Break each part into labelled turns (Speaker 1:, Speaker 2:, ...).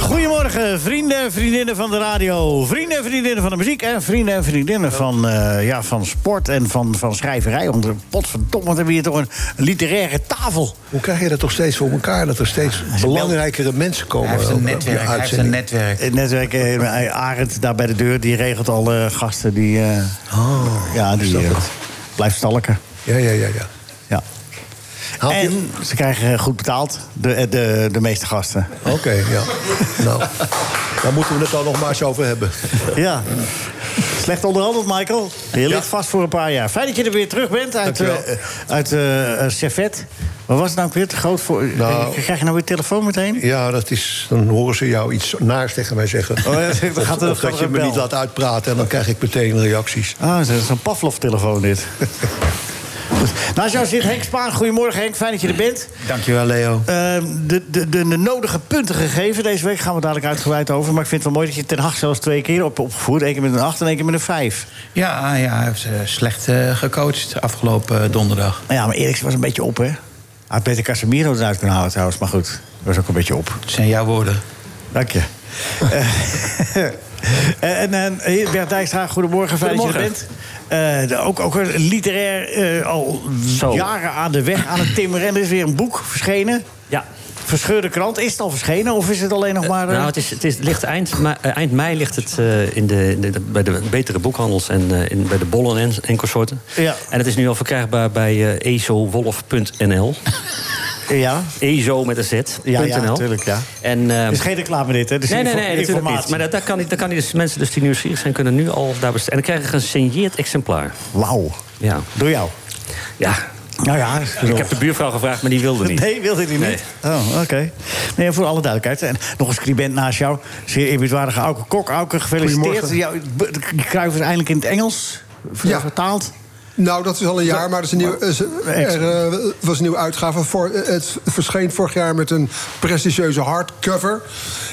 Speaker 1: Goedemorgen, vrienden en vriendinnen van de radio. Vrienden en vriendinnen van de muziek. En vrienden en vriendinnen van, eh, ja, van sport en van, van schrijverij. Want eh, potverdomme, wat hebben we hier toch een literaire tafel.
Speaker 2: Hoe krijg je dat toch steeds voor elkaar? Dat er steeds belangrijkere mensen komen.
Speaker 3: Hij heeft een
Speaker 2: op- op je
Speaker 3: netwerk. Hij heeft een
Speaker 2: uitzending?
Speaker 3: netwerk.
Speaker 1: Het netwerk, eh, Arend daar bij de deur, die regelt al eh, gasten die. eh,
Speaker 2: Oh.
Speaker 1: ja, die eh, blijft stalken.
Speaker 2: Ja, ja, ja. ja.
Speaker 1: Ja.
Speaker 2: Haalt je-
Speaker 1: En ze krijgen eh, goed betaald, de, eh, de, de meeste gasten.
Speaker 2: Oké, ja. Nou, daar moeten we het dan nog maar eens over hebben.
Speaker 1: Ja. Slecht onderhandeld, Michael. Je ligt vast voor een paar jaar. Fijn dat je er weer terug bent uit,
Speaker 2: Dankjewel.
Speaker 1: eh, uit eh, eh, Servet. Wat was het nou ook weer? Te groot voor...
Speaker 2: Nou.
Speaker 1: Krijg je nou weer telefoon meteen?
Speaker 2: Ja, dat is, dan horen ze jou iets naars tegen mij zeggen.
Speaker 1: Oh, ja, dan gaat er-
Speaker 2: Of-
Speaker 1: gaat er
Speaker 2: of dat je
Speaker 1: een
Speaker 2: me
Speaker 1: bel.
Speaker 2: niet laat uitpraten en dan krijg ik meteen reacties.
Speaker 1: Ah, dat is een Pavlov-telefoon dit. Goed. Naast jou Nou, zit Henk Spaan. Goedemorgen Henk, fijn dat je er bent.
Speaker 3: Dankjewel, Leo.
Speaker 1: Ehm, de, de, de, de nodige punten gegeven. Deze week gaan we dadelijk uitgebreid over. Maar ik vind het wel mooi dat je Ten Hag zelfs twee keer op, opgevoerd. Eén keer met een acht en één keer met een vijf.
Speaker 3: Ja, ja hij heeft eh, slecht eh, gecoacht afgelopen eh, donderdag.
Speaker 1: Nou ja, maar Eriksen was een beetje op, hè? Hij had beter Casemiro eruit kunnen halen trouwens. Maar goed, hij was ook een beetje op.
Speaker 3: Het zijn jouw woorden.
Speaker 1: Dank je. Eh, en en eh, Bert Dijkstra, goedemorgen, fijn dat je er bent. Eh, de- ook, ook een literair eh, al jaren aan de weg aan het timmeren. En er is weer een boek verschenen.
Speaker 4: Ja,
Speaker 1: Verscheurde krant. Is het al verschenen of is het alleen nog maar... eh,
Speaker 4: nou, het, is, het is, ligt eind, ma- eh, eind mei ligt het eh, in de, in de- bij de betere boekhandels en eh, in, bij de bollen en, en consorten.
Speaker 1: Ja.
Speaker 4: En het is nu al verkrijgbaar bij eh ezowolf.nl.
Speaker 1: ja,
Speaker 4: Ezo met een Z.
Speaker 1: ja, ja,
Speaker 4: .nl.
Speaker 1: natuurlijk, ja.
Speaker 4: En, eh,
Speaker 1: Er is geen reclame dit, hè? Er is
Speaker 4: Nee, nee,
Speaker 1: info-
Speaker 4: nee, natuurlijk
Speaker 1: informatie.
Speaker 4: niet. Maar dat, dat kan, niet- dat kan niet. Dus mensen dus die nieuwsgierig zijn, kunnen nu al daar bestellen. En dan krijgen ze een gesigneerd exemplaar.
Speaker 1: Wauw.
Speaker 4: Ja.
Speaker 1: Door jou.
Speaker 4: ja.
Speaker 1: Nou ja,
Speaker 4: Ik heb de buurvrouw gevraagd, maar die wilde niet.
Speaker 1: Nee, wilde hij niet.
Speaker 4: Nee.
Speaker 1: Oh, oké. Nee, voor alle duidelijkheid. En nog een scribent naast jou. Zeer eerbiedwaardige Auke Kok. Auke, gefeliciteerd.
Speaker 5: Goedemorgen.
Speaker 1: Jou, b- de Kruif is eindelijk in het Engels ver-
Speaker 5: Ja.
Speaker 1: vertaald.
Speaker 5: Nou, dat is al een jaar, maar er, is een nieuw, is- er, eh, was een nieuwe uitgave. Voor, eh, het verscheen vorig jaar met een prestigieuze hardcover.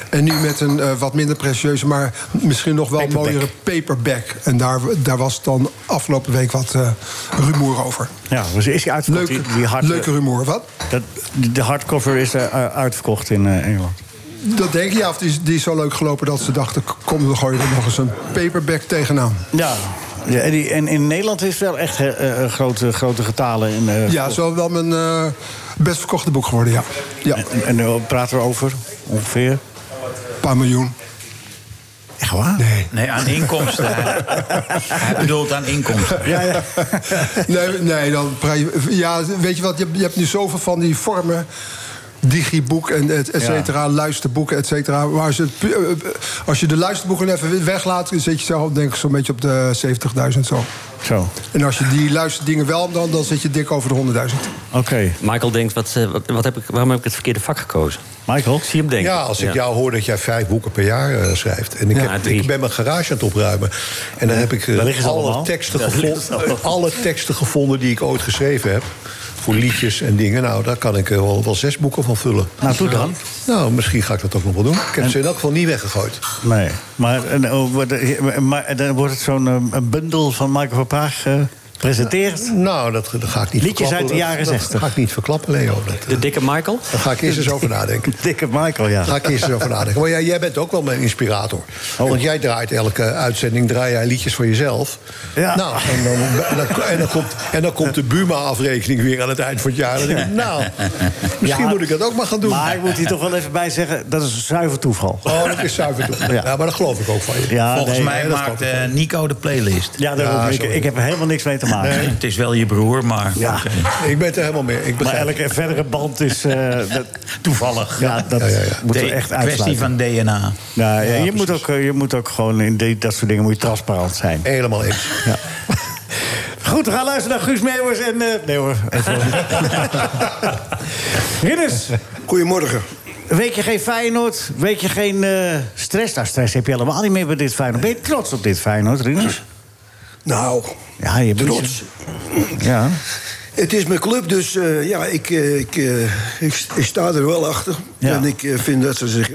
Speaker 5: En nu met een eh, wat minder prestigieuze, maar misschien nog wel
Speaker 1: Paperback.
Speaker 5: mooiere paperback. En daar, daar was dan afgelopen week wat eh, rumoer over.
Speaker 1: Ja, dus is hij uitverkocht?
Speaker 5: Leuk,
Speaker 1: die, die hard,
Speaker 5: leuke rumoer, wat?
Speaker 1: dat, de hardcover is eh, eh, uitverkocht in eh, Engeland.
Speaker 5: Dat denk ik, ja. Of die, is- die is zo leuk gelopen dat ze dachten... kom, we gooien er nog eens een paperback tegenaan.
Speaker 1: Ja. ja en, die, en in Nederland is wel echt eh, eh, grote, grote getalen. In, eh,
Speaker 5: Ja, zo wel mijn eh, best verkochte boek geworden, ja. Ja,
Speaker 1: En, en eh, wat praten we over? Ongeveer?
Speaker 5: een paar miljoen.
Speaker 1: Echt waar?
Speaker 3: Nee, aan inkomsten. hij bedoelt aan inkomsten.
Speaker 1: Ja, ja.
Speaker 5: Nee, nee dan, pri- ja, weet je wat, je, hebt- je hebt nu zoveel van die vormen. Digiboek en et, et cetera, luisterboeken, et cetera. Maar als je, het pu- eh, eh, als je de luisterboeken even weglaat... dan zit je zelf denk ik zo'n beetje op de 70.000 zo.
Speaker 1: Zo.
Speaker 5: En als je die luisterdingen wel dan, dan zit je dik over de 100.000.
Speaker 1: Oké.
Speaker 4: Michael denkt, wat, eh, wat, wat heb ik, waarom heb ik het verkeerde vak gekozen?
Speaker 1: Michael?
Speaker 4: Ik zie hem denken.
Speaker 2: Ja, als ik jou hoor dat jij vijf boeken per jaar eh, schrijft. En ik,
Speaker 4: Ja,
Speaker 2: heb,
Speaker 4: drie.
Speaker 2: ik ben mijn garage aan het opruimen. En dan heb ik eh,
Speaker 1: Daar liggen ze allemaal.
Speaker 2: alle, teksten
Speaker 1: Daar liggen ze
Speaker 2: gevonden, alle teksten gevonden die ik ooit geschreven heb. Voor liedjes en dingen. Nou, daar kan ik eh, wel, wel zes boeken van vullen.
Speaker 1: Nou, doe dan.
Speaker 2: Nou, misschien ga ik dat ook nog wel doen. Ik heb ze in elk geval niet weggegooid.
Speaker 1: Nee, maar, en, oh, wat- eh, maar dan wordt het zo'n eh, een bundel van Michael van Praag gepresenteerd.
Speaker 2: Nou, dat, dat ga ik niet
Speaker 1: Liedjes
Speaker 2: verklappen.
Speaker 1: uit de jaren
Speaker 2: Dat- dat
Speaker 1: 60.
Speaker 2: ga ik niet verklappen, Leo. Dat,
Speaker 4: De dikke Michael?
Speaker 2: daar ga ik eerst eens over nadenken.
Speaker 1: Dikke Michael, ja.
Speaker 2: Daar ga ik eerst eens over nadenken. Maar jij, jij bent ook wel mijn inspirator.
Speaker 1: Oh.
Speaker 2: Want jij draait elke uitzending draai jij liedjes voor jezelf.
Speaker 1: Ja.
Speaker 2: Nou, en dan, en, dan, en, dan komt, en dan komt de Buma-afrekening weer aan het eind van het jaar. Dan denk ik, nou, misschien
Speaker 1: Ja.
Speaker 2: moet ik dat ook maar gaan doen.
Speaker 1: Maar ik moet hier toch wel even bij zeggen, dat is een zuiver toeval.
Speaker 2: Oh, dat is zuiver toch? Ja. maar dat geloof ik ook van je.
Speaker 1: Ja,
Speaker 3: Volgens
Speaker 1: nee,
Speaker 3: mij
Speaker 1: nee, dat
Speaker 3: maakt
Speaker 1: klopt.
Speaker 3: eh, Nico de playlist.
Speaker 1: Ja, daarom,
Speaker 2: Ja,
Speaker 1: ik,
Speaker 2: sorry.
Speaker 1: ik heb er helemaal niks mee te maken.
Speaker 3: Het is wel je broer, maar
Speaker 1: Ja.
Speaker 3: oké.
Speaker 2: Ik ben het er helemaal mee. Ik
Speaker 1: Maar
Speaker 2: begrijp.
Speaker 1: elke verdere band is... eh, dat,
Speaker 3: toevallig.
Speaker 1: ja, dat
Speaker 2: Ja, ja, ja.
Speaker 1: moet er
Speaker 3: De-
Speaker 1: echt
Speaker 3: kwestie
Speaker 1: uitsluiten.
Speaker 3: van DNA.
Speaker 1: Nou, ja, je, moet ook, eh, je moet ook gewoon in die- dat soort dingen moet je transparant zijn.
Speaker 2: Helemaal eens.
Speaker 1: Goed, we gaan luisteren naar Guus Meeuwers en... eh, nee hoor, even... Ridders,
Speaker 6: Goedemorgen.
Speaker 1: Weet je geen Feyenoord, weet je geen eh, stress. Nou, stress heb je helemaal niet meer bij dit Feyenoord. Ben je trots op dit Feyenoord, Rinus?
Speaker 6: Nou,
Speaker 1: Ja, je bent...
Speaker 6: trots.
Speaker 1: Ja.
Speaker 6: Het is mijn club, dus eh, ja, ik, eh, ik, eh, ik, ik sta er wel achter.
Speaker 1: Ja.
Speaker 6: En ik eh, vind dat ze zich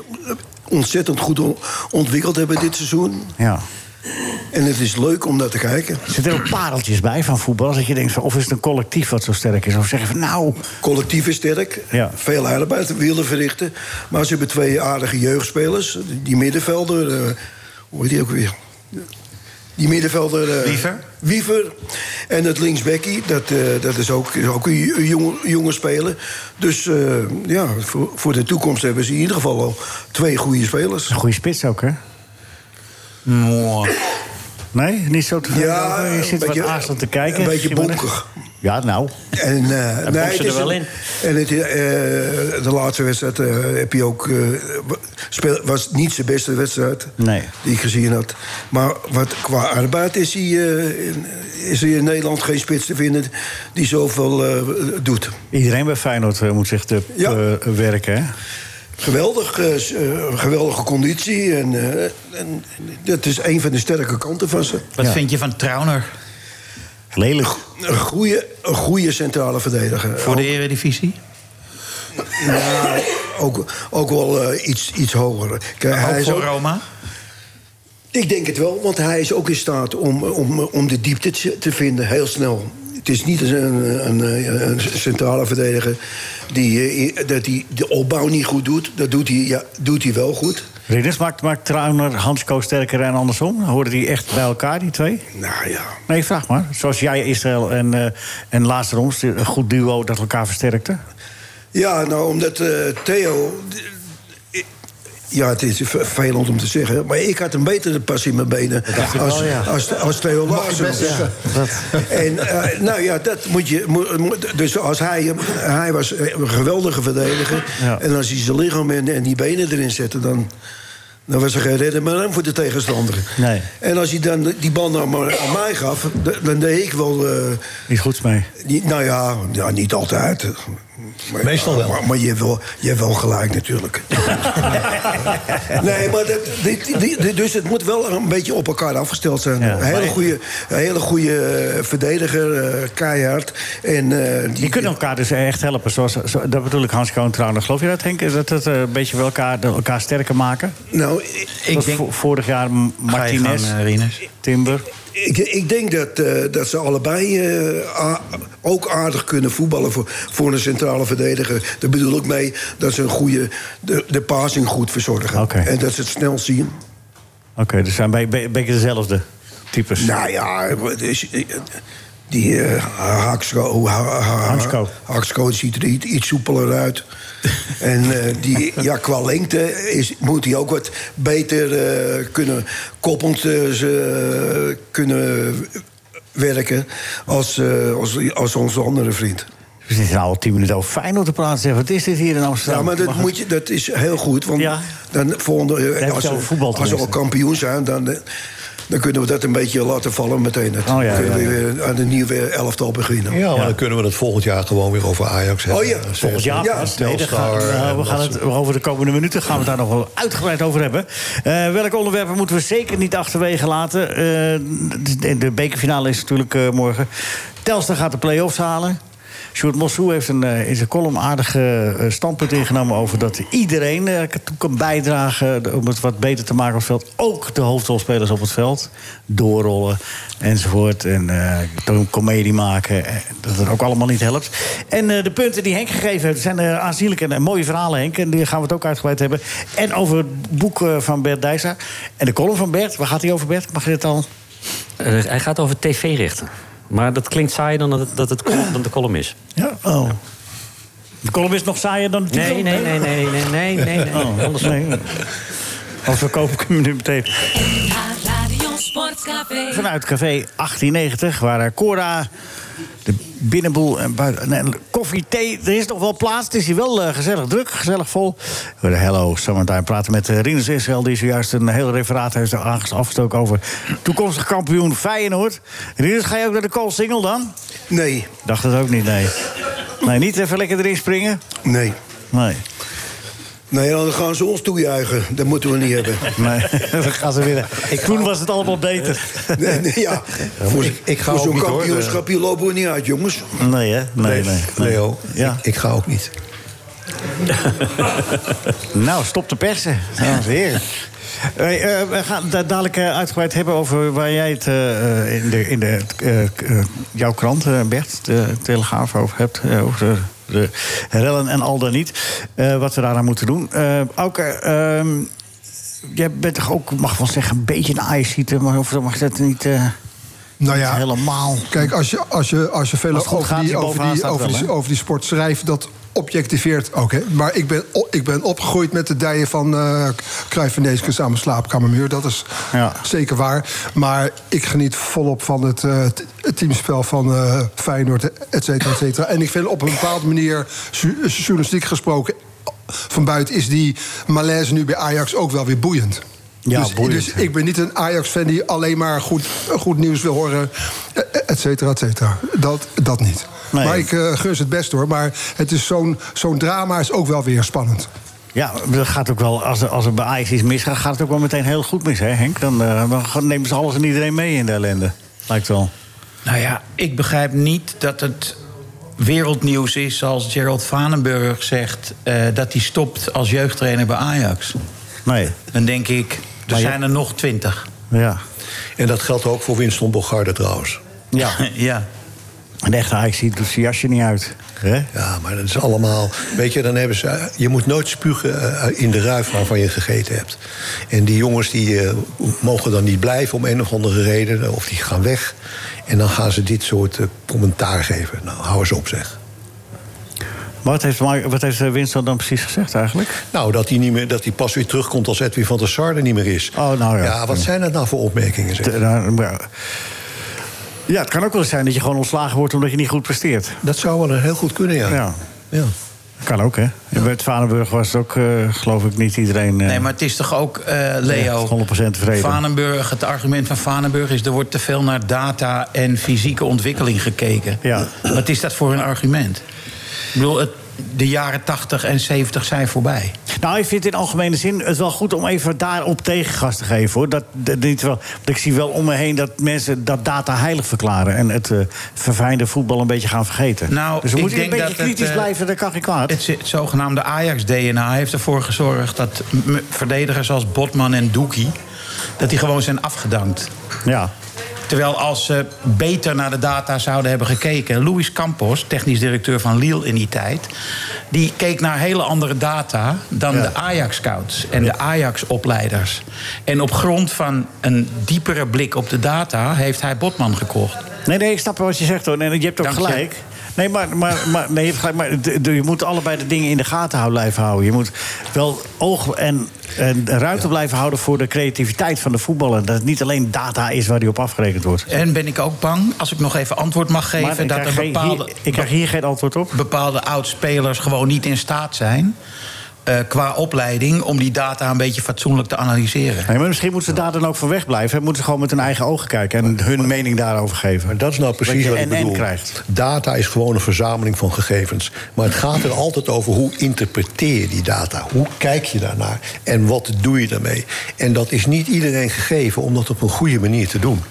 Speaker 6: ontzettend goed on- ontwikkeld hebben dit seizoen.
Speaker 1: Ja.
Speaker 6: En het is leuk om naar te kijken.
Speaker 1: Er zitten ook pareltjes bij van voetbal. Dat je denkt, van, of is het een collectief wat zo sterk is? Of zeggen van, nou...
Speaker 6: Collectief is sterk,
Speaker 1: Ja.
Speaker 6: veel arbeid willen verrichten. Maar ze hebben twee aardige jeugdspelers. Die middenvelder, eh, hoe heet die ook weer? Die middenvelder... eh,
Speaker 3: Wiever?
Speaker 6: Wiever. En het linksbekkie, dat, eh, dat is ook, is ook een ju- een jonge, jonge speler. Dus eh, ja, voor, voor de toekomst hebben ze in ieder geval al twee goede spelers.
Speaker 1: Een goede spits ook, hè? Nee, niet zo te
Speaker 6: Ja,
Speaker 1: over. Je
Speaker 6: Ah, een
Speaker 1: zit wat
Speaker 6: beetje-
Speaker 1: aarzelend te kijken.
Speaker 6: een beetje
Speaker 1: Simonis.
Speaker 6: bonkig.
Speaker 1: Ja, nou.
Speaker 6: En, eh, nee,
Speaker 4: ze
Speaker 6: het
Speaker 4: er
Speaker 6: is
Speaker 4: wel
Speaker 6: een-
Speaker 4: in.
Speaker 6: En het, eh, de laatste wedstrijd eh, heb je ook, eh, wa- speel- was niet zijn beste wedstrijd
Speaker 1: Nee.
Speaker 6: die ik gezien had. Maar wat, qua arbeid is, hij, eh, in- is er in Nederland geen spits te vinden die zoveel eh, doet.
Speaker 1: Iedereen bij Feyenoord eh, moet zich te
Speaker 6: Ja.
Speaker 1: eh, werken, hè?
Speaker 6: Geweldig, eh, s- eh, geweldige conditie. En, eh, en dat is een van de sterke kanten van ze.
Speaker 3: Wat vind je van Trauner
Speaker 1: Lelijk.
Speaker 6: Een goede, een goede centrale verdediger.
Speaker 3: voor de Eredivisie?
Speaker 6: Nou, ook, ook wel eh, iets, iets hoger. Kijk,
Speaker 3: Ook
Speaker 6: eh, is
Speaker 3: voor
Speaker 6: ook-
Speaker 3: Roma?
Speaker 6: Ik denk het wel, want hij is ook in staat om, om, om de diepte te- te vinden, heel snel. Het is niet een, een, een, een centrale verdediger die, eh, dat die de opbouw niet goed doet. Dat doet hij, ja, doet hij wel goed.
Speaker 1: Ridders maakt, maakt Trauner Hansko sterker en andersom? Hoorden die echt bij elkaar, die twee?
Speaker 6: Nou ja,
Speaker 1: Nee, vraag maar. Zoals jij, Israël en, eh en Lazarons, een goed duo dat elkaar versterkte.
Speaker 6: Ja, nou, omdat eh, Theo... eh, Ja, het is ver- vervelend om te zeggen. Maar ik had een betere pas in mijn benen als, als, als Theo Larsen. En eh, nou ja, dat moet je... moet- moet- dus als hij... hem- Hij was eh, een geweldige verdediger.
Speaker 1: Ja.
Speaker 6: En als hij zijn lichaam en, en die benen erin zette, dan... Dan was er geen redder meer aan voor de tegenstander.
Speaker 1: Nee.
Speaker 6: En als hij dan die bal nou maar aan mij gaf... dan- dan deed ik wel... eh,
Speaker 1: Iets goeds mee.
Speaker 6: niet- nou ja, ja, niet altijd. Maar-
Speaker 2: Meestal wel.
Speaker 6: Maar, maar je, hebt wel, je hebt wel gelijk natuurlijk. nee, maar dat, dit- dit- dit- dus het moet wel een beetje op elkaar afgesteld zijn.
Speaker 1: Ja.
Speaker 6: een hele goede, een hele goede eh, verdediger, eh, keihard. En, eh, die,
Speaker 1: Die kunnen elkaar dus echt helpen. Zoals, zo, dat bedoel ik, Hansko en Trauner. Geloof je dat, Henk? Dat het eh, een beetje wel elkaar, dat elkaar sterker maken?
Speaker 6: Nou,
Speaker 3: Ik
Speaker 1: Ik
Speaker 3: denk-
Speaker 1: vorig jaar M- Martinez,
Speaker 3: gang, eh, Rinus.
Speaker 1: Timber.
Speaker 6: Ik, ik denk dat, eh, dat ze allebei eh, a- ook aardig kunnen voetballen voor, voor een centrale verdediger. Daar bedoel ik mee dat ze een goede, de, de passing goed verzorgen.
Speaker 1: Oké.
Speaker 6: En dat ze het snel zien.
Speaker 1: Oké, dus zijn bij be- beetje dezelfde types.
Speaker 6: Nou ja, wat is- die eh, Haxco, ha, ha-
Speaker 1: Haxco.
Speaker 6: Haxco ziet er iets, iets soepeler uit. en eh, die, ja, qua lengte is, moet hij ook wat beter eh, kunnen koppelend eh, ze, kunnen werken als, eh, als, als onze andere vriend.
Speaker 1: We zitten nou al tien minuten over Feyenoord te praten. Zeg, wat is dit hier in Amsterdam?
Speaker 6: Ja, maar dat,
Speaker 1: Mag-
Speaker 6: moet je, dat is heel goed. Want
Speaker 1: Ja.
Speaker 6: dan volgende,
Speaker 1: het
Speaker 6: eh, als,
Speaker 1: over
Speaker 6: we,
Speaker 1: voetbal
Speaker 6: als we al
Speaker 1: tenminste.
Speaker 6: kampioen zijn, dan, eh, dan kunnen we dat een beetje laten vallen meteen. Dan
Speaker 1: Oh, ja,
Speaker 6: kunnen
Speaker 1: ja,
Speaker 6: we weer aan een nieuwe elftal beginnen.
Speaker 2: Ja, maar dan kunnen we het volgend jaar gewoon weer over Ajax hebben.
Speaker 6: Oh ja,
Speaker 2: Dan
Speaker 1: Volgend jaar
Speaker 6: Ja, eh,
Speaker 1: pas. Nee, daar gaan,
Speaker 2: Telstar
Speaker 1: nou,
Speaker 2: en
Speaker 1: we
Speaker 2: dat
Speaker 1: gaan het over de komende minuten gaan we het daar nog wel uitgebreid over hebben. Eh, welke onderwerpen moeten we zeker niet achterwege laten? Eh, de, de bekerfinale is natuurlijk eh, morgen. Telstar gaat de play-offs halen. Sjoerd Mossou heeft een, eh, in zijn column aardig eh, standpunt ingenomen... over dat iedereen eh, toe kan bijdragen om het wat beter te maken op het veld. Ook de hoofdrolspelers op het veld. Doorrollen enzovoort. En eh, toch een comedie maken. eh, Dat het ook allemaal niet helpt. En eh, de punten die Henk gegeven heeft zijn eh, aanzienlijk. En eh, mooie verhalen, Henk. En die gaan we het ook uitgebreid hebben. En over het boek eh, van Bert Dijssa. En de column van Bert. Waar gaat hij over, Bert? Mag je dit al?
Speaker 4: Eh, hij gaat over tv richten. Maar dat klinkt saaier dan, dat het, dat het, dan de column is.
Speaker 1: Ja. Oh. De column is nog saaier dan de titel?
Speaker 4: Nee, nee, nee, nee, nee, nee, nee. nee.
Speaker 1: Oh, anders nee. Anders verkoop ik hem nu meteen.
Speaker 7: Radio Sportcafé.
Speaker 1: Vanuit Café 1890, waar eh, Cora, de binnenboel en buiten, nee, koffie, thee. Er is nog wel plaats. Het is hier wel eh, gezellig druk, gezellig vol. We hoorden Hello Summertime praten met eh, Rinus Israël... die zojuist een heel referaat heeft aanges- afgestoken over toekomstig kampioen Feyenoord. Rinus, ga je ook naar de call single dan?
Speaker 6: Nee,
Speaker 1: Dacht het ook niet, nee. Nee, niet even lekker erin springen?
Speaker 6: nee.
Speaker 1: Nee.
Speaker 6: Nee, dan gaan ze ons toejuichen. Dat moeten we niet hebben.
Speaker 1: Nee, we gaan ze weer. Toen was het allemaal beter.
Speaker 6: Nee, nee, ja. Voor,
Speaker 2: ik- ik ga
Speaker 6: voor
Speaker 2: ook
Speaker 6: zo'n
Speaker 2: niet, hoor.
Speaker 6: kampioenschap hier lopen we niet uit, jongens.
Speaker 2: Oh,
Speaker 1: Nee, hè? Nee, nee. nee.
Speaker 2: Leo,
Speaker 1: Ja.
Speaker 2: ik, ik ga ook niet.
Speaker 1: Nou, stop te persen, dames en heren. Hey, eh, we gaan het dadelijk eh, uitgebreid hebben over waar jij het eh, in, de, in de, eh, eh, jouw krant, eh, Bert, de Telegraaf, over hebt. eh, over de, de rellen en al dan niet. eh, wat we daaraan moeten doen. Eh Auke, ehm, jij bent toch ook, mag wel zeggen, een beetje een ijsieter, maar of mag dat niet... eh,
Speaker 5: Nou ja,
Speaker 1: helemaal.
Speaker 5: Kijk, als je, als je, als je veel
Speaker 1: Als het goed
Speaker 5: over,
Speaker 1: gaat,
Speaker 5: die,
Speaker 1: die
Speaker 5: over,
Speaker 1: bovenaan
Speaker 5: die,
Speaker 1: staat
Speaker 5: over,
Speaker 1: wel,
Speaker 5: die,
Speaker 1: hè?
Speaker 5: over die sport schrijft, dat objectiveert ook. Hè? Maar ik ben, o- ik ben opgegroeid met de dijen van eh Cruijff en Neeskens aan mijn slaapkamermuur. Dat is
Speaker 1: Ja.
Speaker 5: zeker waar. Maar ik geniet volop van het, eh, t- het teamspel van eh Feyenoord, et cetera, et cetera. En ik vind op een bepaalde manier, ju- journalistiek gesproken... Van buiten is die malaise nu bij Ajax ook wel weer boeiend.
Speaker 1: Ja,
Speaker 5: dus,
Speaker 1: boeiend,
Speaker 5: dus
Speaker 1: ja.
Speaker 5: ik ben niet een Ajax-fan die alleen maar goed, goed nieuws wil horen, et cetera, et cetera. Dat, dat niet.
Speaker 1: Nee.
Speaker 5: Maar ik eh gun ze het best hoor. Maar het is zo'n, zo'n drama is ook wel weer spannend.
Speaker 1: Ja, dat gaat ook wel, als er, als er bij Ajax iets misgaat, gaat het ook wel meteen heel goed mis, hè Henk? Dan, eh, dan gaan- nemen ze alles en iedereen mee in de ellende, lijkt wel.
Speaker 3: Nou ja, ik begrijp niet dat het wereldnieuws is als Gerald Vanenburg zegt eh, dat hij stopt als jeugdtrainer bij Ajax.
Speaker 1: Nee,
Speaker 3: Dan denk ik, er
Speaker 1: je-
Speaker 3: zijn er nog twintig.
Speaker 1: ja.
Speaker 2: En dat geldt ook voor Winston Bogarde trouwens.
Speaker 1: Ja,
Speaker 3: ja.
Speaker 1: een echte Ajax ziet doet zijn jasje niet uit. Hè?
Speaker 2: Ja, Ah, maar dat is allemaal. Weet je, dan hebben ze. Je moet nooit spugen eh, in de ruif waarvan je gegeten hebt. En die jongens die eh, mogen dan niet blijven om een of andere reden. Of die gaan weg. En dan gaan ze dit soort eh, commentaar geven. Nou, hou eens op, zeg.
Speaker 1: Wat heeft, Mar- wat heeft eh, Winston dan precies gezegd eigenlijk?
Speaker 2: Nou, dat hij, niet meer, dat hij pas weer terugkomt als Edwin van der Sar er niet meer is.
Speaker 1: Oh, nou ja.
Speaker 2: Ja, wat zijn dat nou voor opmerkingen? Zeg?
Speaker 1: Te- nou, maar- Ja, het kan ook wel eens zijn dat je gewoon ontslagen wordt omdat je niet goed presteert.
Speaker 2: Dat zou wel heel goed kunnen, ja.
Speaker 1: Ja.
Speaker 2: Ja.
Speaker 1: Kan ook, hè? Bij het Vanenburg was het ook, eh, geloof ik, niet iedereen... eh,
Speaker 3: Nee, maar het is toch ook, eh,
Speaker 1: Ja,
Speaker 3: Leo...
Speaker 1: 100% tevreden.
Speaker 3: Vanenburg, het argument van Vanenburg is... er wordt te veel naar data en fysieke ontwikkeling gekeken.
Speaker 1: Ja.
Speaker 3: Wat is dat voor een argument? Ik bedoel, het, de jaren 80 en 70 zijn voorbij.
Speaker 1: Nou, ik vind in algemene zin het wel goed om even daarop tegengas te geven. Hoor. Dat, dat niet wel, want ik zie wel om me heen dat mensen dat data heilig verklaren... en het eh verfijnde voetbal een beetje gaan vergeten.
Speaker 3: Nou,
Speaker 1: dus we
Speaker 3: ik
Speaker 1: moeten
Speaker 3: denk
Speaker 1: een beetje
Speaker 3: dat het,
Speaker 1: kritisch
Speaker 3: eh,
Speaker 1: blijven, dat kan geen kwaad.
Speaker 3: Het, het zogenaamde Ajax-DNA heeft ervoor gezorgd... dat m- verdedigers als Botman en Doekie... dat die gewoon zijn afgedankt.
Speaker 1: ja.
Speaker 3: Terwijl als ze beter naar de data zouden hebben gekeken... Luis Campos, technisch directeur van Lille in die tijd... die keek naar hele andere data dan de Ajax-scouts en de Ajax-opleiders. En op grond van een diepere blik op de data... heeft hij Botman gekocht.
Speaker 1: Nee, nee, ik snap wel wat je zegt hoor. Nee, je hebt ook
Speaker 3: Dank je.
Speaker 1: gelijk. Nee, maar, maar, maar, nee, je, hebt gelijk, maar d- d- je moet allebei de dingen in de gaten houden, blijven houden. Je moet wel oog en, en ruimte blijven houden voor de creativiteit van de voetballer. Dat het niet alleen data is waar die op afgerekend wordt.
Speaker 3: En ben ik ook bang, als ik nog even antwoord mag
Speaker 1: Maar
Speaker 3: geven...
Speaker 1: ik,
Speaker 3: dat
Speaker 1: krijg
Speaker 3: er
Speaker 1: geen-
Speaker 3: bepaalde...
Speaker 1: hier, ik krijg hier geen antwoord op.
Speaker 3: bepaalde oud-spelers gewoon niet in staat zijn... eh, qua opleiding om die data een beetje fatsoenlijk te analyseren.
Speaker 1: Nee, maar misschien moeten ze daar dan ook van wegblijven. Moeten ze gewoon met hun eigen ogen kijken en hun mening daarover
Speaker 2: Maar
Speaker 1: geven.
Speaker 2: dat is nou
Speaker 1: Dat
Speaker 2: precies
Speaker 1: je
Speaker 2: wat ik
Speaker 1: en-en
Speaker 2: bedoel.
Speaker 1: krijgt.
Speaker 2: Data is gewoon een verzameling van gegevens. Maar het gaat er altijd over hoe interpreteer je die data? Hoe kijk je daarnaar? En wat doe je daarmee? En dat is niet iedereen gegeven om dat op een goede manier te doen.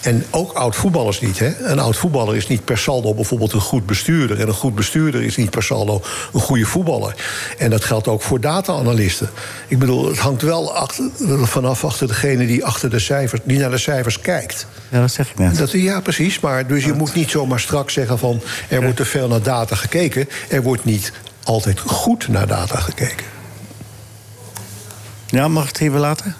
Speaker 2: En ook oud-voetballers niet. Hè? Een oud-voetballer is niet per saldo bijvoorbeeld een goed bestuurder. En een goed bestuurder is niet per saldo een goede voetballer. En dat geldt ook voor data-analisten. Ik bedoel, het hangt wel achter, vanaf achter degene die, achter de cijfers, die naar de cijfers kijkt.
Speaker 1: Ja, dat zeg ik net.
Speaker 2: Dat, ja, precies. Maar dus je moet niet zomaar strak zeggen van er wordt te veel naar data gekeken. Er wordt niet altijd goed naar data gekeken.
Speaker 1: Ja, mag ik het hier weer laten?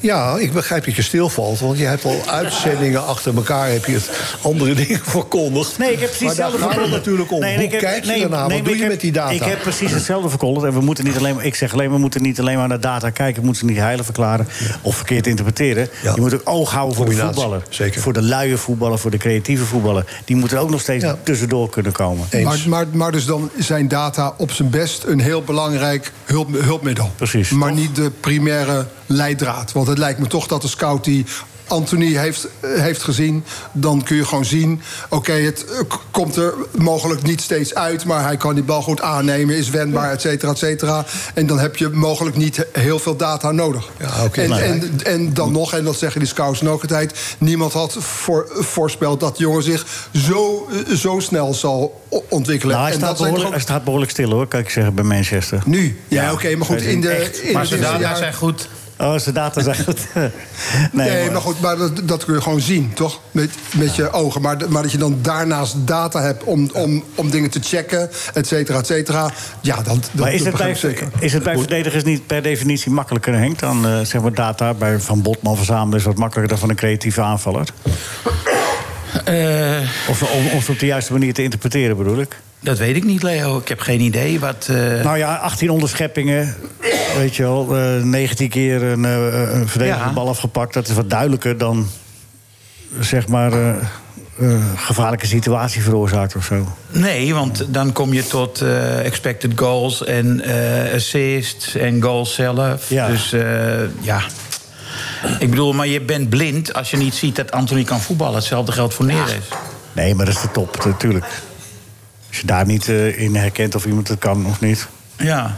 Speaker 2: Ja, ik begrijp dat je stilvalt, want je hebt al uitzendingen achter elkaar, heb je het andere dingen verkondigd.
Speaker 1: Nee, ik heb precies
Speaker 2: maar daar
Speaker 1: hetzelfde
Speaker 2: gaat het
Speaker 1: verkondigd.
Speaker 2: natuurlijk om.
Speaker 1: Nee,
Speaker 2: Hoe
Speaker 1: ik heb-
Speaker 2: kijk je
Speaker 1: nee,
Speaker 2: daarna?
Speaker 1: nee,
Speaker 2: Wat
Speaker 1: maar
Speaker 2: doe
Speaker 1: ik
Speaker 2: je
Speaker 1: heb-
Speaker 2: met die data?
Speaker 1: Ik heb precies hetzelfde verkondigd. En we moeten niet alleen, maar- ik zeg alleen, we moeten niet alleen maar naar data kijken. We moeten ze niet heilig verklaren of verkeerd interpreteren.
Speaker 2: Ja.
Speaker 1: Je moet ook oog houden voor de
Speaker 2: Combinatie,
Speaker 1: voetballer.
Speaker 2: zeker.
Speaker 1: Voor de luie voetballer, voor de creatieve voetballer. Die moeten ook nog steeds
Speaker 2: Ja.
Speaker 1: tussendoor kunnen komen.
Speaker 2: Eens.
Speaker 5: Maar, maar, maar dus dan zijn data op zijn best een heel belangrijk hulp, hulpmiddel.
Speaker 1: Precies.
Speaker 5: Maar niet de primaire leidraad. Want het lijkt me toch dat de scout die Anthony heeft, eh, heeft gezien, dan kun je gewoon zien... oké, het eh, k- komt er mogelijk niet steeds uit... maar hij kan die bal goed aannemen, is wendbaar, et cetera, et cetera. En dan heb je mogelijk niet he- heel veel data nodig.
Speaker 2: oké, Nou
Speaker 5: en,
Speaker 2: maar-
Speaker 5: en, en dan nog, en dat zeggen die scouts ook altijd... niemand had voor, voorspeld dat jongen zich zo, zo snel zal o- ontwikkelen.
Speaker 1: Nou, hij
Speaker 5: En
Speaker 1: staat,
Speaker 5: dat zijn toch
Speaker 1: behoorlijk, hij
Speaker 5: ook-
Speaker 1: staat behoorlijk stil, hoor, kan ik zeggen, bij Manchester.
Speaker 5: Nu? Ja, oké, maar goed, in de... In
Speaker 3: Maar
Speaker 5: de-
Speaker 3: zijn
Speaker 5: ja,
Speaker 3: data zijn goed.
Speaker 1: Oh, zijn data zijn goed. nee,
Speaker 5: Nee, maar
Speaker 1: maar-
Speaker 5: goed, maar dat, dat kun je gewoon zien, toch? Met, met je ogen. Maar, d- maar dat je dan daarnaast data hebt om, om, om dingen te checken, et cetera, et cetera. Ja, dat, dat,
Speaker 1: Maar is
Speaker 5: dat
Speaker 1: het, bij,
Speaker 5: begrijp ik zeker.
Speaker 1: is het bij verdedigers niet per definitie makkelijker, Henk, dan eh, zeg maar data bij Van Botman verzamelen is wat makkelijker dan van een creatieve aanvaller?
Speaker 3: Eh,
Speaker 1: Of, of, of op de juiste manier te interpreteren, bedoel ik?
Speaker 3: dat weet ik niet, Leo. Ik heb geen idee wat... eh,
Speaker 1: Nou ja, 18 onderscheppingen, weet je wel, eh 19 keer een, eh een verdedigende
Speaker 3: Ja.
Speaker 1: bal afgepakt. Dat is wat duidelijker dan, zeg maar, eh, eh, gevaarlijke situatie veroorzaakt of zo.
Speaker 3: Nee, want dan kom je tot eh, expected goals en eh, assists en goals zelf.
Speaker 1: Ja.
Speaker 3: Dus eh, ja. Ik bedoel, maar je bent blind als je niet ziet dat Anthony kan voetballen. Hetzelfde geldt voor Neres.
Speaker 1: Nee, maar dat is de top, natuurlijk. Als je daar niet eh, in herkent of iemand het kan of niet.
Speaker 3: Ja.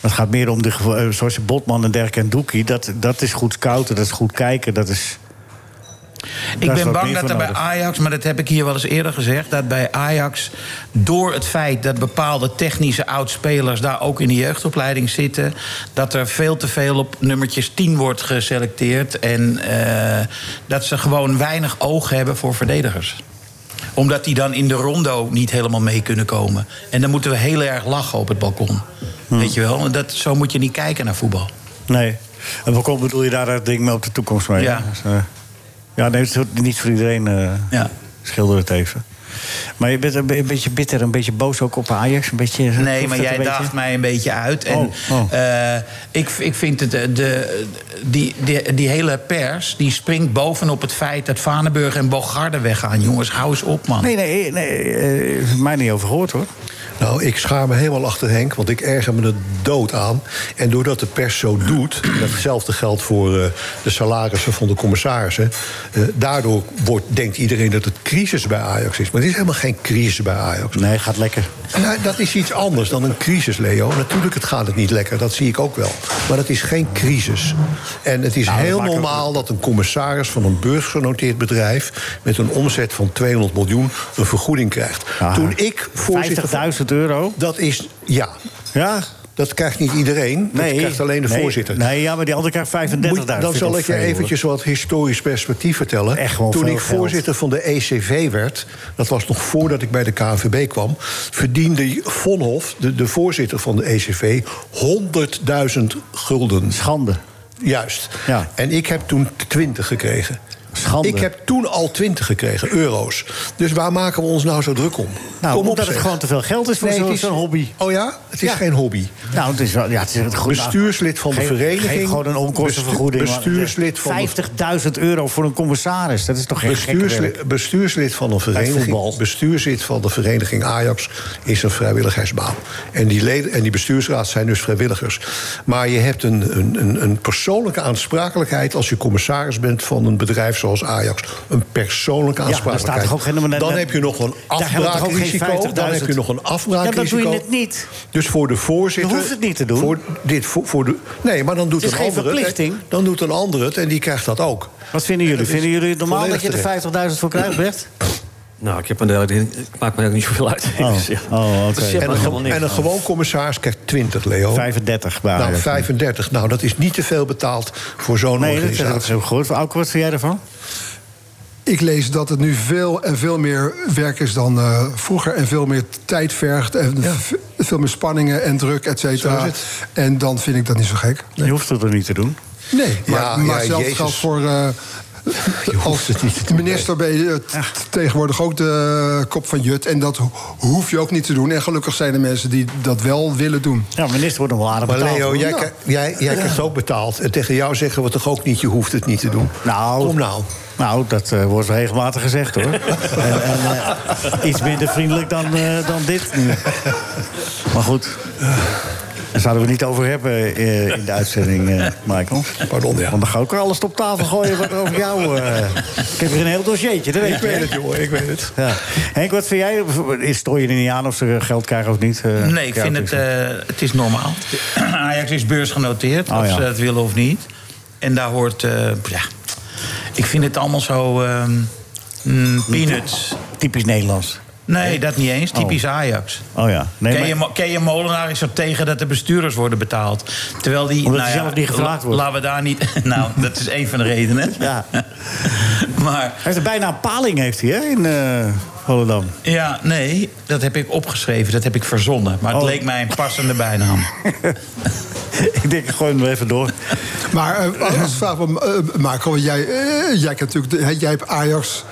Speaker 1: Het gaat meer om de gevo- eh, zoals je Botman en Dirk en Doekie. Dat, dat is goed scouten, dat is goed kijken. Dat is,
Speaker 3: Ik
Speaker 1: Daar is
Speaker 3: ben
Speaker 1: wat
Speaker 3: bang
Speaker 1: meer
Speaker 3: dat
Speaker 1: voor
Speaker 3: er bij
Speaker 1: nodig.
Speaker 3: Ajax, maar dat heb ik hier wel eens eerder gezegd... dat bij Ajax door het feit dat bepaalde technische oudspelers... daar ook in de jeugdopleiding zitten... dat er veel te veel op nummertjes 10 wordt geselecteerd... en eh, dat ze gewoon weinig oog hebben voor verdedigers omdat die dan in de rondo niet helemaal mee kunnen komen. En dan moeten we heel erg lachen op het balkon.
Speaker 1: Hm.
Speaker 3: Weet je wel? En Dat, zo moet je niet kijken naar voetbal.
Speaker 1: nee. En waarom bedoel je daar dat ding mee op de toekomst mee?
Speaker 3: Ja.
Speaker 1: Dus, eh, ja, nee, het is niet voor iedereen eh
Speaker 3: Ja.
Speaker 1: schilder het even. Maar je bent een, be- een beetje bitter, een beetje boos ook op Ajax. Een beetje,
Speaker 3: Nee,
Speaker 1: proeft
Speaker 3: maar
Speaker 1: dat
Speaker 3: jij
Speaker 1: een beetje?
Speaker 3: daagt mij een beetje uit. En
Speaker 1: Oh, oh.
Speaker 3: eh, ik, ik vind het, eh, de, die, die, die hele pers die springt bovenop het feit dat Vaneburg en Bogarde weggaan. Jongens, hou eens op, man.
Speaker 1: Nee, nee, nee. eh, mij niet over gehoord hoor.
Speaker 2: Nou, ik schaar me helemaal achter Henk, want ik erger me er dood aan. En doordat de pers zo doet, en datzelfde geldt voor eh, de salarissen van de commissarissen... eh, daardoor wordt, denkt iedereen dat het crisis bij Ajax is. Maar het is helemaal geen crisis bij Ajax.
Speaker 1: Nee, gaat lekker.
Speaker 2: Nou, dat is iets anders dan een crisis, Leo. Natuurlijk het gaat het niet lekker, dat zie ik ook wel. Maar het is geen crisis. En het is
Speaker 1: Nou, dat
Speaker 2: heel
Speaker 1: maakt ook-
Speaker 2: normaal dat een commissaris van een beursgenoteerd bedrijf... met een omzet van 200 miljoen een vergoeding krijgt.
Speaker 1: Ja.
Speaker 2: Toen ik voorzitter... van-
Speaker 1: 50.000 Ah. euro.
Speaker 2: Dat is, ja,
Speaker 1: Ja?
Speaker 2: dat krijgt niet iedereen. Dat
Speaker 1: Nee.
Speaker 2: krijgt alleen de
Speaker 1: Nee,
Speaker 2: voorzitter.
Speaker 1: Nee, ja, maar die andere krijgt 35.000.
Speaker 2: Moet-
Speaker 1: Vind
Speaker 2: dan
Speaker 1: ik
Speaker 2: zal
Speaker 1: wel
Speaker 2: ik je
Speaker 1: veel, hoor.
Speaker 2: eventjes wat historisch perspectief vertellen.
Speaker 1: Echt gewoon
Speaker 2: Toen
Speaker 1: veel
Speaker 2: ik
Speaker 1: geld.
Speaker 2: voorzitter van de ECV werd, dat was nog voordat ik bij de KNVB kwam, verdiende Von Hof, de, de voorzitter van de E ECV, 100.000 gulden.
Speaker 1: Schande.
Speaker 2: Juist.
Speaker 1: Ja.
Speaker 2: En ik heb toen 20 gekregen.
Speaker 1: Schande.
Speaker 2: Ik heb toen al 20 gekregen, euro's. Dus waar maken we ons nou zo druk om?
Speaker 1: Nou,
Speaker 2: Kom op,
Speaker 1: omdat het
Speaker 2: zeg.
Speaker 1: gewoon te veel geld is voor
Speaker 2: Nee,
Speaker 1: zo'n
Speaker 2: het is-
Speaker 1: zo'n hobby.
Speaker 2: Oh ja? Het is
Speaker 1: Ja.
Speaker 2: geen hobby.
Speaker 1: Nou, het is wel, ja, het is het goed.
Speaker 2: Bestuurslid van de
Speaker 1: Geef-
Speaker 2: vereniging.
Speaker 1: Geef gewoon een onkostenvergoeding.
Speaker 2: Bestu- bestuurslid van de-
Speaker 1: 50.000 euro voor een commissaris. Dat is toch geen gekke werk?
Speaker 2: Bestuursli- bestuurslid van een
Speaker 1: voetbal.
Speaker 2: vereniging, bestuurslid van de vereniging Ajax is een vrijwilligersbaan. En die, leden, en die bestuursraad zijn dus vrijwilligers. Maar je hebt een, een, een, een persoonlijke aansprakelijkheid als je commissaris bent van een bedrijf zoals Ajax. Een persoonlijke
Speaker 1: daar
Speaker 2: aansprakelijkheid.
Speaker 1: staat toch ook geen-
Speaker 2: dan heb je nog een
Speaker 1: Daar hebben we toch ook geen
Speaker 2: afbraakrisico. Dan
Speaker 1: 50.000?
Speaker 2: heb je nog een
Speaker 1: Ja,
Speaker 2: afbraakrisico.
Speaker 1: dan doe je het niet.
Speaker 2: Dus voor de voorzitter.
Speaker 1: Je hoeft het niet te doen.
Speaker 2: Voor dit, voor, voor de, nee, maar dan doet
Speaker 1: Het is
Speaker 2: een
Speaker 1: geen
Speaker 2: ander
Speaker 1: verplichting.
Speaker 2: Het, dan doet een ander het en die krijgt dat ook.
Speaker 1: Wat vinden jullie?
Speaker 2: dat is
Speaker 1: Vinden jullie het normaal dat
Speaker 2: volledig
Speaker 1: je er 50.000 voor krijgt, Bert?
Speaker 4: Nou, ik, heb me daar, ik maak me ook niet zoveel uit.
Speaker 1: Oh,
Speaker 4: Dus ja.
Speaker 1: oh, oké.
Speaker 4: Dat zegt
Speaker 2: En
Speaker 4: me
Speaker 2: een,
Speaker 4: helemaal
Speaker 2: ge-
Speaker 4: niks.
Speaker 2: en een gewoon commissaris krijgt 20, Leo.
Speaker 1: 35 bij
Speaker 2: Nou,
Speaker 1: Ajax.
Speaker 2: 35. Nou, dat is niet te veel betaald voor zo'n
Speaker 1: Nee, dat heb ik
Speaker 2: organisatie.
Speaker 1: zo gehoord. Auke, wat vind jij daarvan?
Speaker 5: Ik lees dat het nu veel en veel meer werk is dan eh, vroeger. En veel meer tijd vergt. En v- veel meer spanningen en druk, et
Speaker 2: Zo
Speaker 5: cetera.
Speaker 2: is het.
Speaker 5: En dan vind ik dat niet zo gek.
Speaker 1: Je hoeft het er niet te doen.
Speaker 5: Nee, maar,
Speaker 2: Ja,
Speaker 5: maar
Speaker 2: ja,
Speaker 5: zelfs
Speaker 2: Jezus.
Speaker 5: geldt voor. eh, als
Speaker 2: het niet te doen,
Speaker 5: minister ben je eh, t- tegenwoordig ook de kop van Jut. En dat ho- hoef je ook niet te doen. En gelukkig zijn er mensen die dat wel willen doen.
Speaker 1: Ja, minister wordt nog wel aardig
Speaker 2: Maar
Speaker 1: betaald.
Speaker 2: Leo,
Speaker 1: hoor.
Speaker 2: jij, kri- jij, jij krijgt ook betaald. En tegen jou zeggen we toch ook niet, je hoeft het niet te doen.
Speaker 1: Nou.
Speaker 2: Kom nou.
Speaker 1: Nou, dat eh, wordt regelmatig gezegd, hoor. en, en, eh, iets minder vriendelijk dan, eh, dan dit nu. Maar goed. Daar zouden we het niet over hebben eh, in de uitzending, eh, Michael.
Speaker 2: Pardon, ja.
Speaker 1: Want dan ga ik er alles op tafel gooien wat er over jou... eh, Ik heb hier een heel dossiertje, dat weet
Speaker 2: Ik
Speaker 1: je, hè?
Speaker 2: weet het, jongen, ik weet het.
Speaker 1: Ja. Henk, wat vind jij? Is Strooi je er niet aan of ze geld krijgen of niet? Eh,
Speaker 3: Nee, ik vind het,
Speaker 1: ja,
Speaker 3: eh, het is normaal. Ajax is beursgenoteerd,
Speaker 1: Oh,
Speaker 3: of
Speaker 1: ja.
Speaker 3: ze dat willen of niet. En daar hoort, eh, ja... Ik vind het allemaal zo... ehm, mm, peanuts.
Speaker 1: Typisch Nederlands.
Speaker 3: Nee, dat niet eens. Typisch Ajax.
Speaker 1: Oh ja. Nee,
Speaker 3: Ken je,
Speaker 1: maar-
Speaker 3: Mo- Ken je Molenaar is er tegen dat de bestuurders worden betaald. Terwijl die. nou
Speaker 1: Omdat hij zelf niet gevraagd wordt.
Speaker 3: la- Laten we daar niet. Nou, dat is één van de redenen.
Speaker 1: Ja.
Speaker 3: maar
Speaker 1: Hij heeft er bijna een paling heeft hij, hè, in eh Volendam.
Speaker 3: ja, nee, dat heb ik opgeschreven. Dat heb ik verzonnen. Maar het
Speaker 1: Oh.
Speaker 3: leek mij een passende bijnaam.
Speaker 1: ik denk, ik gooi hem er even door.
Speaker 5: Maar eh, als ik vraag van eh, Marco, jij, eh, jij, kent natuurlijk, de- hè, jij hebt Ajax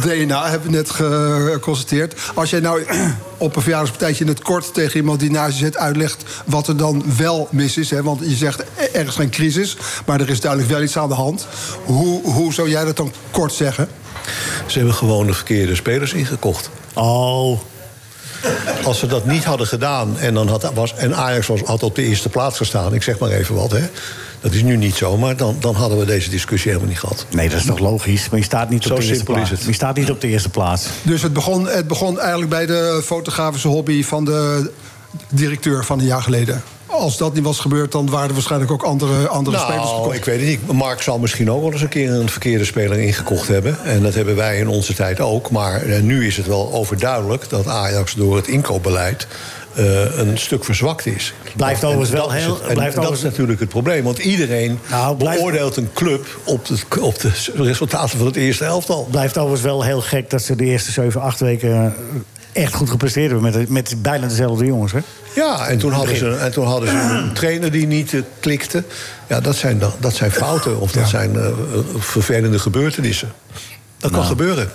Speaker 5: DNA, hebben we net geconstateerd. Als jij nou op een verjaardagspartijtje in het kort tegen iemand die naast je zit uitlegt wat er dan wel mis is, hè, want je zegt eh, er is geen crisis, maar er is duidelijk wel iets aan de hand. Hoe, hoe zou jij dat dan kort zeggen?
Speaker 2: Ze hebben gewoon de verkeerde spelers ingekocht.
Speaker 1: Oh,
Speaker 2: Als ze dat niet hadden gedaan en, dan had, was, en Ajax was, had op de eerste plaats gestaan, ik zeg maar even wat, hè. dat is nu niet zo, maar dan, dan hadden we deze discussie helemaal niet gehad.
Speaker 1: nee, dat is toch logisch. Maar je staat niet op
Speaker 2: Zo
Speaker 1: de eerste
Speaker 2: simpel is
Speaker 1: plaats.
Speaker 2: het.
Speaker 1: Je staat niet op de eerste plaats.
Speaker 5: Dus het begon, het begon eigenlijk bij de fotografische hobby van de directeur van een jaar geleden. Als dat niet was gebeurd, dan waren er waarschijnlijk ook andere, andere spelers
Speaker 2: Nou,
Speaker 5: gekocht.
Speaker 2: ik weet het niet. Mark zal misschien ook wel eens een keer een verkeerde speler ingekocht hebben. En dat hebben wij in onze tijd ook. Maar eh, nu is het wel overduidelijk dat Ajax door het inkoopbeleid... eh, een stuk verzwakt is.
Speaker 1: Blijft
Speaker 2: En
Speaker 1: overigens wel
Speaker 2: dat is
Speaker 1: heel-
Speaker 2: het. En
Speaker 1: blijft
Speaker 2: dat is
Speaker 1: overigens-
Speaker 2: natuurlijk het probleem. Want iedereen
Speaker 1: Nou, blijft-
Speaker 2: beoordeelt een club op de, op de resultaten van het eerste elftal.
Speaker 1: Blijft overigens wel heel gek dat ze de eerste 7, 8 weken eh, echt goed gepresteerd hebben. Met, met bijna dezelfde jongens, hè?
Speaker 2: Ja, en toen hadden ze, en toen hadden ze een trainer die niet eh, klikte. Ja, dat zijn, dan- dat zijn fouten of dat zijn eh, vervelende gebeurtenissen. Dat kan gebeuren.
Speaker 1: Nou.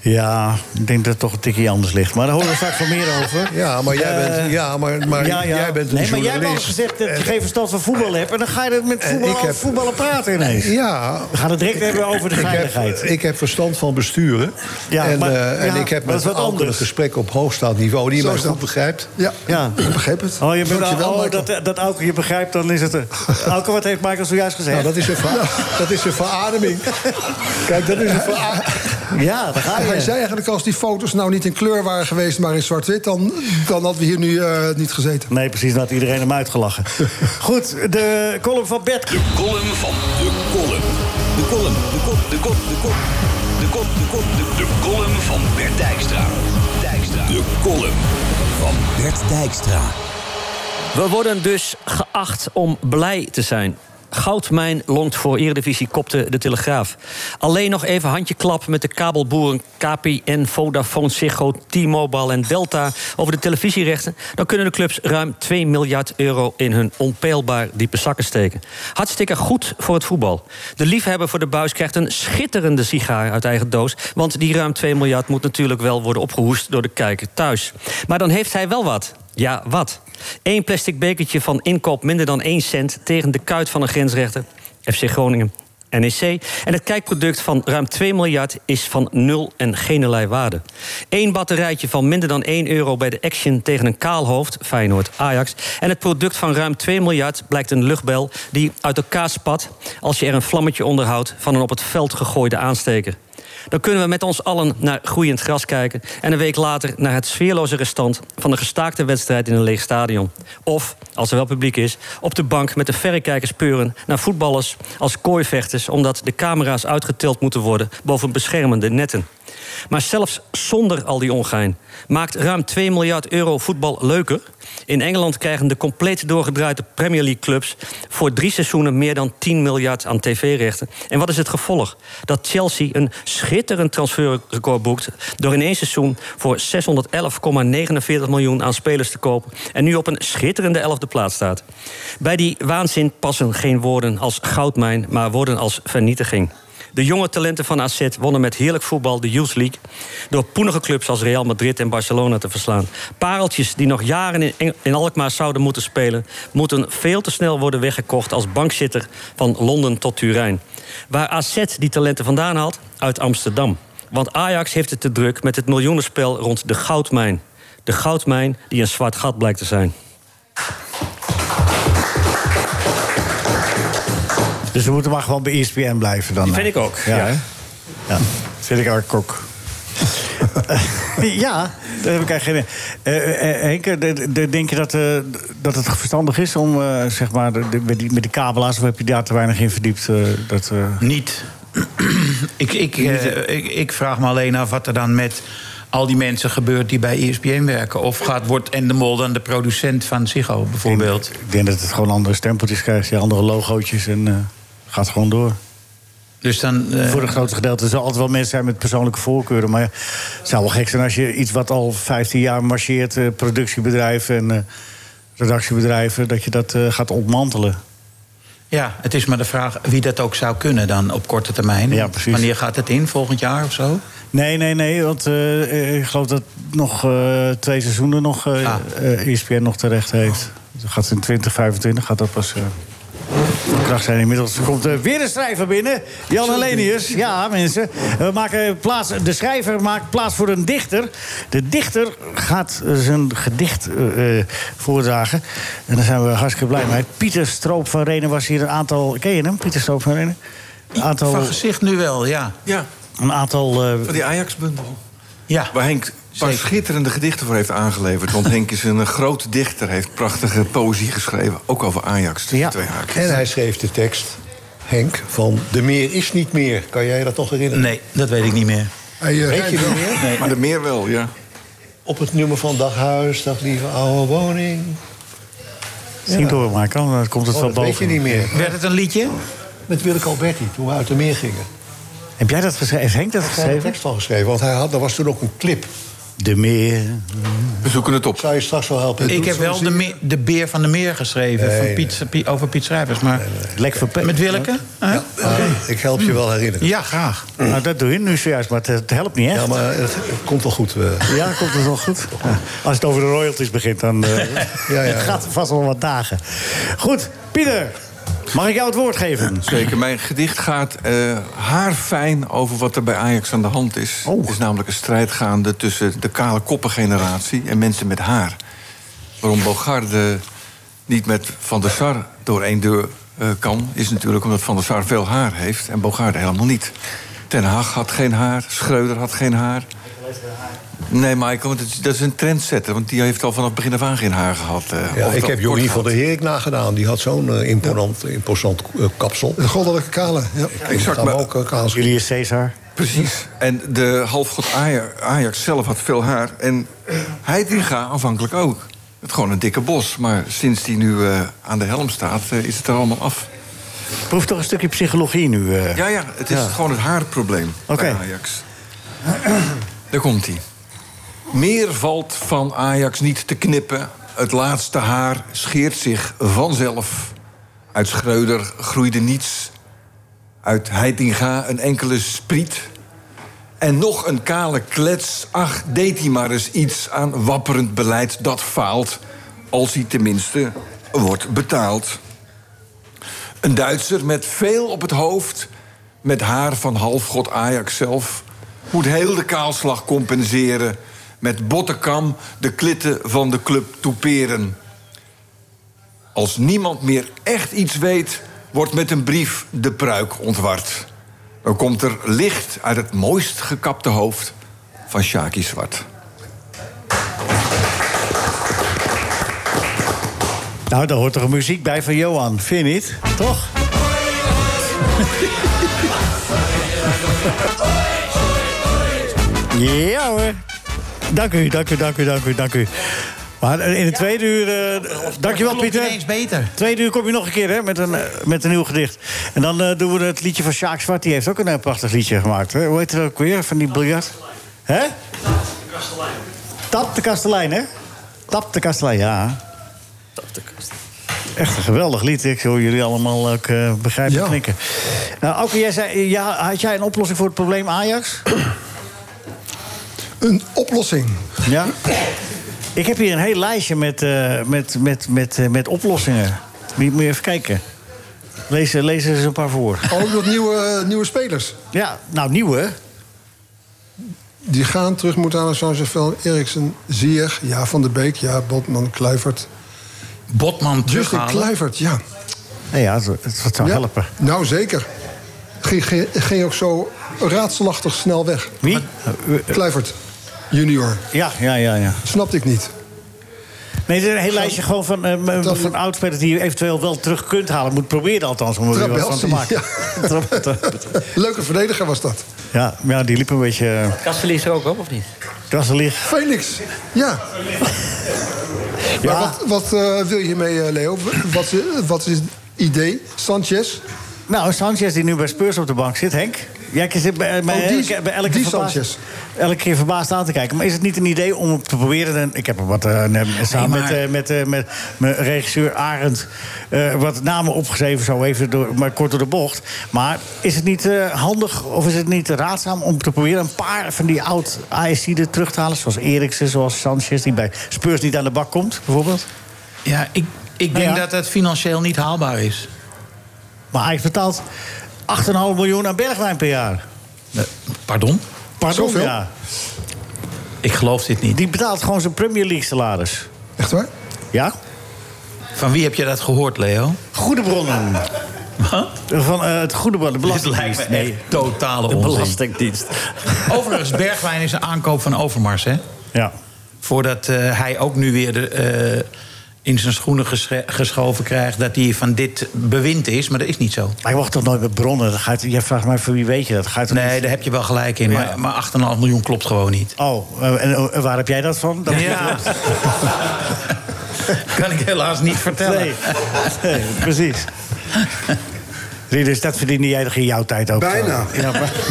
Speaker 1: Ja, Ah, ik denk dat het toch een tikje anders ligt. Maar daar horen we straks wel meer over.
Speaker 2: Ja, maar jij
Speaker 1: Eh,
Speaker 2: bent, ja, maar, maar
Speaker 1: ja, ja.
Speaker 2: jij bent een
Speaker 1: nee, maar jij
Speaker 2: journalist.
Speaker 1: hebt al gezegd dat je geen verstand van voetbal hebt. En dan ga je dat met
Speaker 2: En
Speaker 1: voetbal,
Speaker 2: ik heb-
Speaker 1: voetballen praten ineens.
Speaker 2: Ja.
Speaker 1: We gaan het direct hebben over de
Speaker 2: Ik heb,
Speaker 1: veiligheid.
Speaker 2: ik heb verstand van besturen.
Speaker 1: Ja,
Speaker 2: en
Speaker 1: maar-
Speaker 2: eh, en
Speaker 1: ja,
Speaker 2: ik heb
Speaker 1: maar dat is
Speaker 2: met
Speaker 1: wat
Speaker 2: Auken een
Speaker 1: anders.
Speaker 2: gesprek op hoogstaand niveau... die je
Speaker 5: Zo
Speaker 2: mij
Speaker 5: is dat.
Speaker 2: goed begrijpt.
Speaker 5: Ja,
Speaker 1: Ja.
Speaker 5: ik begreep het.
Speaker 1: Oh, je bent
Speaker 5: Dankjewel,
Speaker 1: oh,
Speaker 5: Michael.
Speaker 1: dat, dat Auke je begrijpt, dan is het... er. Auke, wat heeft Michael zojuist gezegd?
Speaker 2: Nou, dat is, een ver- dat is een verademing. Kijk, dat is een verademing.
Speaker 1: Ja, daar ga je.
Speaker 5: Hij zei eigenlijk, als die foto's nou niet in kleur waren geweest, maar in zwart-wit... dan, dan hadden we hier nu eh, niet gezeten.
Speaker 1: Nee, precies, dan had iedereen hem uitgelachen. Goed, de column van Bert.
Speaker 8: De column van de column. De column, de kop, de kop, de kop. De kop, de kop, de De column van Bert Dijkstra. Dijkstra. De column van Bert Dijkstra.
Speaker 4: We worden dus geacht om blij te zijn. Goudmijn longt voor Eredivisie, kopte de Telegraaf. Alleen nog even handjeklap met de kabelboeren KPN, Vodafone, Ziggo, T-Mobile en Delta over de televisierechten. Dan kunnen de clubs ruim 2 miljard euro in hun onpeilbaar diepe zakken steken. Hartstikke goed voor het voetbal. De liefhebber voor de buis krijgt een schitterende sigaar uit eigen doos. Want die ruim 2 miljard moet natuurlijk wel worden opgehoest door de kijker thuis. Maar dan heeft hij wel wat. Ja, wat? Eén plastic bekertje van inkoop minder dan 1 cent tegen de kuit van een grensrechter, FC Groningen. NEC. En het kijkproduct van ruim 2 miljard is van nul en generlei waarde. Eén batterijtje van minder dan 1 euro bij de Action tegen een kaalhoofd, Feyenoord Ajax. En het product van ruim 2 miljard blijkt een luchtbel die uit elkaar spat als je er een vlammetje onderhoudt van een op het veld gegooide aansteker. Dan kunnen we met ons allen naar groeiend gras kijken... en een week later naar het sfeerloze restant van een gestaakte wedstrijd in een leeg stadion. Of, als er wel publiek is, op de bank met de verrekijkers peuren... naar voetballers als kooivechters... omdat de camera's uitgetild moeten worden boven beschermende netten. Maar zelfs zonder al die ongein maakt ruim 2 miljard euro voetbal leuker. In Engeland krijgen de compleet doorgedraaide Premier League clubs voor drie seizoenen meer dan 10 miljard aan tv-rechten. En wat is het gevolg? Dat Chelsea een schitterend transferrecord boekt door in één seizoen voor 611,49 miljoen aan spelers te kopen en nu op een schitterende elfde plaats staat. Bij die waanzin passen geen woorden als goudmijn, maar woorden als vernietiging. De jonge talenten van AZ wonnen met heerlijk voetbal de Youth League... door poenige clubs als Real Madrid en Barcelona te verslaan. Pareltjes die nog jaren in, Eng- in Alkmaar zouden moeten spelen... moeten veel te snel worden weggekocht als bankzitter van Londen tot Turijn. Waar AZ die talenten vandaan haalt? Uit Amsterdam. Want Ajax heeft het te druk met het miljoenenspel rond de goudmijn. De goudmijn die een zwart gat blijkt te zijn.
Speaker 1: Dus we moeten maar gewoon bij ESPN blijven dan.
Speaker 4: Die vind ik ook, ja.
Speaker 1: hè? ja. Vind ik ook ook. ja, daar heb ik eigenlijk geen... Eh, eh, Henk, de- de- de- denk je dat, eh, dat het verstandig is om eh, zeg maar, de, de- met, die, met die kabelaars... of heb je daar te weinig in verdiept? eh, dat, eh,
Speaker 3: Niet. ik, ik, eh, ik, ik vraag me alleen af wat er dan met al die mensen gebeurt die bij E ESPN werken. Of gaat, wordt En de Mol dan de producent van Ziggo bijvoorbeeld?
Speaker 1: Ik denk dat het gewoon andere stempeltjes krijgt, die andere logootjes en eh, gaat gewoon door.
Speaker 3: Dus dan... eh,
Speaker 1: Voor een groot gedeelte er zullen altijd wel mensen zijn met persoonlijke voorkeuren. Maar ja, het zou wel gek zijn als je iets wat al 15 jaar marcheert, eh, productiebedrijven en eh, redactiebedrijven, dat je dat eh, gaat ontmantelen.
Speaker 3: Ja, het is maar de vraag wie dat ook zou kunnen dan op korte termijn.
Speaker 1: Ja, precies.
Speaker 3: Wanneer gaat het in? Volgend jaar of zo?
Speaker 1: Nee, nee, nee, want eh, eh, ik geloof dat nog eh, twee seizoenen nog eh
Speaker 3: Ah.
Speaker 1: eh, ESPN nog terecht heeft. Dat gaat in 2025 gaat dat pas. eh, van kracht zijn inmiddels. Er komt eh, weer een schrijver binnen. Jan Helenius. Ja, mensen. We maken plaats, de schrijver maakt plaats voor een dichter. De dichter gaat eh, zijn gedicht eh, eh, voordragen. En daar zijn we hartstikke blij mee. Pieter Stroop van Renen was hier een aantal... Ken je hem, Pieter Stroop van Renen? Een aantal,
Speaker 3: Van
Speaker 5: Oh.
Speaker 3: gezicht nu wel, ja.
Speaker 9: Ja,
Speaker 1: een aantal eh,
Speaker 9: van die Ajax-bundel.
Speaker 3: Ja,
Speaker 9: Waar Henk een paar schitterende gedichten voor heeft aangeleverd. Want Henk is een eh, grote dichter, heeft prachtige poëzie geschreven. Ook over Ajax, tussen
Speaker 1: Ja.
Speaker 9: twee haakjes.
Speaker 2: En hij schreef de tekst, Henk, van De Meer is niet meer. Kan jij dat nog herinneren?
Speaker 3: Nee, dat weet ik niet meer.
Speaker 5: Hey, eh,
Speaker 2: Weet je dat meer?
Speaker 9: Maar de meer wel, ja.
Speaker 2: Op het nummer van Dag Huis, Dag Lieve Oude Woning.
Speaker 1: zien doormaken. want Dan komt het
Speaker 2: Oh,
Speaker 1: wel
Speaker 2: dat weet je
Speaker 1: boven.
Speaker 2: niet meer.
Speaker 3: Werd het een liedje?
Speaker 2: Met Willeke Alberti, toen we uit de meer gingen.
Speaker 1: Heb jij dat geschreven? Heeft Henk dat
Speaker 2: Hij had de
Speaker 1: geschreven?
Speaker 2: tekst al geschreven, want hij had, er was toen ook een clip.
Speaker 1: De meer.
Speaker 9: We zoeken het op.
Speaker 2: Zou je straks wel helpen?
Speaker 3: Ik
Speaker 2: Doet
Speaker 3: heb
Speaker 2: ze
Speaker 3: wel
Speaker 2: misschien?
Speaker 3: de, meer- de Beer van de Meer geschreven van Piet, Piet- over Piet Schrijvers. Maar
Speaker 1: Lek verpe-
Speaker 3: met Willeke? Huh?
Speaker 2: Ah, ik help je wel herinneren.
Speaker 3: Ja, graag.
Speaker 1: Nou, dat doe je nu zojuist, maar het, het helpt niet echt.
Speaker 2: Ja, maar het, het komt wel goed. eh.
Speaker 1: Ja, komt het wel goed. Ja. Als het over de royalties begint, dan eh,
Speaker 2: ja, ja.
Speaker 1: Het gaat er vast wel wat dagen. Goed, Pieter, mag ik jou het woord geven?
Speaker 9: Zeker, mijn gedicht gaat eh haarfijn over wat er bij Ajax aan de hand is.
Speaker 1: Oh.
Speaker 9: Er is namelijk een strijd gaande tussen de kale koppengeneratie en mensen met haar. Waarom Bogarde niet met Van der Sar door één deur eh, kan... is natuurlijk omdat Van der Sar veel haar heeft en Bogarde helemaal niet. Ten Haag had geen haar, Schreuder had geen haar. Nee, Michael, dat is, dat is een trendsetter. Want die heeft al vanaf begin af aan geen haar gehad. eh, of
Speaker 2: Ja, ik
Speaker 9: het al
Speaker 2: heb
Speaker 9: kort
Speaker 2: Jorien
Speaker 9: gehad.
Speaker 2: van der Herik nagedaan. Die had zo'n eh, imponant, imposant eh, kapsel.
Speaker 5: de goddelijke kale. Ja.
Speaker 9: Exact,
Speaker 2: Gaan we
Speaker 9: maar-
Speaker 2: ook eh, kaal scheren.
Speaker 1: Julius Caesar.
Speaker 9: Precies. En de halfgod Aja- Ajax zelf had veel haar. En Heitinga aanvankelijk ook. Het gewoon een dikke bos. Maar sinds die nu eh, aan de helm staat, eh, is het er allemaal af.
Speaker 1: Proef toch een stukje psychologie nu. eh.
Speaker 9: Ja, ja, het is gewoon het haarprobleem
Speaker 1: Oké.
Speaker 9: bij Ajax. Daar komt hij. Meer valt van Ajax niet te knippen. Het laatste haar scheert zich vanzelf. Uit Schreuder groeide niets. Uit Heitinga een enkele spriet. En nog een kale klets. Ach, deed hij maar eens iets aan wapperend beleid dat faalt. Als hij tenminste wordt betaald. Een Duitser met veel op het hoofd, met haar van halfgod Ajax zelf, moet heel de kaalslag compenseren. Met bottenkam de klitten van de club toeperen. Als niemand meer echt iets weet, wordt met een brief de pruik ontward. Dan komt er licht uit het mooist gekapte hoofd van Sjaki Zwart.
Speaker 1: Nou, daar hoort toch een muziek bij van Johan, vind je niet? Toch? Ja hoor. Dank u, dank u, dank u, dank u, dank u. Maar in de tweede uur... eh, dankjewel,
Speaker 3: Klopt
Speaker 1: Pieter.
Speaker 3: ineens beter.
Speaker 1: Tweede uur kom je nog een keer hè, met, een, eh, met een nieuw gedicht. En dan eh, doen we het liedje van Sjaak Zwart. Die heeft ook een eh, prachtig liedje gemaakt. Hè? Hoe heet het ook weer? Van die biljart? Hè? Tap de kastelein, hè? Tap de kastelein, ja. Echt een geweldig lied. Ik hoor jullie allemaal ook eh, begrijpen
Speaker 5: Ja.
Speaker 1: knikken. Nou, Auke, jij zei, eh, ja, had jij een oplossing voor het probleem Ajax?
Speaker 5: Een oplossing.
Speaker 1: Ja. Ik heb hier een heel lijstje met, eh, met, met, met, eh, met oplossingen. Moet je- moet je even kijken. Lees, eh, lees er eens een paar voor.
Speaker 5: Ook Oh, nog nieuwe, eh, nieuwe spelers.
Speaker 1: Ja, nou, nieuwe.
Speaker 5: Die gaan terug moeten aan Sanchez-Vel, Eriksen, Zier, ja, Van der Beek, ja, Botman, Kluivert.
Speaker 3: Botman
Speaker 5: Justin
Speaker 3: terughalen.
Speaker 5: Kluivert, ja.
Speaker 1: Nou ja, het, het zou helpen.
Speaker 5: Nou, zeker. Ging, ging, ging ook zo raadselachtig snel weg.
Speaker 1: Wie?
Speaker 5: Kluivert, junior.
Speaker 1: Ja, ja, ja. ja.
Speaker 5: Snapte ik niet.
Speaker 1: Nee, het is een heel lijstje gewoon van, eh,
Speaker 5: Dat-
Speaker 1: van oudspelers die je eventueel wel terug kunt halen. Moet proberen althans om er weer wat van te maken.
Speaker 5: Trabelsi,
Speaker 1: Tra- tra-
Speaker 5: Leuke verdediger was dat.
Speaker 1: Ja, ja, die liep een beetje. eh,
Speaker 4: Kassel is er ook op, of niet?
Speaker 1: Dat licht.
Speaker 5: Felix, ja. Maar
Speaker 1: Ja,
Speaker 5: wat, wat eh, wil je hiermee, eh, Leo? Wat, is- wat is het idee? Sanchez?
Speaker 1: nou, Sanchez die nu bij Spurs op de bank zit, Henk. Jij zit bij, bij,
Speaker 5: Oh, die-
Speaker 1: elke- bij elke,
Speaker 5: die
Speaker 1: verbaasd-
Speaker 5: Sanchez.
Speaker 1: elke keer verbaasd aan te kijken. Maar is het niet een idee om te proberen... en ik heb er wat eh, nee, samen
Speaker 3: maar-
Speaker 1: met, eh, met, eh, met mijn regisseur Arend... eh, wat namen opgeschreven, zo even door, maar kort door de bocht. Maar is het niet eh, handig of is het niet raadzaam om te proberen... een paar van die oud ASC'den terug te halen? Zoals Eriksen, zoals Sanchez, die bij Spurs niet aan de bak komt, bijvoorbeeld.
Speaker 3: Ja, ik, ik denk
Speaker 1: Nou ja.
Speaker 3: dat dat financieel niet haalbaar is.
Speaker 1: Maar Ajax betaalt 8,5 miljoen aan Bergwijn per jaar.
Speaker 3: Eh, Pardon?
Speaker 1: Pardon,
Speaker 5: Zoveel?
Speaker 1: ja.
Speaker 3: Ik geloof dit niet.
Speaker 1: Die betaalt gewoon zijn Premier League salaris.
Speaker 5: Echt waar?
Speaker 1: Ja?
Speaker 3: Van wie heb je dat gehoord, Leo?
Speaker 1: Goede bronnen.
Speaker 3: Wat?
Speaker 1: Van eh, het goede bronnen, de
Speaker 3: Dit lijkt me
Speaker 1: belastingdienst.
Speaker 3: echt
Speaker 1: Nee.
Speaker 3: totale
Speaker 4: De
Speaker 3: onzin.
Speaker 4: Belastingdienst.
Speaker 3: Overigens, Bergwijn is een aankoop van Overmars, hè?
Speaker 1: Ja.
Speaker 3: Voordat eh, hij ook nu weer de, eh, in zijn schoenen gesche- geschoven krijgt... dat hij van dit bewind is, maar dat is niet zo.
Speaker 1: Maar je mag toch nooit met bronnen? Dan ga je, jij vraagt mij voor wie weet je dat? Ga je toch
Speaker 3: Nee,
Speaker 1: niet-
Speaker 3: daar heb je wel gelijk in, maar, maar 8,5 miljoen klopt gewoon niet.
Speaker 1: Oh, eh, en eh, waar heb jij dat van? Dat
Speaker 3: Ja. kan ik helaas niet vertellen.
Speaker 1: Nee. nee, precies. Zie je, Dus dat verdiende jij toch in jouw tijd ook?
Speaker 6: Bijna.
Speaker 1: eh, Ja, maar...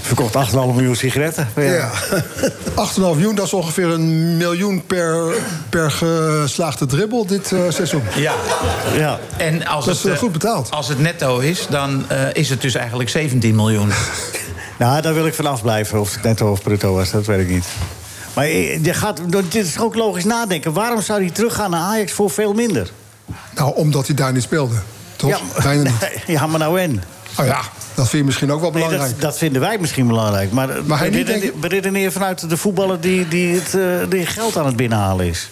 Speaker 1: Verkocht 8,5 miljoen sigaretten.
Speaker 6: Ja.
Speaker 5: 8,5 miljoen, dat is ongeveer een miljoen per, per geslaagde dribbel dit eh, seizoen.
Speaker 3: Ja.
Speaker 1: ja.
Speaker 3: En als
Speaker 5: Dat is,
Speaker 3: het, eh,
Speaker 5: eh, goed betaald.
Speaker 3: Als het netto is, dan eh, is het dus eigenlijk 17 miljoen.
Speaker 1: Nou, daar wil ik vanaf blijven. Of het netto of bruto was, dat weet ik niet. Maar eh, je gaat, dit is ook logisch nadenken. Waarom zou hij teruggaan naar Ajax voor veel minder?
Speaker 5: Nou, omdat hij daar niet speelde. Toch?
Speaker 1: maar-
Speaker 5: Bijna niet.
Speaker 1: ja, maar nou en?
Speaker 5: Oh ja, dat vind je misschien ook wel
Speaker 1: Nee,
Speaker 5: belangrijk.
Speaker 1: dat, dat vinden wij misschien belangrijk. Maar,
Speaker 5: Maar hij niet
Speaker 1: bereden-
Speaker 5: denken-
Speaker 1: beredeneer vanuit de voetballer die, die, het, eh, die geld aan het binnenhalen is.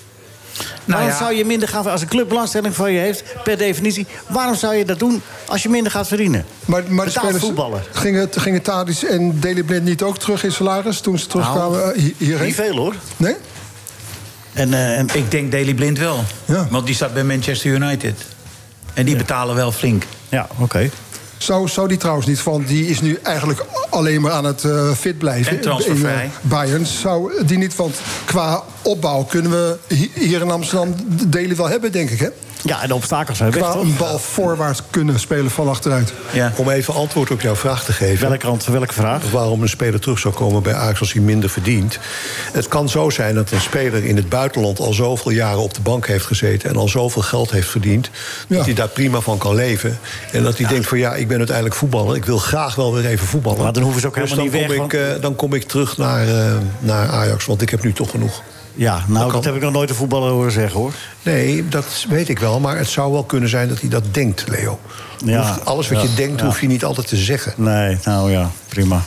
Speaker 3: Nou
Speaker 1: waarom
Speaker 3: ja.
Speaker 1: zou je minder gaan... Als een club belangstelling van je heeft, per definitie... waarom zou je dat doen als je minder gaat verdienen?
Speaker 5: Maar, maar de
Speaker 1: Betaald
Speaker 5: spelers
Speaker 1: voetballer.
Speaker 5: gingen, gingen Tadic en Deli Blind niet ook terug in salaris toen ze
Speaker 3: Nou,
Speaker 5: terugkwamen eh, hi- hierheen?
Speaker 1: Nou, Niet veel, hoor.
Speaker 5: Nee?
Speaker 1: En, eh, en,
Speaker 3: Ik denk Daily Blind wel.
Speaker 5: Ja.
Speaker 3: Want die staat bij Manchester United. En die betalen wel flink.
Speaker 1: ja, oké.
Speaker 5: Zou, zou die trouwens niet, want die is nu eigenlijk alleen maar aan het eh, fit blijven.
Speaker 3: En transfervrij.
Speaker 5: In, eh, Bayern zou die niet, want qua opbouw kunnen we hi- hier in Amsterdam Deli wel hebben, denk ik. Hè?
Speaker 1: Ja, en de obstakels zijn weg,
Speaker 5: Qua
Speaker 1: toch?
Speaker 5: een bal voorwaarts kunnen spelen van achteruit.
Speaker 3: Ja.
Speaker 2: Om even antwoord op jouw vraag te geven.
Speaker 1: Welke kant, welke vraag?
Speaker 2: waarom een speler terug zou komen bij Ajax als hij minder verdient. Het kan zo zijn dat een speler in het buitenland al zoveel jaren op de bank heeft gezeten en al zoveel geld heeft verdiend,
Speaker 5: Ja.
Speaker 2: dat hij daar prima van kan leven. En dat hij denkt van ja, ik ben uiteindelijk voetballer, ik wil graag wel weer even voetballen.
Speaker 1: Maar dan hoeven ze ook
Speaker 2: dus dan
Speaker 1: helemaal niet
Speaker 2: kom
Speaker 1: weg,
Speaker 2: Ik, eh, dan kom ik terug naar, eh, naar Ajax, want ik heb nu toch genoeg.
Speaker 1: Ja, nou, dat,
Speaker 2: kan.
Speaker 1: heb ik nog nooit een voetballer horen zeggen, hoor.
Speaker 2: Nee, dat weet ik wel, maar het zou wel kunnen zijn dat hij dat denkt, Leo.
Speaker 1: Ja.
Speaker 2: Hoeft- alles wat
Speaker 1: Ja.
Speaker 2: je denkt,
Speaker 1: Ja.
Speaker 2: hoef je niet altijd te zeggen.
Speaker 1: Nee, nou ja, prima.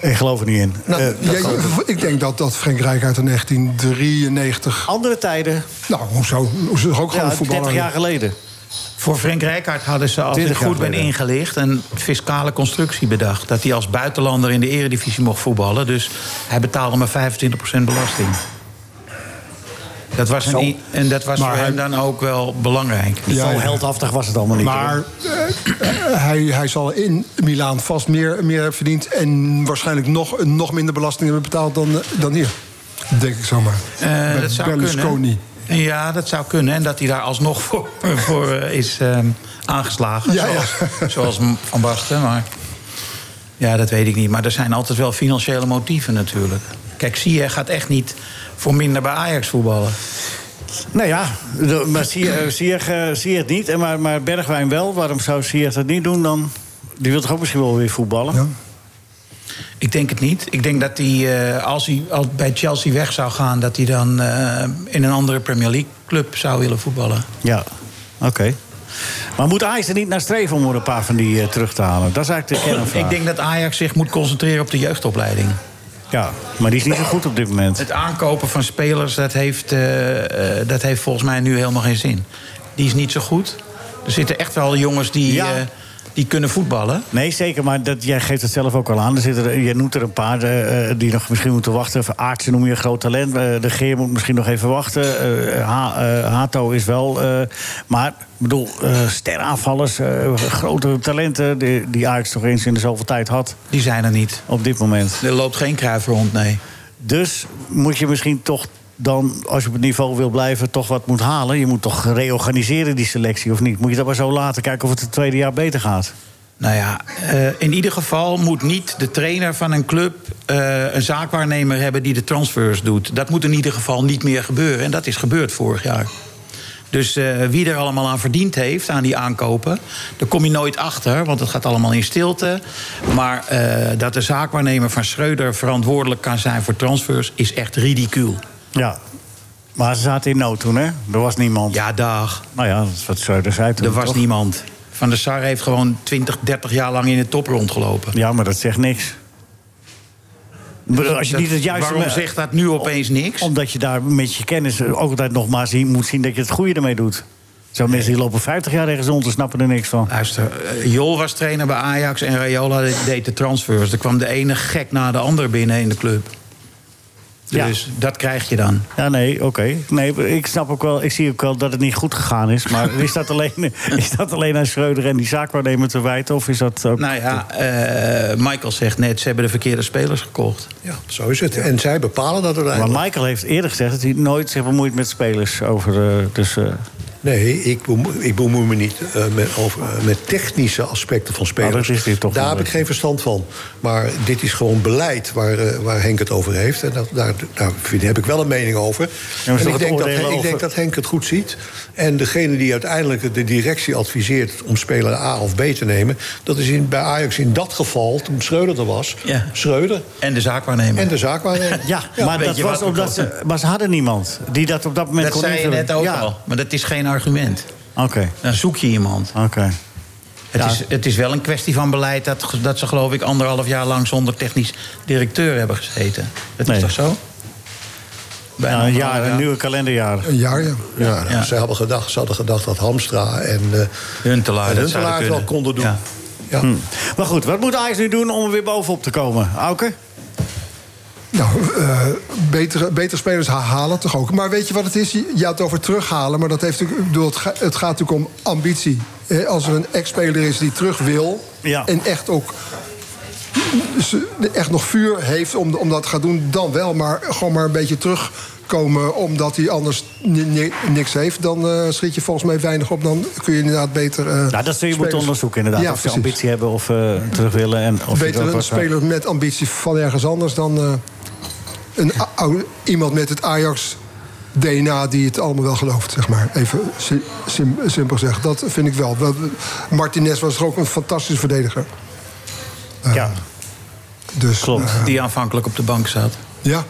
Speaker 1: Ik geloof er niet in.
Speaker 2: Nou,
Speaker 1: Eh,
Speaker 2: dat
Speaker 5: Ja,
Speaker 2: kan.
Speaker 5: ik denk dat, dat Frank Rijk uit de 1993...
Speaker 1: andere tijden,
Speaker 5: Nou, hoezo? Hoezo ook gewoon
Speaker 1: ja,
Speaker 5: een voetballer?
Speaker 1: 30 jaar geleden.
Speaker 3: Voor Frank Rijkaard hadden ze, als ik
Speaker 1: 20 jaar
Speaker 3: goed ben
Speaker 1: geleden.
Speaker 3: ingelicht... een fiscale constructie bedacht. Dat hij als buitenlander in de eredivisie mocht voetballen. Dus hij betaalde maar 25% belasting. Dat was een, i- en dat was
Speaker 5: Maar
Speaker 3: voor
Speaker 5: hij-
Speaker 3: hem dan ook wel belangrijk.
Speaker 5: Ja,
Speaker 1: Zo
Speaker 5: ja.
Speaker 1: heldhaftig was het allemaal niet.
Speaker 5: Maar
Speaker 1: hoor.
Speaker 5: eh, hij, hij zal in Milaan vast meer, meer hebben verdiend... en waarschijnlijk nog, nog minder belasting hebben betaald dan, eh, dan hier. Denk ik zomaar.
Speaker 3: Eh,
Speaker 5: Bij
Speaker 3: dat zou
Speaker 5: Berlusconi.
Speaker 3: kunnen. Ja, dat zou kunnen. En dat hij daar alsnog voor, voor eh, is ehm, aangeslagen.
Speaker 5: Ja, ja.
Speaker 3: zoals, zoals M- Van Basten. Maar ja, dat weet ik niet. Maar er zijn altijd wel financiële motieven natuurlijk. Kijk, Sier gaat echt niet voor minder bij Ajax voetballen.
Speaker 1: Nou ja, de- maar eh, zie je het niet, en maar, maar Bergwijn wel. Waarom zou Sier dat niet doen dan? Die wil toch ook misschien wel weer voetballen?
Speaker 5: Ja.
Speaker 3: Ik denk het niet. Ik denk dat hij, eh, als hij al bij Chelsea weg zou gaan... dat hij dan eh, in een andere Premier League club zou willen voetballen.
Speaker 1: Ja, oké. Maar moet Ajax er niet naar streven om er een paar van die eh, terug te halen? Dat is eigenlijk de kernvraag.
Speaker 3: Ik denk dat Ajax zich moet concentreren op de jeugdopleiding.
Speaker 1: Ja, maar die is niet zo goed op dit moment.
Speaker 3: Het aankopen van spelers, dat heeft, eh, eh, dat heeft volgens mij nu helemaal geen zin. Die is niet zo goed. Er zitten echt wel jongens die,
Speaker 1: Ja.
Speaker 3: eh, die kunnen voetballen.
Speaker 1: Nee, zeker, maar dat, jij geeft het zelf ook al aan. Er zitten er, je noemt er een paar eh, eh, die nog misschien moeten wachten. Even Aartsen noem je een groot talent. Eh, de Geer moet misschien nog even wachten. Eh, Ha- eh, Hato is wel. eh, maar ik bedoel, eh sterrenafvallers, eh, grote talenten... die, die Ajax toch eens in de zoveel tijd had.
Speaker 3: Die zijn er niet.
Speaker 1: Op dit moment.
Speaker 3: Er loopt geen kruif rond, nee.
Speaker 1: Dus moet je misschien toch dan, als je op het niveau wil blijven... toch wat moet halen. Je moet toch reorganiseren die selectie, of niet? Moet je dat maar zo laten kijken of het het tweede jaar beter gaat?
Speaker 3: Nou ja, eh, in ieder geval moet niet de trainer van een club eh, een zaakwaarnemer hebben die de transfers doet. Dat moet in ieder geval niet meer gebeuren. En dat is gebeurd vorig jaar. Dus eh, wie er allemaal aan verdiend heeft, aan die aankopen, daar kom je nooit achter, want het gaat allemaal in stilte. Maar eh, dat de zaakwaarnemer van Schreuder verantwoordelijk kan zijn voor transfers, is echt ridicuul.
Speaker 1: Ja. Maar ze zaten in nood toen, hè? Er was niemand.
Speaker 3: Ja, dag.
Speaker 1: Nou ja, dat is wat Schreuder zei toen.
Speaker 3: Er was
Speaker 1: toch?
Speaker 3: niemand. Van der Sar heeft gewoon 20, 30 jaar lang in de top rondgelopen.
Speaker 1: Ja, maar dat zegt niks. Als je
Speaker 3: Dat-
Speaker 1: niet het juiste...
Speaker 3: waarom zegt dat nu opeens niks?
Speaker 1: Omdat je daar met je kennis ook altijd nog maar zien, moet zien dat je het goede ermee doet. Zo mensen die lopen 50 jaar ergens rond en snappen er niks van.
Speaker 3: Luister, eh, Jol was trainer bij Ajax en Rayola deed de transfers. Er kwam de ene gek na de ander binnen in de club.
Speaker 1: Ja.
Speaker 3: Dus dat krijg je dan.
Speaker 1: Ja, nee, oké. Nee, ik snap ook wel, ik zie ook wel dat het niet goed gegaan is. Maar is dat alleen, is dat alleen aan Schreuder en die zaakwaarnemer te wijten? Of is dat ook...
Speaker 3: Nou ja, eh, Michael zegt net, ze hebben de verkeerde spelers gekocht.
Speaker 2: Ja, zo is het. En zij bepalen dat
Speaker 1: Maar
Speaker 2: uiteindelijk.
Speaker 1: Michael heeft eerder gezegd dat hij nooit zich bemoeit met spelers over... eh, dus, eh,
Speaker 2: Nee, ik, bemoe- ik bemoei me niet eh, met, over, eh, met technische aspecten van spelers.
Speaker 1: Nou, dat is dit toch
Speaker 2: Daar
Speaker 1: wel
Speaker 2: heb ik
Speaker 1: een
Speaker 2: geen verstand van. Maar dit is gewoon beleid waar, eh, waar Henk het over heeft. En dat, daar, daar vind, heb ik wel een mening over.
Speaker 1: maar is
Speaker 2: en
Speaker 1: toch
Speaker 2: ik
Speaker 1: het
Speaker 2: denk, dat,
Speaker 1: oordelen
Speaker 2: ik denk
Speaker 1: over-
Speaker 2: dat Henk het goed ziet. En degene die uiteindelijk de directie adviseert om speler A of B te nemen... dat is in, bij Ajax in dat geval, toen Schreuder er was...
Speaker 3: Ja.
Speaker 2: Schreuder
Speaker 3: En de zaakwaarnemer.
Speaker 2: en de zaakwaarnemer.
Speaker 1: Ja, maar,
Speaker 3: weet
Speaker 1: dat
Speaker 3: je
Speaker 1: was
Speaker 3: wat we
Speaker 1: omdat ze, maar ze hadden niemand die dat op dat moment
Speaker 3: dat
Speaker 1: kon
Speaker 3: zei je
Speaker 1: invullen.
Speaker 3: net ook
Speaker 1: ja.
Speaker 3: al. Maar dat is geen argument.
Speaker 1: Oké,
Speaker 3: Dan zoek je iemand.
Speaker 1: oké.
Speaker 3: Het,
Speaker 1: Ja.
Speaker 3: is, het is wel een kwestie van beleid dat, ge- dat ze geloof ik anderhalf jaar lang zonder technisch directeur hebben gezeten. Dat
Speaker 1: Nee.
Speaker 3: is toch zo? Bijna
Speaker 1: Nou, een
Speaker 3: anderhalf
Speaker 1: jaar, een
Speaker 3: jaar.
Speaker 1: nieuwe kalenderjaar.
Speaker 5: Een jaar, ja.
Speaker 2: Ja, nou,
Speaker 3: Ja.
Speaker 2: Ze, hadden gedacht, ze hadden gedacht dat Hamstra en eh
Speaker 3: Huntelaar,
Speaker 2: en
Speaker 3: dat zouden
Speaker 2: Huntelaar het wel
Speaker 3: kunnen.
Speaker 2: konden doen.
Speaker 3: Ja.
Speaker 2: Ja.
Speaker 1: Hm. Maar goed, wat moet Ajax nu doen om er weer bovenop te komen? Auke?
Speaker 5: Nou, eh, betere, betere spelers ha- halen toch ook. Maar weet je wat het is? Je je had het over terughalen, maar dat heeft, natuurlijk- ik bedoel, het, ga- het gaat natuurlijk om ambitie. Hè, Als er een ex-speler is die terug wil
Speaker 1: Ja.
Speaker 5: en echt ook ze- echt nog vuur heeft om, om dat te gaan doen, dan wel. Maar gewoon maar een beetje terugkomen omdat hij anders ni- ni- niks heeft... dan eh, schiet je volgens mij weinig op. Dan kun je inderdaad beter... eh,
Speaker 1: Nou, dat zul je
Speaker 5: spelers-
Speaker 1: moeten onderzoeken inderdaad.
Speaker 5: Ja,
Speaker 1: of ze
Speaker 5: precies.
Speaker 1: ambitie hebben of eh, terug willen. En of je het ook eh,
Speaker 5: Beter een
Speaker 1: wat-
Speaker 5: speler met ambitie van ergens anders dan eh, een a- oude- iemand met het Ajax-DNA die het allemaal wel gelooft, zeg maar. Even si- sim- simpel gezegd. Dat vind ik wel. Wel, Martinez was toch ook een fantastische verdediger.
Speaker 1: Ja,
Speaker 5: Eh, Dus,
Speaker 1: klopt.
Speaker 5: eh,
Speaker 3: Die aanvankelijk op de bank zat.
Speaker 5: ja.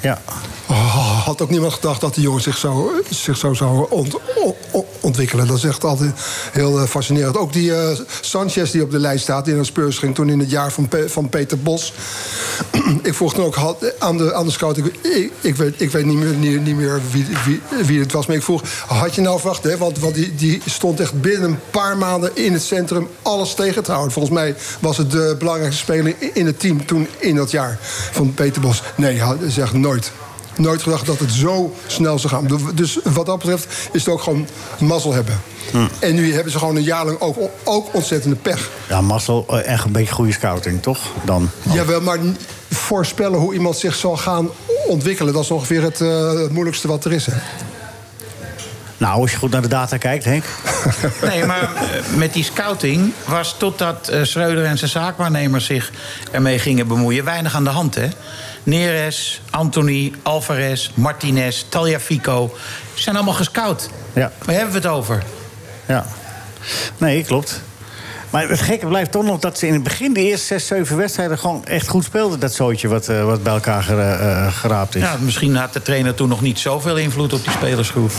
Speaker 1: Ja.
Speaker 5: Oh, had ook niemand gedacht dat die jongen zich zo, zich zo zou ont- o- o- ontwikkelen. Dat is echt altijd heel eh, fascinerend. Ook die eh, Sanchez die op de lijst staat, die naar Spurs ging toen in het jaar van, Pe- van Peter Bos. ik vroeg toen ook had- aan de, aan de scout, ik, ik, ik weet, ik weet niet meer, niet, niet meer wie, wie, wie het was, maar ik vroeg, had je nou verwacht, hè? want, want die, die stond echt binnen een paar maanden in het centrum alles tegen te houden. Volgens mij was het de belangrijkste speler in het team toen in dat jaar van Peter Bos. Nee, ja, dat is echt nooit nooit gedacht dat het zo snel zou gaan. Dus wat dat betreft is het ook gewoon mazzel hebben.
Speaker 1: Hm.
Speaker 5: En nu hebben ze gewoon een jaar lang ook, ook ontzettende pech.
Speaker 1: ja, Marcel, eh, echt een beetje goede scouting, toch? Dan.
Speaker 2: Oh.
Speaker 5: Jawel, maar n- voorspellen hoe iemand zich zal gaan ontwikkelen... dat is ongeveer het eh, moeilijkste wat er is. Hè?
Speaker 1: Nou, als je goed naar de data kijkt, Henk.
Speaker 3: Nee, maar eh, met die scouting was totdat eh, Schreuder en zijn zaakwaarnemers zich ermee gingen bemoeien... weinig aan de hand, hè? Neres, Anthony, Alvarez, Martinez, Taljafico... zijn allemaal gescout.
Speaker 1: Ja.
Speaker 3: Waar hebben we het over?
Speaker 1: Ja. Nee, klopt. Maar het gekke blijft toch nog dat ze in het begin de eerste zes, zeven wedstrijden gewoon echt goed speelden. Dat zootje wat, eh, wat bij elkaar gera- eh, geraapt is.
Speaker 3: Ja, Nou, misschien had de trainer toen nog niet zoveel invloed op die spelersgroep.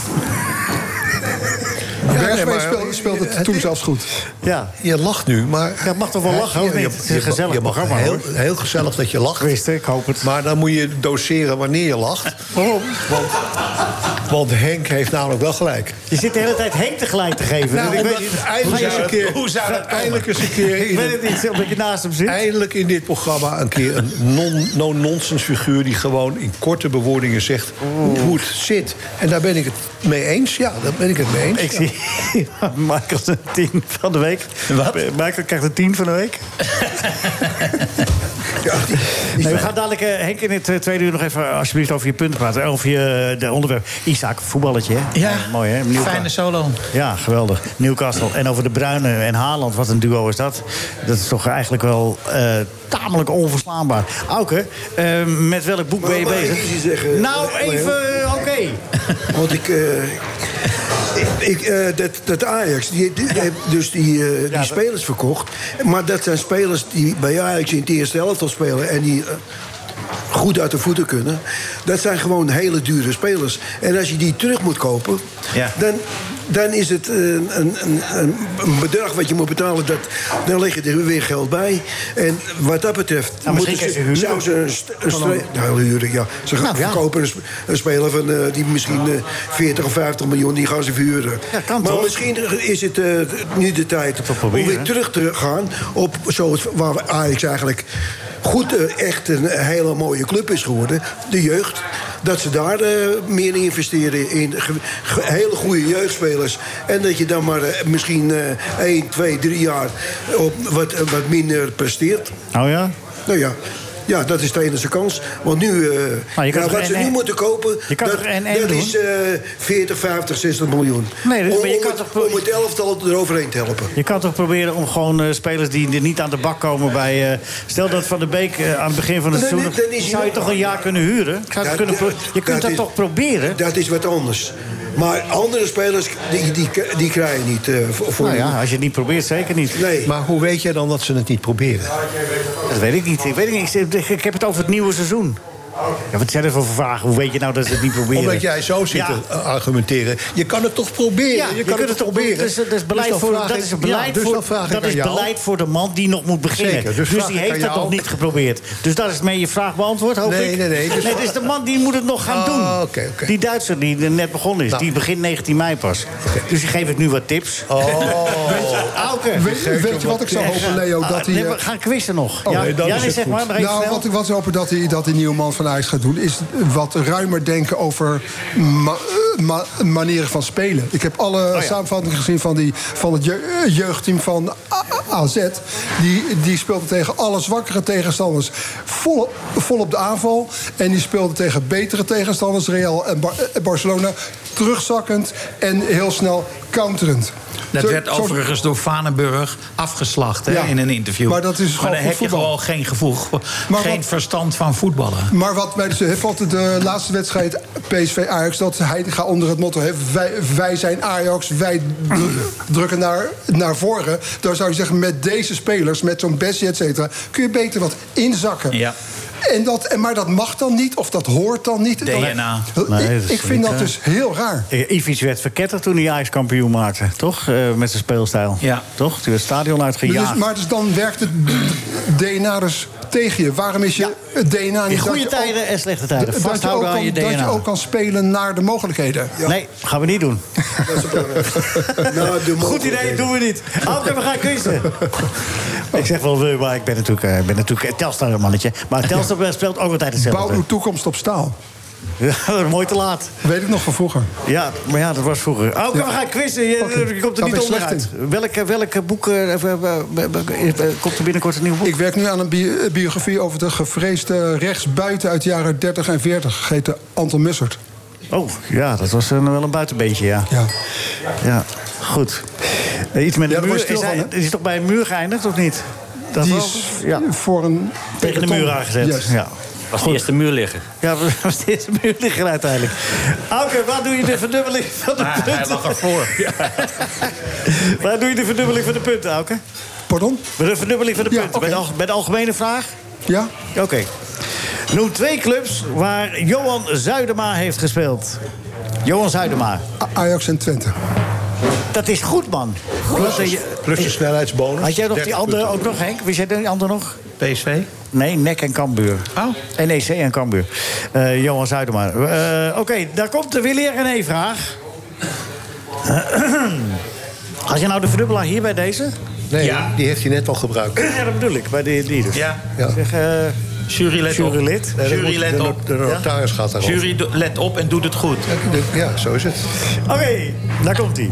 Speaker 5: Bergwijn speel- speelde, speelde het toen zelfs goed.
Speaker 1: Ja.
Speaker 2: Je lacht nu, maar...
Speaker 1: Ja, mag toch wel lachen, hoor. Het is een gezellig
Speaker 2: je mag
Speaker 1: programma,
Speaker 2: heel,
Speaker 1: hoor.
Speaker 2: heel gezellig dat je lacht.
Speaker 1: Wist ik, hoop het.
Speaker 2: Maar dan moet je doseren wanneer je lacht.
Speaker 1: Waarom?
Speaker 2: Want, want Henk heeft namelijk wel gelijk.
Speaker 1: Je zit de hele tijd heen tegelijk te geven.
Speaker 2: Nou,
Speaker 1: Dus ik
Speaker 2: omdat
Speaker 1: weet niet-
Speaker 2: eindelijk eens een keer...
Speaker 3: hoe zou dat
Speaker 2: Eindelijk eens een keer...
Speaker 1: Ik
Speaker 2: in
Speaker 1: weet
Speaker 2: het-
Speaker 1: het niet, omdat je naast hem zit.
Speaker 2: Eindelijk in dit programma een keer een non- no-nonsense figuur... die gewoon in korte bewoordingen zegt hoe- hoe het zit. En daar ben ik het mee eens. Ja, daar ben ik het mee eens.
Speaker 1: Ik zie Michael een 10 van de week.
Speaker 3: Wat?
Speaker 1: Michael krijgt een 10 van de week. Nee, we gaan dadelijk, eh, Henk, in het eh, tweede uur nog even alsjeblieft over je punten praten. Over je eh, de onderwerp. Isaac, voetballetje, hè? Eh,
Speaker 3: Ja,
Speaker 1: mooi, hè? Nieuwka-
Speaker 3: fijne solo.
Speaker 1: Ja, geweldig. Newcastle. En over de Bruine en Haaland, wat een duo is dat. Dat is toch eigenlijk wel eh, tamelijk onverslaanbaar. Auke, eh, met welk boek ben je
Speaker 6: Maar- maar
Speaker 1: bezig?
Speaker 6: ik iets zeggen,
Speaker 1: nou,
Speaker 6: Leo.
Speaker 1: even, oké.
Speaker 6: Want ik. eh, ik, eh, dat, dat Ajax, die, die heeft dus die, eh, die
Speaker 1: dat-
Speaker 6: spelers verkocht. Maar dat zijn spelers die bij Ajax in het eerste helft al spelen. En die eh, goed uit de voeten kunnen. Dat zijn gewoon hele dure spelers. En als je die terug moet kopen,
Speaker 1: Ja.
Speaker 6: dan, dan is het eh, een, een, een, een bedrag wat je moet betalen. Dat, dan leg je er weer geld bij. En wat dat betreft,
Speaker 1: Nou, misschien
Speaker 6: moeten
Speaker 1: kan je ze huren.
Speaker 6: zou ze een, st- een stre- nou, huren, ja. Ze gaan
Speaker 1: Nou, ja.
Speaker 6: verkopen een, sp- een speler van, eh, die misschien eh, 40 of 50 miljoen, die gaan ze verhuren.
Speaker 1: Ja, kan
Speaker 6: maar
Speaker 1: toch?
Speaker 6: misschien is het eh, nu de tijd om
Speaker 1: proberen,
Speaker 6: weer
Speaker 1: hè?
Speaker 6: terug te gaan op zoals waar Ajax eigenlijk goed eh, echt een hele mooie club is geworden. De jeugd. Dat ze daar eh, meer in investeren in ge- ge- hele goede jeugdspelers. En dat je dan maar eh, misschien eh 1, 2, 3 jaar op wat, wat minder presteert.
Speaker 1: Nou ja,
Speaker 6: Nou ja. Ja, dat is de enige kans. Want nu, eh
Speaker 1: Nou, kan
Speaker 6: ja,
Speaker 1: toch
Speaker 6: wat ze
Speaker 1: NN
Speaker 6: nu moeten kopen,
Speaker 1: Je kan
Speaker 6: dat,
Speaker 1: toch NN
Speaker 6: dat
Speaker 1: doen?
Speaker 6: is eh 40, 50, 60 miljoen.
Speaker 1: Nee, dat-
Speaker 6: om,
Speaker 1: maar je
Speaker 6: om
Speaker 1: kan
Speaker 6: het,
Speaker 1: toch-
Speaker 6: om het elftal eroverheen te helpen.
Speaker 1: Je kan toch proberen om gewoon eh, spelers die er niet aan de bak komen bij... eh, stel dat Van der Beek eh, aan het begin van het
Speaker 6: Dan-
Speaker 1: seizoen...
Speaker 6: dan is hij
Speaker 1: zou je
Speaker 6: nog-
Speaker 1: toch een jaar kunnen huren? Zou je
Speaker 6: Ja,
Speaker 1: het kunnen pro-
Speaker 6: dat-
Speaker 1: je kunt dat,
Speaker 6: dat is-
Speaker 1: toch proberen?
Speaker 6: Dat is wat anders. Maar andere spelers, die, die, die krijg je niet eh, voor. voor-
Speaker 1: nou ja, als je het niet probeert, zeker niet.
Speaker 6: Nee.
Speaker 2: Maar hoe weet jij dan dat ze het niet proberen?
Speaker 1: Dat weet ik niet. Ik, weet niet. Ik, ik- ik heb het over het nieuwe seizoen. Ja, wat zijn er voor vragen? Hoe weet je nou dat ze het niet proberen?
Speaker 2: Omdat jij zo zit
Speaker 1: Ja.
Speaker 2: te eh, argumenteren. Je kan het toch proberen?
Speaker 1: Ja, je kunt het toch proberen. Dus, eh, dat is beleid
Speaker 2: Dus dan
Speaker 1: voor,
Speaker 2: vraag
Speaker 1: dat
Speaker 2: ik-
Speaker 1: is beleid,
Speaker 2: ja, dus
Speaker 1: voor,
Speaker 2: dan vraag ik
Speaker 1: dat
Speaker 2: aan
Speaker 1: is
Speaker 2: jou.
Speaker 1: beleid voor de man die nog moet beginnen.
Speaker 2: Zeker, dus
Speaker 1: dus
Speaker 2: vraag
Speaker 1: die
Speaker 2: ik aan
Speaker 1: heeft dat
Speaker 2: jou.
Speaker 1: nog niet geprobeerd. Dus daar is mee je vraag beantwoord, hoop
Speaker 2: Nee,
Speaker 1: ik.
Speaker 2: nee, nee, dus-
Speaker 1: nee. Het is de man die moet het nog gaan
Speaker 3: Oh.
Speaker 2: Ah,
Speaker 1: doen.
Speaker 2: oké, oké.
Speaker 1: Die Duitser die er net begonnen is,
Speaker 2: Nou.
Speaker 1: die begint 19 mei pas. Dus je geeft het nu wat tips.
Speaker 2: Oh.
Speaker 1: Auke.
Speaker 5: Weet, weet je wat ik zou hopen, Leo?
Speaker 1: Ah,
Speaker 5: Dat hij,
Speaker 1: nee,
Speaker 5: eh,
Speaker 1: we gaan quizzen nog.
Speaker 2: Oh, nee, dan
Speaker 1: ja,
Speaker 2: is het
Speaker 1: zeg
Speaker 2: goed.
Speaker 1: maar, maar even
Speaker 5: nou,
Speaker 1: snel.
Speaker 5: wat ik wat ze hopen dat die, dat die nieuwe man van Ajax gaat doen... is wat ruimer denken over ma- eh, ma- manieren van spelen. Ik heb alle
Speaker 3: Oh,
Speaker 5: samenvattingen gezien van, die, van het je- eh, jeugdteam van A- A- AZ. Die, die speelde tegen alle zwakkere tegenstanders vol, vol op de aanval. En die speelde tegen betere tegenstanders, Real en Bar- eh, Barcelona... terugzakkend en heel snel counterend.
Speaker 3: Dat
Speaker 5: Zo-
Speaker 3: werd
Speaker 5: zo-
Speaker 3: overigens door Vanenburg afgeslacht hè,
Speaker 5: Ja.
Speaker 3: in een interview.
Speaker 5: Maar dat is
Speaker 3: Maar
Speaker 5: gewoon
Speaker 3: dan
Speaker 5: goed
Speaker 3: heb je
Speaker 5: voetbal.
Speaker 3: gewoon geen gevoel,
Speaker 5: Maar
Speaker 3: geen
Speaker 5: wat-
Speaker 3: verstand van voetballen.
Speaker 5: Maar wat mij dus heeft altijd de laatste wedstrijd PSV Ajax dat Heitinga onder het motto heeft wij, wij zijn Ajax, wij dru- drukken naar, naar voren. Daar zou je zeggen met deze spelers, met zo'n Bessie et cetera, kun je beter wat inzakken.
Speaker 3: Ja.
Speaker 5: En dat, en- maar dat mag dan niet of dat hoort dan niet.
Speaker 3: DNA.
Speaker 5: Dat-
Speaker 1: Nee, dat
Speaker 5: Oh, ik
Speaker 1: is
Speaker 5: ik vind
Speaker 1: niet,
Speaker 5: dat
Speaker 1: hè?
Speaker 5: dus heel raar.
Speaker 1: Eh, Ivic werd verketterd toen hij Ajax kampioen maakte, toch? Eh, met zijn speelstijl.
Speaker 3: Ja.
Speaker 1: Toch? Toen werd het stadion uitgejaagd.
Speaker 5: Dus, maar dus dan werkt het DNA dus tegen je. Waarom is je het DNA niet
Speaker 1: In goede
Speaker 5: dat je ook-
Speaker 1: tijden en slechte tijden.
Speaker 5: dat je, ook
Speaker 1: Vasthouden aan
Speaker 5: kan,
Speaker 1: je
Speaker 5: dat je
Speaker 1: DNA.
Speaker 5: ook kan spelen naar de mogelijkheden.
Speaker 1: Nee, gaan we niet doen.
Speaker 6: Dat is belangrijk. Nou, de
Speaker 1: Goed idee,
Speaker 6: mogelijkheden.
Speaker 1: doen we niet. Oké, we gaan quizzen. ik zeg wel, we, maar ik ben natuurlijk, eh, ik ben natuurlijk eh, Telstar een mannetje. Maar Telstar eh, speelt ook altijd
Speaker 5: Bouw
Speaker 1: hetzelfde.
Speaker 5: uw toekomst op staal.
Speaker 1: Ja, dat is mooi te laat.
Speaker 5: Weet ik nog van vroeger.
Speaker 1: Ja, maar ja, dat was vroeger. Oh, Oké,
Speaker 5: Ja.
Speaker 1: we gaan quizzen. Je,
Speaker 5: Oké.
Speaker 1: je komt er
Speaker 5: Daar
Speaker 1: niet
Speaker 5: ben ik
Speaker 1: onderuit.
Speaker 5: slecht
Speaker 1: Welke, welke boeken... eh, eh, eh, eh, eh, eh, komt er binnenkort een nieuw boek?
Speaker 5: Ik werk nu aan een bi- eh, biografie over de gevreesde rechtsbuiten uit de jaren 30 en 40, gegeten Anton Mussert.
Speaker 1: Oh, ja, dat was een, wel een buitenbeentje, ja.
Speaker 5: Ja.
Speaker 1: Ja, goed. Eh, Iets met
Speaker 5: Ja,
Speaker 1: de
Speaker 5: daar word
Speaker 1: muur.
Speaker 5: je
Speaker 1: Is,
Speaker 5: stil
Speaker 1: hij,
Speaker 5: van, hè?
Speaker 1: is toch bij een muur geëindigd, of niet? Dat
Speaker 5: Die
Speaker 1: wel?
Speaker 5: is
Speaker 1: ja.
Speaker 5: voor een.
Speaker 1: tegen de muur aangezet.
Speaker 5: Juist.
Speaker 1: Ja.
Speaker 4: Was de eerste muur liggen.
Speaker 1: Ja, dat was de eerste muur liggen uiteindelijk. Auke, waar doe je de verdubbeling van de punten?
Speaker 3: hij lag ervoor.
Speaker 1: Waar doe je de verdubbeling van de punten, Auke?
Speaker 5: Pardon?
Speaker 1: De verdubbeling van de
Speaker 5: Ja,
Speaker 1: punten. Bij, de,
Speaker 5: oké.
Speaker 1: al- bij de algemene vraag?
Speaker 5: Ja?
Speaker 1: Oké. Noem twee clubs waar Johan Zuidema heeft gespeeld. Johan Zuidema.
Speaker 5: A- Ajax en Twente.
Speaker 1: Dat is goed, man. Klopt dat je- eh,
Speaker 2: Plus de snelheidsbonus.
Speaker 1: Had jij nog die
Speaker 2: 30
Speaker 1: andere
Speaker 2: punten.
Speaker 1: ook nog, Henk? Wie zei die andere nog?
Speaker 3: PSV?
Speaker 1: Nee, Nek en Kambuur.
Speaker 3: Oh.
Speaker 1: NEC en Kambuur. Eh, Johan Zuidema. Eh, Oké, daar komt de weer en een vraag. Had je nou de verdubbelaar hier bij deze?
Speaker 2: Nee,
Speaker 3: Ja.
Speaker 2: die heeft hij net al gebruikt. Nee,
Speaker 1: Ja, dat bedoel ik, bij de die dus.
Speaker 3: Ja.
Speaker 2: Ja.
Speaker 1: Zeg, eh,
Speaker 3: Jury,
Speaker 1: Jurylid.
Speaker 2: dat
Speaker 3: Jury,
Speaker 2: moet-
Speaker 3: let
Speaker 2: de-
Speaker 3: op.
Speaker 2: De notaris gaat daarop.
Speaker 3: Jury, do- let op en doet het goed.
Speaker 2: Ja, zo is het.
Speaker 1: Oké, daar komt hij.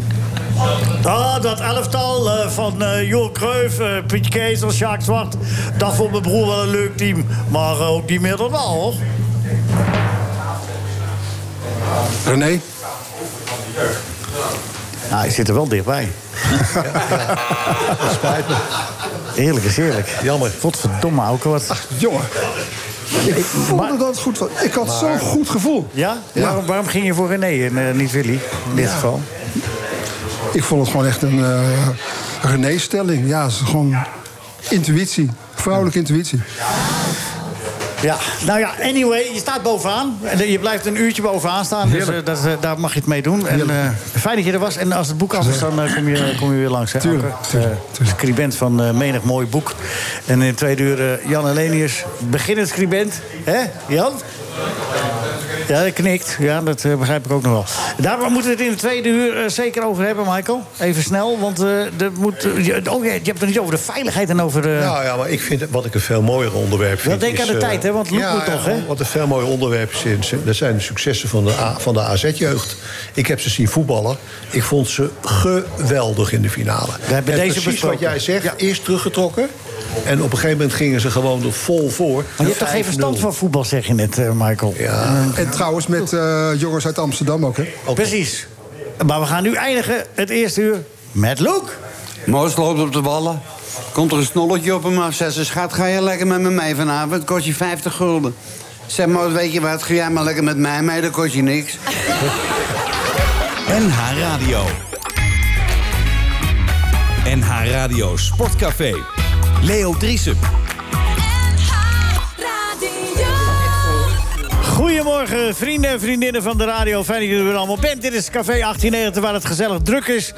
Speaker 1: Ah, dat elftal eh, van eh Joel Cruijff, eh, Piet Keizer, Sjaak Zwart... dat vond mijn broer wel een leuk team. Maar eh, ook niet meer dan wel, hoor.
Speaker 5: René?
Speaker 1: Nou, hij zit er wel dichtbij.
Speaker 2: Dat spijt me.
Speaker 1: Eerlijk is eerlijk.
Speaker 2: Jammer.
Speaker 1: Godverdomme, ook wat.
Speaker 5: Jongen, ik voelde
Speaker 1: maar-
Speaker 5: dat het goed was. Ik had zo'n goed gevoel.
Speaker 1: Ja? Waarom, waarom ging je voor René en eh, niet Willy? In dit geval.
Speaker 5: Ik vond het gewoon echt een eh René-stelling. Ja, het is gewoon intuïtie. Vrouwelijke intuïtie.
Speaker 1: Ja, nou ja, anyway, je staat bovenaan. En eh, Je blijft een uurtje bovenaan staan, dus eh, dat, eh, daar mag je het mee doen. En, eh, fijn dat je er was. En als het boek af is, dan eh, kom, je, kom je weer langs. Hè,
Speaker 5: Tuurlijk,
Speaker 1: Anke?
Speaker 5: tuurlijk,
Speaker 1: Eh,
Speaker 5: tuurlijk.
Speaker 1: Scribent van eh, menig mooi boek. En in twee uur eh, Jan Elenius, beginnend scribent. hè, Jan? Ja, dat knikt. Ja, dat eh, begrijp ik ook nog wel. Daar moeten we het in de tweede uur eh, zeker over hebben, Michael. Even snel, want eh er moet... eh, oh, je, je hebt het nog niet over de veiligheid en over de...
Speaker 2: Nou ja, maar ik vind wat ik een veel mooier onderwerp vind.
Speaker 1: denk
Speaker 2: is,
Speaker 1: aan de
Speaker 2: eh,
Speaker 1: tijd, hè, want Loek moet toch, hè?
Speaker 2: Wat een veel mooier onderwerp is, is, eh, dat zijn de successen van de, A- van de AZ-jeugd. Ik heb ze zien voetballen. Ik vond ze geweldig in de finale.
Speaker 1: We hebben
Speaker 2: en
Speaker 1: deze
Speaker 2: precies
Speaker 1: besproken.
Speaker 2: wat jij zegt, eerst teruggetrokken. En op een gegeven moment gingen ze gewoon er vol voor.
Speaker 1: maar je hebt toch geen
Speaker 2: 5-0.
Speaker 1: verstand van voetbal, zeg je net, eh, Michael?
Speaker 2: Ja,
Speaker 5: En trouwens met eh, jongens uit Amsterdam ook, hè?
Speaker 1: Precies. Maar we gaan nu eindigen het eerste uur met Loek.
Speaker 10: Moos loopt op de ballen. Komt er een snolletje op hem af. Zegt ze, schat, ga je lekker met me mee vanavond? Kost je 50 gulden. Zeg, Moos, weet je wat? Ga jij maar lekker met mij mee, dan kost je niks.
Speaker 8: NH Radio. NH Radio Sportcafé. Leo Driesen.
Speaker 1: Goedemorgen, vrienden en vriendinnen van de radio. Fijn dat jullie er allemaal bent. Dit is Café 1890, waar het gezellig druk is.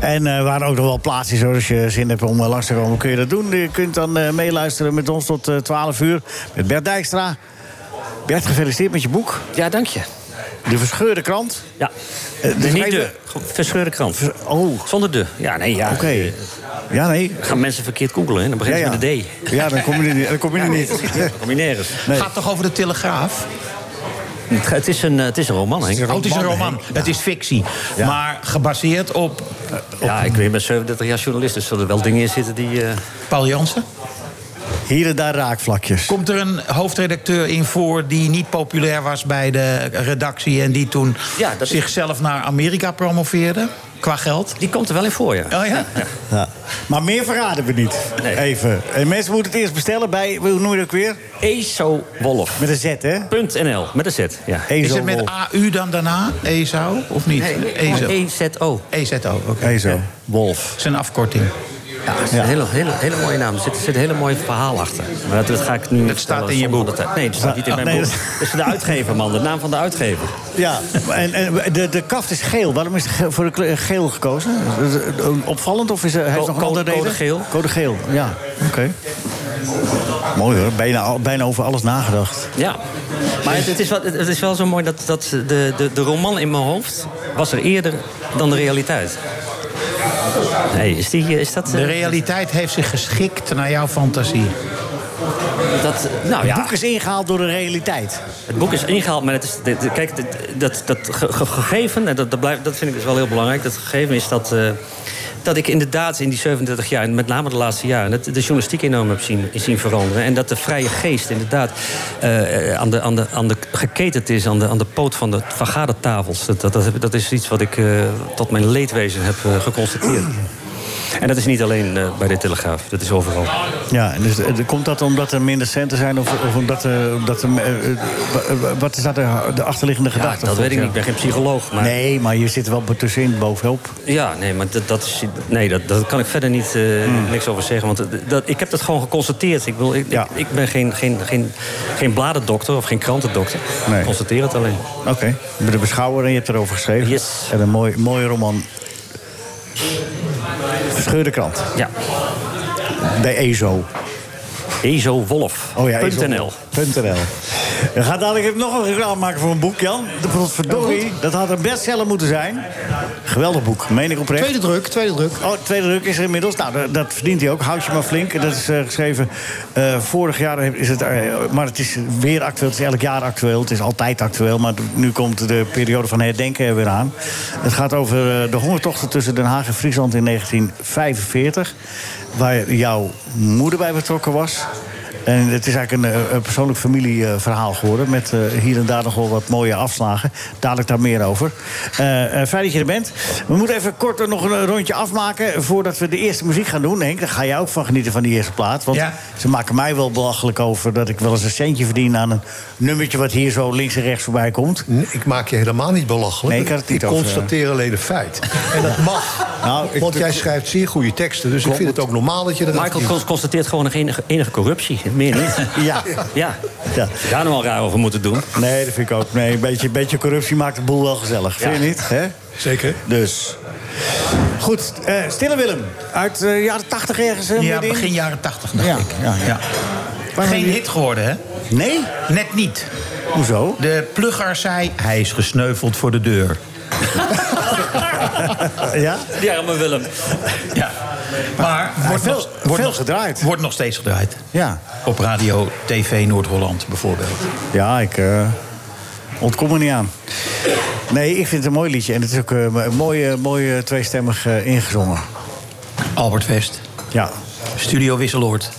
Speaker 1: En eh, waar ook nog wel plaats is. Hoor. Als je zin hebt om eh, langs te komen, kun je dat doen. Je kunt dan eh, meeluisteren met ons tot eh, 12 uur. Met Bert Dijkstra. Bert, gefeliciteerd met je boek.
Speaker 4: Ja, dank je.
Speaker 1: De verscheurde krant.
Speaker 4: Ja.
Speaker 1: Eh, dus
Speaker 4: niet
Speaker 1: geen-
Speaker 4: de verscheurde krant.
Speaker 1: Oh, oké.
Speaker 4: Zonder de. Ja, nee, ja.
Speaker 1: Ja, nee.
Speaker 4: Gaan mensen verkeerd googelen, hè? Dan
Speaker 1: Ja,
Speaker 4: beginnen ze
Speaker 1: ja.
Speaker 4: met de D.
Speaker 1: ja, dan kom je er niet. Dan kom je er niet.
Speaker 4: Combineren.
Speaker 1: Nee.
Speaker 3: Gaat toch over de Telegraaf?
Speaker 4: Het, het is een, eh, het is een roman, Henk.
Speaker 3: Oh, het is een roman. Het is fictie. Maar gebaseerd op
Speaker 4: Ja, ik weet, met 37 jaar journalist, dus zullen er wel dingen in zitten die... eh,
Speaker 3: Paul Jansen.
Speaker 1: Hier en daar raakvlakjes.
Speaker 3: Komt er een hoofdredacteur in voor die niet populair was bij de redactie... en die toen
Speaker 4: Ja, dat is-
Speaker 3: zichzelf naar Amerika promoveerde qua geld?
Speaker 4: die komt er wel in voor, ja.
Speaker 3: Oh ja?
Speaker 1: Ja. Maar meer verraden we niet.
Speaker 4: Nee.
Speaker 1: Even. En mensen moeten het eerst bestellen bij, hoe noem je dat ook weer?
Speaker 4: ESOWolf.nl,
Speaker 1: Met een Z, hè?
Speaker 4: met een Z, ja.
Speaker 3: Is het met
Speaker 1: Wolf.
Speaker 3: AU dan daarna? ESO of niet? E ESO.
Speaker 4: EZO.
Speaker 3: EZO, E oké.
Speaker 1: Ezo.
Speaker 4: Wolf.
Speaker 3: Dat is een afkorting.
Speaker 4: Ja, dat is een hele, hele, hele mooie naam. Er zit, er zit een hele mooi verhaal achter. Maar dat, dat ga ik niet
Speaker 3: Dat staat in je boek.
Speaker 4: Nee, dat staat niet in mijn
Speaker 1: Ah, Nee,
Speaker 4: boek.
Speaker 1: dat-
Speaker 4: Dat is de uitgever, man. De naam van de uitgever.
Speaker 1: Ja, en, en de, de kaft is geel. Waarom is het ge- voor de kleur geel gekozen? Is het, eh, Opvallend of is er, heeft
Speaker 4: Co-
Speaker 1: het nog een
Speaker 4: code-
Speaker 1: andere reden?
Speaker 4: code geel.
Speaker 1: Code geel, ja. Oké. Mooi hoor, bijna, al- bijna over alles nagedacht.
Speaker 4: Ja, maar het, het is, wel, het het is wel zo mooi dat, dat de, de, de roman in mijn hoofd was er eerder dan de realiteit. Nee, is, die, eh, is dat... eh,
Speaker 3: De realiteit heeft zich geschikt naar jouw fantasie.
Speaker 4: dat eh, nou
Speaker 1: Het
Speaker 4: ja,
Speaker 1: boek is ingehaald door de realiteit.
Speaker 4: het boek is ingehaald, maar het is, dit- dit- kijk, dit- dat, dat ge- ge- gegeven, en dat, dat, blijft, dat vind ik dus wel heel belangrijk, dat gegeven is dat, eh, dat ik inderdaad in die 37 jaar, en met name de laatste jaren, dat de journalistiek enorm heb zien, zien veranderen. En dat de vrije geest inderdaad eh, eh, aan de, aan de, aan de, geketend is aan de, aan de poot van de vergadertafels. Dat, dat, dat, dat is iets wat ik eh, tot mijn leedwezen heb eh, geconstateerd. En dat is niet alleen eh, bij de Telegraaf, dat is overal.
Speaker 1: Ja, en dus, eh, komt dat omdat er minder centen zijn? Of, of omdat, eh, omdat er, eh, eh, wa- wa- wat is daar de, de achterliggende
Speaker 4: Ja,
Speaker 1: gedachte?
Speaker 4: dat weet ik
Speaker 1: Ja.
Speaker 4: niet, ik ben geen psycholoog. Maar...
Speaker 1: Nee, maar je zit er wel tussenin, bovenop.
Speaker 4: Ja, nee, maar dat, dat is, nee, dat, dat kan ik verder niet, eh, niks over zeggen. Want dat- dat, ik heb dat gewoon geconstateerd. Ik, wil, ik,
Speaker 1: Hmm. Ja.
Speaker 4: ik, ik ben geen, geen, geen, geen bladendokter of geen krantendokter.
Speaker 1: Nee.
Speaker 4: Ik constateer het alleen.
Speaker 1: Oké. De beschouwer, en je hebt erover geschreven.
Speaker 4: Yes.
Speaker 1: En een mooi, mooi roman. Scheurde krant.
Speaker 4: Ja.
Speaker 1: Bij EZO.
Speaker 4: EZOWolf.
Speaker 1: Oh ja, EZO.
Speaker 4: .nl.
Speaker 1: .nl. We gaan dadelijk nog een reclame maken voor een boek, Jan. De potverdorie, dat had een bestseller moeten zijn. Geweldig boek, meen ik oprecht.
Speaker 11: Tweede druk, tweede druk.
Speaker 1: Oh, tweede druk is er inmiddels. Nou, dat, dat verdient hij ook. Houd je maar flink. Dat is eh, geschreven eh, vorig jaar. Is het, eh, maar het is weer actueel. Het is elk jaar actueel. Het is altijd actueel. Maar nu komt de periode van herdenken er weer aan. Het gaat over eh, de hongertochten tussen Den Haag en Friesland in 1945. Waar jouw moeder bij betrokken was. En het is eigenlijk een, eh, een persoonlijk familieverhaal geworden. Met eh, hier en daar nog wel wat mooie afslagen. Dadelijk daar meer over. Eh, eh, fijn dat je er bent. We moeten even kort nog een rondje afmaken. Voordat we de eerste muziek gaan doen. Henk, daar ga jij ook van genieten van die eerste plaat. Want
Speaker 3: Ja.
Speaker 1: ze maken mij wel belachelijk over dat ik wel eens een centje verdien aan een nummertje wat hier zo links en rechts voorbij komt.
Speaker 2: Ik maak je helemaal niet belachelijk.
Speaker 1: Nee, ik had het niet over, eh. Nou,
Speaker 2: constateer alleen een feit. En dat mag. want jij schrijft zeer goede teksten. Dus ik vind het ook normaal dat je dat
Speaker 4: Michael cons- constateert gewoon nog enige, enige corruptie. Meer niet.
Speaker 1: Ja.
Speaker 4: ja.
Speaker 1: ja.
Speaker 4: Daar nou al raar over moeten doen.
Speaker 1: Nee, dat vind ik ook. Nee, een beetje, een beetje corruptie maakt de boel wel gezellig. Vind je niet? Hè?
Speaker 2: Zeker.
Speaker 1: Dus. Goed, eh, Stille Willem. Uit de jaren 80 ergens. eh,
Speaker 3: Ja,
Speaker 1: middenin?
Speaker 3: begin jaren 80 dacht
Speaker 1: Ja,
Speaker 3: ik.
Speaker 1: ja, ja.
Speaker 3: Geen hit geworden, hè?
Speaker 1: Nee?
Speaker 3: Net niet.
Speaker 1: Hoezo?
Speaker 3: De plugger zei, hij is gesneuveld voor de deur.
Speaker 1: Ja?
Speaker 4: Ja, maar Willem.
Speaker 3: Ja. Maar wordt,
Speaker 1: veel-
Speaker 3: nog, wordt,
Speaker 1: veel
Speaker 3: nog,
Speaker 1: gedraaid.
Speaker 3: wordt nog steeds gedraaid.
Speaker 1: Ja.
Speaker 3: Op radio, tv Noord-Holland bijvoorbeeld.
Speaker 1: Ja, ik eh, ontkom er niet aan. Nee, ik vind het een mooi liedje. En het is ook eh, een mooie, mooie tweestemmig eh, ingezongen.
Speaker 3: Albert West,
Speaker 1: Ja.
Speaker 3: Studio Wisseloord.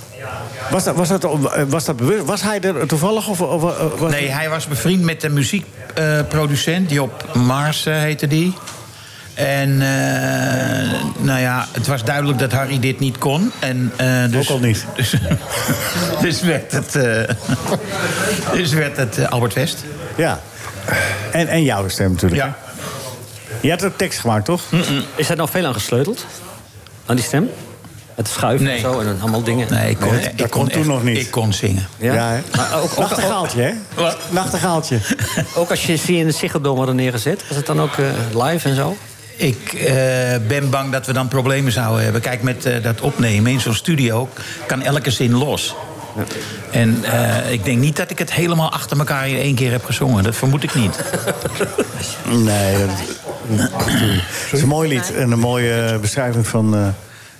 Speaker 1: Was dat, was, dat, eh, was dat bewust? Was hij er toevallig? Of, of, eh, was
Speaker 3: Nee, hij was bevriend met de muziekproducent Job Maarsen heette die. En eh, nou ja, het was duidelijk dat Harry dit niet kon. En, eh, dus,
Speaker 1: Ook al niet.
Speaker 3: Dus, dus werd het, eh, dus werd het eh, Albert West.
Speaker 1: Ja. En, en jouw stem natuurlijk.
Speaker 3: Ja.
Speaker 1: Je had ook tekst gemaakt, toch?
Speaker 4: Is daar nou veel aan gesleuteld? Aan die stem? Het schuiven
Speaker 3: Nee.
Speaker 4: en zo en dan allemaal dingen.
Speaker 3: Nee, ik kon,
Speaker 1: Nee, dat kon toen nog niet.
Speaker 3: Ik kon zingen.
Speaker 4: Ja.
Speaker 1: hè?
Speaker 4: Maar ook, ook, ook,
Speaker 1: Nachtegaaltje, hè?
Speaker 3: Wat?
Speaker 1: Nachtegaaltje.
Speaker 4: ook als je ze in de Sigurdom hadden neergezet, was het dan ook eh, live en zo?
Speaker 3: Ik eh, ben bang dat we dan problemen zouden hebben. Kijk, met eh, dat opnemen in zo'n studio kan elke zin los. En eh, ik denk niet dat ik het helemaal achter elkaar in één keer heb gezongen. Dat vermoed ik niet.
Speaker 1: Nee, dat Het is een mooi lied en een mooie eh, beschrijving van eh,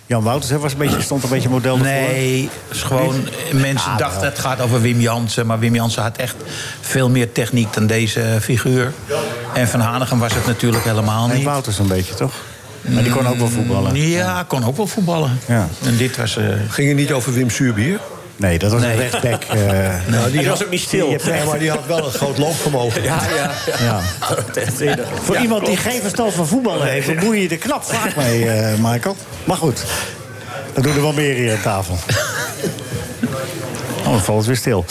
Speaker 1: Jan Wouters. Hij was een beetje, stond een beetje model ervoor.
Speaker 3: Nee, het is gewoon eh, mensen
Speaker 4: Ah,
Speaker 3: dachten het gaat over Wim Jansen. Maar Wim Jansen had echt veel meer techniek dan deze eh, figuur. En Van Hanegem was het natuurlijk helemaal
Speaker 1: Henk
Speaker 3: niet. Mm,
Speaker 1: Wouters een beetje, toch? Maar die kon ook wel voetballen.
Speaker 3: Ja, kon ook wel voetballen.
Speaker 1: Ja.
Speaker 3: En dit was... eh,
Speaker 2: Ging het niet over Wim Suurbier?
Speaker 1: Nee, dat was een
Speaker 3: Nee.
Speaker 1: rechtsback. eh,
Speaker 2: Nou, die
Speaker 4: Hij was
Speaker 2: had,
Speaker 4: ook niet stil.
Speaker 1: die-
Speaker 2: nee, maar die had wel een groot loopvermogen.
Speaker 4: Ja, ja.
Speaker 1: ja. Voor
Speaker 4: Ja,
Speaker 1: iemand die geen verstand van voetballen heeft, dan boeien je er knap vaak mee, eh, Michael. Maar goed, dat doen er wel meer hier aan tafel. Oh, dan valt het weer stil.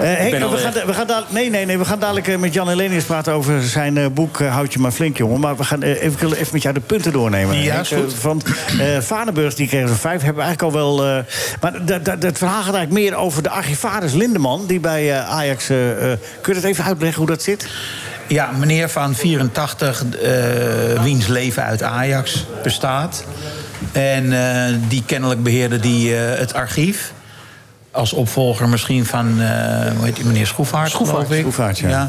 Speaker 1: Eh, Henk,
Speaker 4: ben al
Speaker 1: we,
Speaker 4: weg.
Speaker 1: gaan, da- we, gaan da- nee, nee, nee, we gaan dadelijk eh, met Jan Helenius praten over zijn eh, boek eh, Houd je maar flink, jongen. Maar we gaan eh, even, ik wil even met jou de punten doornemen.
Speaker 3: Ja,
Speaker 1: Henk.
Speaker 3: is goed.
Speaker 1: Eh, van eh Vaneburg, die kregen ze vijf, hebben eigenlijk al wel... eh, maar dat- dat- dat verhaal gaat eigenlijk meer over de archivaris Lindeman... die bij eh, Ajax... eh, eh, kun je dat even uitleggen hoe dat zit?
Speaker 3: Ja, meneer van 84, eh, wiens leven uit Ajax bestaat. En eh, die kennelijk beheerde die, eh, het archief. Als opvolger misschien van, eh, hoe heet die, meneer Schroefaert,
Speaker 1: Schroefaert,
Speaker 3: geloof ik.
Speaker 1: Schroefaert, ja.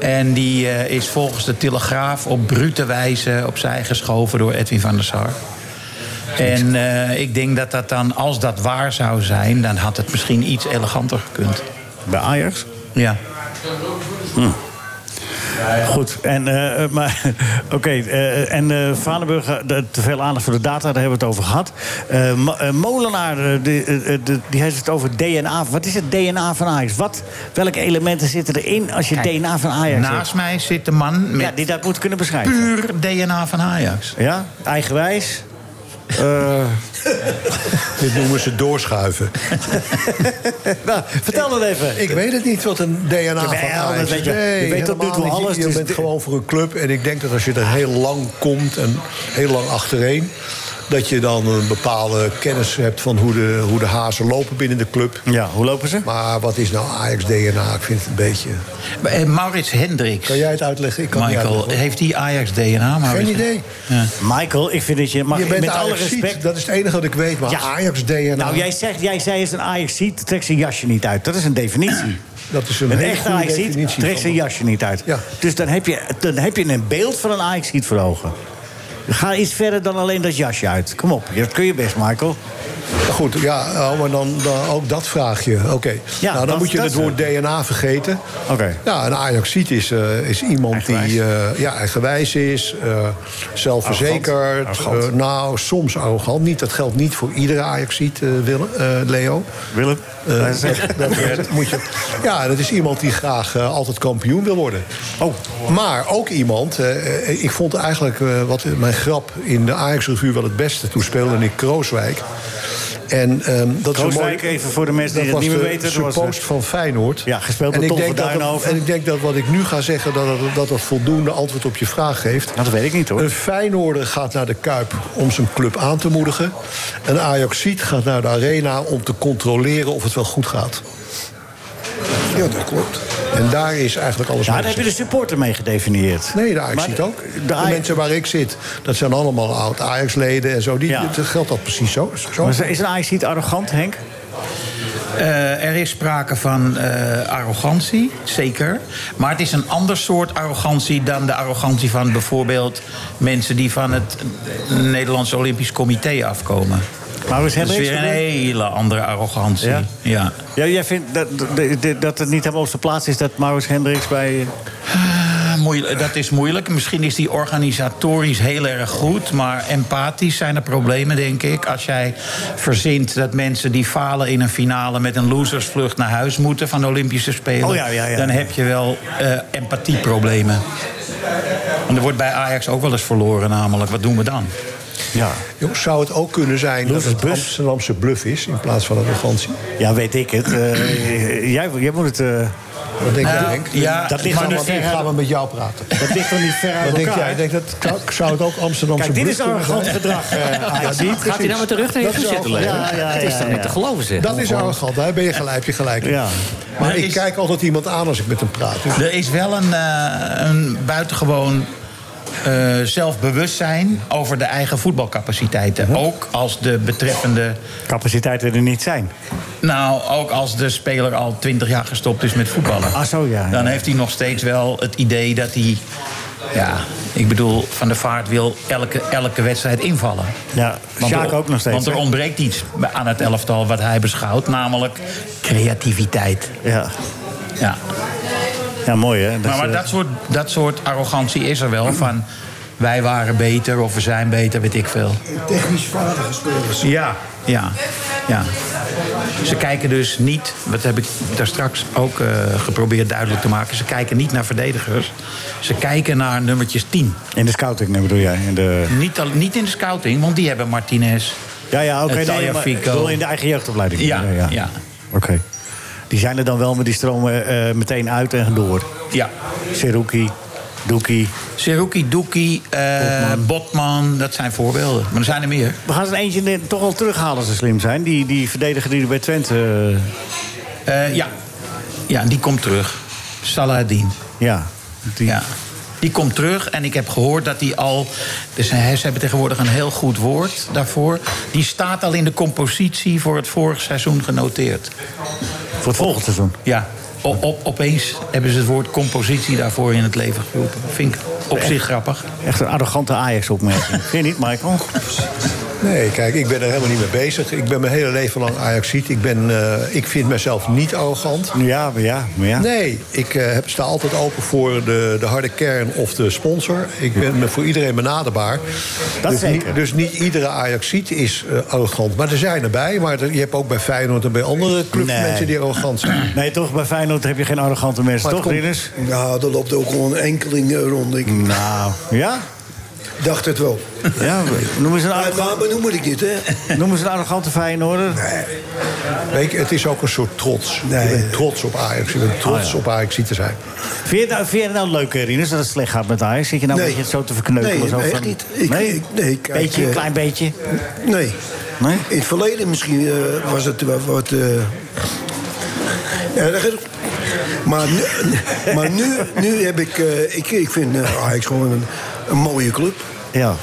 Speaker 3: En die eh, is volgens de Telegraaf op brute wijze opzij geschoven door Edwin van der Sar. En eh, ik denk dat dat dan, als dat waar zou zijn... dan had het misschien iets eleganter gekund.
Speaker 1: Bij Ajax? Hm.
Speaker 3: Ja.
Speaker 1: Goed, en, eh, eh, maar oké. eh, en eh Vaneburg, eh, de- te veel aandacht voor de data, daar hebben we het over gehad. Eh, Mo- eh, Molenaar, eh, die, eh, eh, de- die heeft het over DNA. Wat is het DNA van Ajax? Wat, welke elementen zitten erin als je
Speaker 3: Kijk,
Speaker 1: DNA van Ajax hebt?
Speaker 3: Naast mij zit de man met
Speaker 1: Ah Ja, die dat moet kunnen beschrijven.
Speaker 3: puur DNA van Ajax.
Speaker 1: Ja, eigenwijs. Eh,
Speaker 2: Dit noemen ze doorschuiven.
Speaker 1: nou, vertel dat even.
Speaker 2: Ik weet het niet wat een DNA van
Speaker 1: Jawel,
Speaker 2: Ajax
Speaker 1: dat
Speaker 2: is.
Speaker 1: Nou, weet je. Je weet tot nu toe
Speaker 2: helemaal niet.
Speaker 1: alles,
Speaker 2: Je
Speaker 1: dus
Speaker 2: bent
Speaker 1: dit-
Speaker 2: gewoon voor een club. En ik denk dat als je er heel lang komt en heel lang achtereen... dat je dan een bepaalde kennis hebt van hoe de, hoe de hazen lopen binnen de club.
Speaker 1: Ja, hoe lopen ze?
Speaker 2: Maar wat is nou Ajax-DNA? Ik vind het een beetje...
Speaker 3: Eh, Maurits Hendricks.
Speaker 2: Kan jij het uitleggen? Ik kan het niet
Speaker 3: Michael,
Speaker 2: uitleggen.
Speaker 3: heeft die Ajax-DNA?
Speaker 2: Geen idee.
Speaker 1: Michael, ik vind dat je... Mag,
Speaker 2: je bent
Speaker 1: met alle
Speaker 2: Ajaxiet,
Speaker 1: respect...
Speaker 2: dat is het enige dat ik weet. Maar
Speaker 1: Ja.
Speaker 2: Ajax-DNA...
Speaker 1: Nou, jij, zegt, jij zei eens een Ajax-ziet, trekt zijn jasje niet uit. Dat is een definitie.
Speaker 2: Dat is een,
Speaker 1: Een
Speaker 2: hele
Speaker 1: echte
Speaker 2: goede
Speaker 1: Ajax-ziet
Speaker 2: definitie
Speaker 1: trekt
Speaker 2: van
Speaker 1: zijn
Speaker 2: wat-
Speaker 1: jasje niet uit.
Speaker 2: Ja.
Speaker 1: Dus dan heb, je, dan heb je een beeld van een Ajax-ziet voor ogen. Ga iets verder dan alleen dat jasje uit. Kom op, dat kun je best, Michael.
Speaker 2: Goed, ja, oh, maar dan, dan ook dat vraag je. Oké.
Speaker 1: Ja,
Speaker 2: nou, dan
Speaker 1: dat-
Speaker 2: moet je
Speaker 1: dat-
Speaker 2: het woord DNA vergeten.
Speaker 1: Oké.
Speaker 2: Ja, een Ajaxiet is, eh, is iemand
Speaker 1: Eigenwijs.
Speaker 2: die eh, ja, eigenwijs is, eh, zelfverzekerd.
Speaker 1: Arrogant.
Speaker 2: eh, nou, soms arrogant niet. Dat geldt niet voor iedere Ajaxiet, eh Willem, eh, Leo.
Speaker 1: Willem?
Speaker 2: Eh, dat, dat moet je, ja, dat is iemand die graag eh, altijd kampioen wil worden. Oh. Maar ook iemand, eh, eh, ik vond eigenlijk eh, wat mijn grap in de Ajax-revue wel het beste. Toen speelde ik Krooswijk. En, ehm dat is een
Speaker 1: Krooswijk,
Speaker 2: mooi-
Speaker 1: even voor de mensen die
Speaker 2: dat
Speaker 1: het niet
Speaker 2: was
Speaker 1: meer
Speaker 2: de
Speaker 1: weten, dat was eh, de-
Speaker 2: suppost van Feyenoord.
Speaker 1: Ja, gespeeld
Speaker 2: En ik
Speaker 1: door Ton
Speaker 2: denk
Speaker 1: van
Speaker 2: dat dat-
Speaker 1: Duinhoven.
Speaker 2: En ik denk dat wat ik nu ga zeggen, dat dat, dat, dat voldoende antwoord op je vraag geeft.
Speaker 1: Nou, dat weet ik niet, hoor.
Speaker 2: Een Feyenoorder gaat naar de Kuip om zijn club aan te moedigen. Een Ajaxiet gaat naar de Arena om te controleren of het wel goed gaat.
Speaker 6: Ja, dat klopt.
Speaker 2: En daar is eigenlijk alles
Speaker 1: Ja,
Speaker 2: mee
Speaker 1: daar heb je de
Speaker 2: gezegd.
Speaker 1: supporter mee gedefinieerd.
Speaker 2: Nee, de Ajax
Speaker 1: Maar
Speaker 2: ziet ook.
Speaker 1: de
Speaker 2: De,
Speaker 1: Ajax-
Speaker 2: mensen waar ik zit, dat zijn allemaal oud-Ajax-leden en zo. Die,
Speaker 1: Ja.
Speaker 2: dat geldt dat precies zo. zo.
Speaker 1: Maar Is een Ajax-ziet arrogant, Henk?
Speaker 3: Eh, er is sprake van eh, arrogantie, zeker. Maar het is een ander soort arrogantie dan de arrogantie van bijvoorbeeld mensen die van het Nederlands Olympisch Comité afkomen.
Speaker 1: Maar we
Speaker 3: Dat is
Speaker 1: hebben
Speaker 3: weer een hele andere arrogantie.
Speaker 1: Ja?
Speaker 3: ja.
Speaker 1: Ja, jij vindt dat, dat- dat- dat het niet helemaal op zijn plaats is dat Maurits Hendricks bij.
Speaker 3: Ah, moeil- dat is moeilijk. Misschien is die organisatorisch heel erg goed. Maar empathisch zijn er problemen, denk ik. Als jij verzint dat mensen die falen in een finale... met een losersvlucht naar huis moeten van de Olympische Spelen...
Speaker 1: Oh, ja, ja, ja.
Speaker 3: dan heb je wel eh, empathieproblemen. En er wordt bij Ajax ook wel eens verloren namelijk. Wat doen we dan?
Speaker 1: Ja.
Speaker 2: Jongens, zou het ook kunnen zijn dat het
Speaker 1: Loeversbus.
Speaker 2: Amsterdamse bluff is in plaats van arrogantie?
Speaker 1: ja, weet ik het. Eh, jij, jij moet het. eh,
Speaker 2: Wat denk jij,
Speaker 3: Nou,
Speaker 2: Henk?
Speaker 3: ja,
Speaker 1: dat ligt
Speaker 3: maar
Speaker 1: aan
Speaker 3: nu
Speaker 1: wat
Speaker 3: ver-
Speaker 1: ik ga-
Speaker 2: Gaan we met jou praten?
Speaker 1: dat ligt toch niet ver uit
Speaker 2: Wat denk jij?
Speaker 1: elkaar.
Speaker 2: Ik denk dat zou- zou het ook Amsterdamse
Speaker 1: Kijk, dit is
Speaker 2: bluff kunnen
Speaker 1: arrogant
Speaker 2: zijn?
Speaker 1: gedrag. eh, Ajax.
Speaker 4: Gaat hij nou met de rug naar je
Speaker 2: Dat is
Speaker 4: toe zitten,
Speaker 2: ook-
Speaker 4: Leo?
Speaker 1: ja, ja,
Speaker 4: het is
Speaker 1: ja,
Speaker 4: toch
Speaker 1: ja.
Speaker 4: niet te geloven, zeg.
Speaker 2: Dat is arrogant, daar ben je gelijk, heb je gelijk. in.
Speaker 1: Ja.
Speaker 2: Maar
Speaker 3: Er
Speaker 2: ik
Speaker 3: is-
Speaker 2: kijk altijd iemand aan als ik met hem praat. Dus
Speaker 3: Er is wel een, eh, een buitengewoon eh, zelfbewustzijn over de eigen voetbalcapaciteiten. Ook als de betreffende.
Speaker 1: Capaciteiten er niet zijn.
Speaker 3: Nou, ook als de speler al twintig jaar gestopt is met voetballen.
Speaker 1: Ah, zo, ja, ja.
Speaker 3: Dan heeft hij nog steeds wel het idee dat hij. Ja, ik bedoel, Van der Vaart wil elke, elke wedstrijd invallen.
Speaker 1: Ja, Sjaak
Speaker 3: er-
Speaker 1: ook nog steeds.
Speaker 3: Want er
Speaker 1: hè?
Speaker 3: ontbreekt iets aan het elftal wat hij beschouwt, namelijk creativiteit.
Speaker 1: Ja.
Speaker 3: Ja.
Speaker 1: ja, mooi hè. Dat
Speaker 3: Maar,
Speaker 1: is,
Speaker 3: maar
Speaker 1: eh,
Speaker 3: dat, soort, dat soort arrogantie is er wel. Van wij waren beter of we zijn beter, weet ik veel.
Speaker 6: Technisch vaardige spelers.
Speaker 3: Ja. Ja. ja. Ze kijken dus niet, wat heb ik daar straks ook eh, geprobeerd duidelijk te maken. Ze kijken niet naar verdedigers. Ze kijken naar nummertjes 10.
Speaker 1: In de scouting nee, bedoel jij? In de...
Speaker 3: Niet, al, niet in de scouting, want die hebben Martinez.
Speaker 1: Ja, ja, oké.
Speaker 3: Eh,
Speaker 1: nee,
Speaker 3: Talia
Speaker 1: maar ik
Speaker 3: Fico.
Speaker 1: bedoel in de eigen jeugdopleiding.
Speaker 3: Ja, ja. ja.
Speaker 1: Oké. Die zijn er dan wel, maar die stromen eh, meteen uit en door. Seruki, Doekie.
Speaker 3: Seruki, Doekie, eh, Botman. dat zijn voorbeelden. Maar er zijn er meer.
Speaker 1: We gaan ze eentje ne- toch wel terughalen als ze slim zijn. Die, die verdediger die er bij Twente... eh,
Speaker 3: Eh, ja. ja, die komt terug. Saladin.
Speaker 1: ja. Die,
Speaker 3: Ja. Die komt terug en ik heb gehoord dat hij al... Dus hè, ze hebben tegenwoordig een heel goed woord daarvoor. Die staat al in de compositie voor het vorig seizoen genoteerd.
Speaker 1: Voor het volgende seizoen.
Speaker 3: Ja, o- op, opeens hebben ze het woord compositie daarvoor in het leven geroepen. Vind ik op zich grappig. Oh,
Speaker 1: Echt een arrogante Ajax-opmerking. Vind je niet, Michael?
Speaker 2: Nee, kijk, ik ben er helemaal niet mee bezig. Ik ben mijn hele leven lang Ajaxiet. Ik, ben, eh, ik vind mezelf niet arrogant.
Speaker 1: Ja, maar ja, maar ja.
Speaker 2: Nee, ik eh, heb- sta altijd open voor de, de harde kern of de sponsor. Ik ben me voor iedereen benaderbaar.
Speaker 1: Dat
Speaker 2: dus,
Speaker 1: zeker.
Speaker 2: Niet, dus niet iedere Ajaxiet is eh, arrogant. Maar er zijn erbij. Maar er- je hebt ook bij Feyenoord en bij andere clubs
Speaker 1: Nee. Ah,
Speaker 2: mensen die arrogant zijn.
Speaker 1: Nee, toch, bij Feyenoord heb je geen arrogante mensen,
Speaker 2: Maar het
Speaker 1: toch,
Speaker 2: komt-
Speaker 1: Rinus?
Speaker 6: Nou, er loopt ook gewoon een enkeling eh, rond. Ik,
Speaker 1: Nou, ja?
Speaker 6: Dacht het wel.
Speaker 1: Ja, noem eens een
Speaker 6: Maar,
Speaker 1: arrogante...
Speaker 6: maar, maar noem ik dit, hè?
Speaker 1: Noem eens een arrogante Feyenoorder.
Speaker 2: Weet je, het is ook een soort trots. Je bent trots op Ajax. Je bent trots op Ajax te zijn.
Speaker 1: Ah, Vind je, het nou, vind je het nou leuk, eh, Rinus, dat het slecht gaat met Ajax? Zit je nou
Speaker 6: Nee.
Speaker 1: een beetje zo te verkneukelen?
Speaker 6: Nee,
Speaker 1: zo
Speaker 6: nee,
Speaker 1: van-
Speaker 6: echt niet. Ik-
Speaker 1: nee?
Speaker 6: ik- nee, kijk,
Speaker 1: beetje, een
Speaker 6: eh,
Speaker 1: klein beetje.
Speaker 6: Nee.
Speaker 1: Nee?
Speaker 6: In het verleden misschien eh, was het wel wat eh, erger. Maar, nu- maar nu, nu heb ik, eh, ik... Ik vind eh, Ajax gewoon een, een mooie club.
Speaker 1: Ja.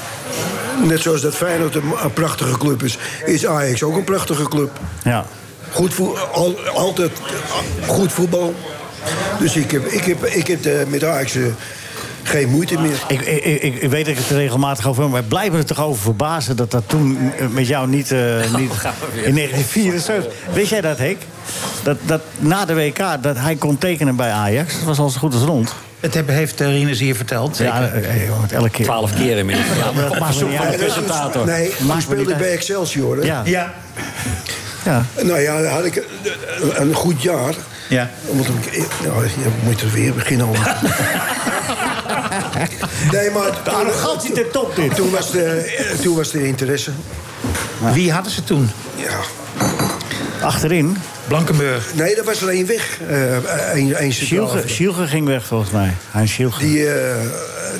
Speaker 6: Net zoals dat Feyenoord een, een prachtige club is... is Ajax ook een prachtige club.
Speaker 1: ja.
Speaker 6: Goed voe- al, altijd goed voetbal. Dus ik heb, ik heb, ik heb eh, met Ajax eh, geen moeite meer.
Speaker 1: Ik, ik, ik, ik weet dat ik het er regelmatig over heb, maar blijven we er toch over verbazen dat dat toen eh, met jou niet. eh, niet
Speaker 4: gaan Nou, we weer.
Speaker 1: in 1974. Wist jij dat, Henk? Dat, dat na de WK dat hij kon tekenen bij Ajax. Dat was al zo goed als rond.
Speaker 3: Het heb- heeft eh, Rinus hier verteld. zeker?
Speaker 1: Ja, eh, eh, want elke keer.
Speaker 4: Twaalf keer inmiddels. Ja,
Speaker 1: dat maakt me niet
Speaker 6: Ja,
Speaker 1: uit.
Speaker 6: dat is- Nee,
Speaker 1: Maakt me
Speaker 6: toen speelde
Speaker 1: niet
Speaker 6: ik bij
Speaker 1: uit.
Speaker 6: Excelsior. Hè?
Speaker 1: Ja.
Speaker 3: ja.
Speaker 1: ja.
Speaker 6: Nou ja, dan had ik een, een goed jaar.
Speaker 3: Ja.
Speaker 6: Omdat ik, nou, je moet er weer beginnen om. nee, maar
Speaker 1: De arrogantie ten top dit.
Speaker 6: toen was de, toen was de interesse.
Speaker 3: Wie hadden ze toen?
Speaker 6: Ja.
Speaker 1: Achterin.
Speaker 3: Blankenburg.
Speaker 6: Nee, er was er één weg. eh één, één centrale
Speaker 1: Schielge, Schielge ging weg volgens mij. Hij Schielge.
Speaker 6: Die, eh,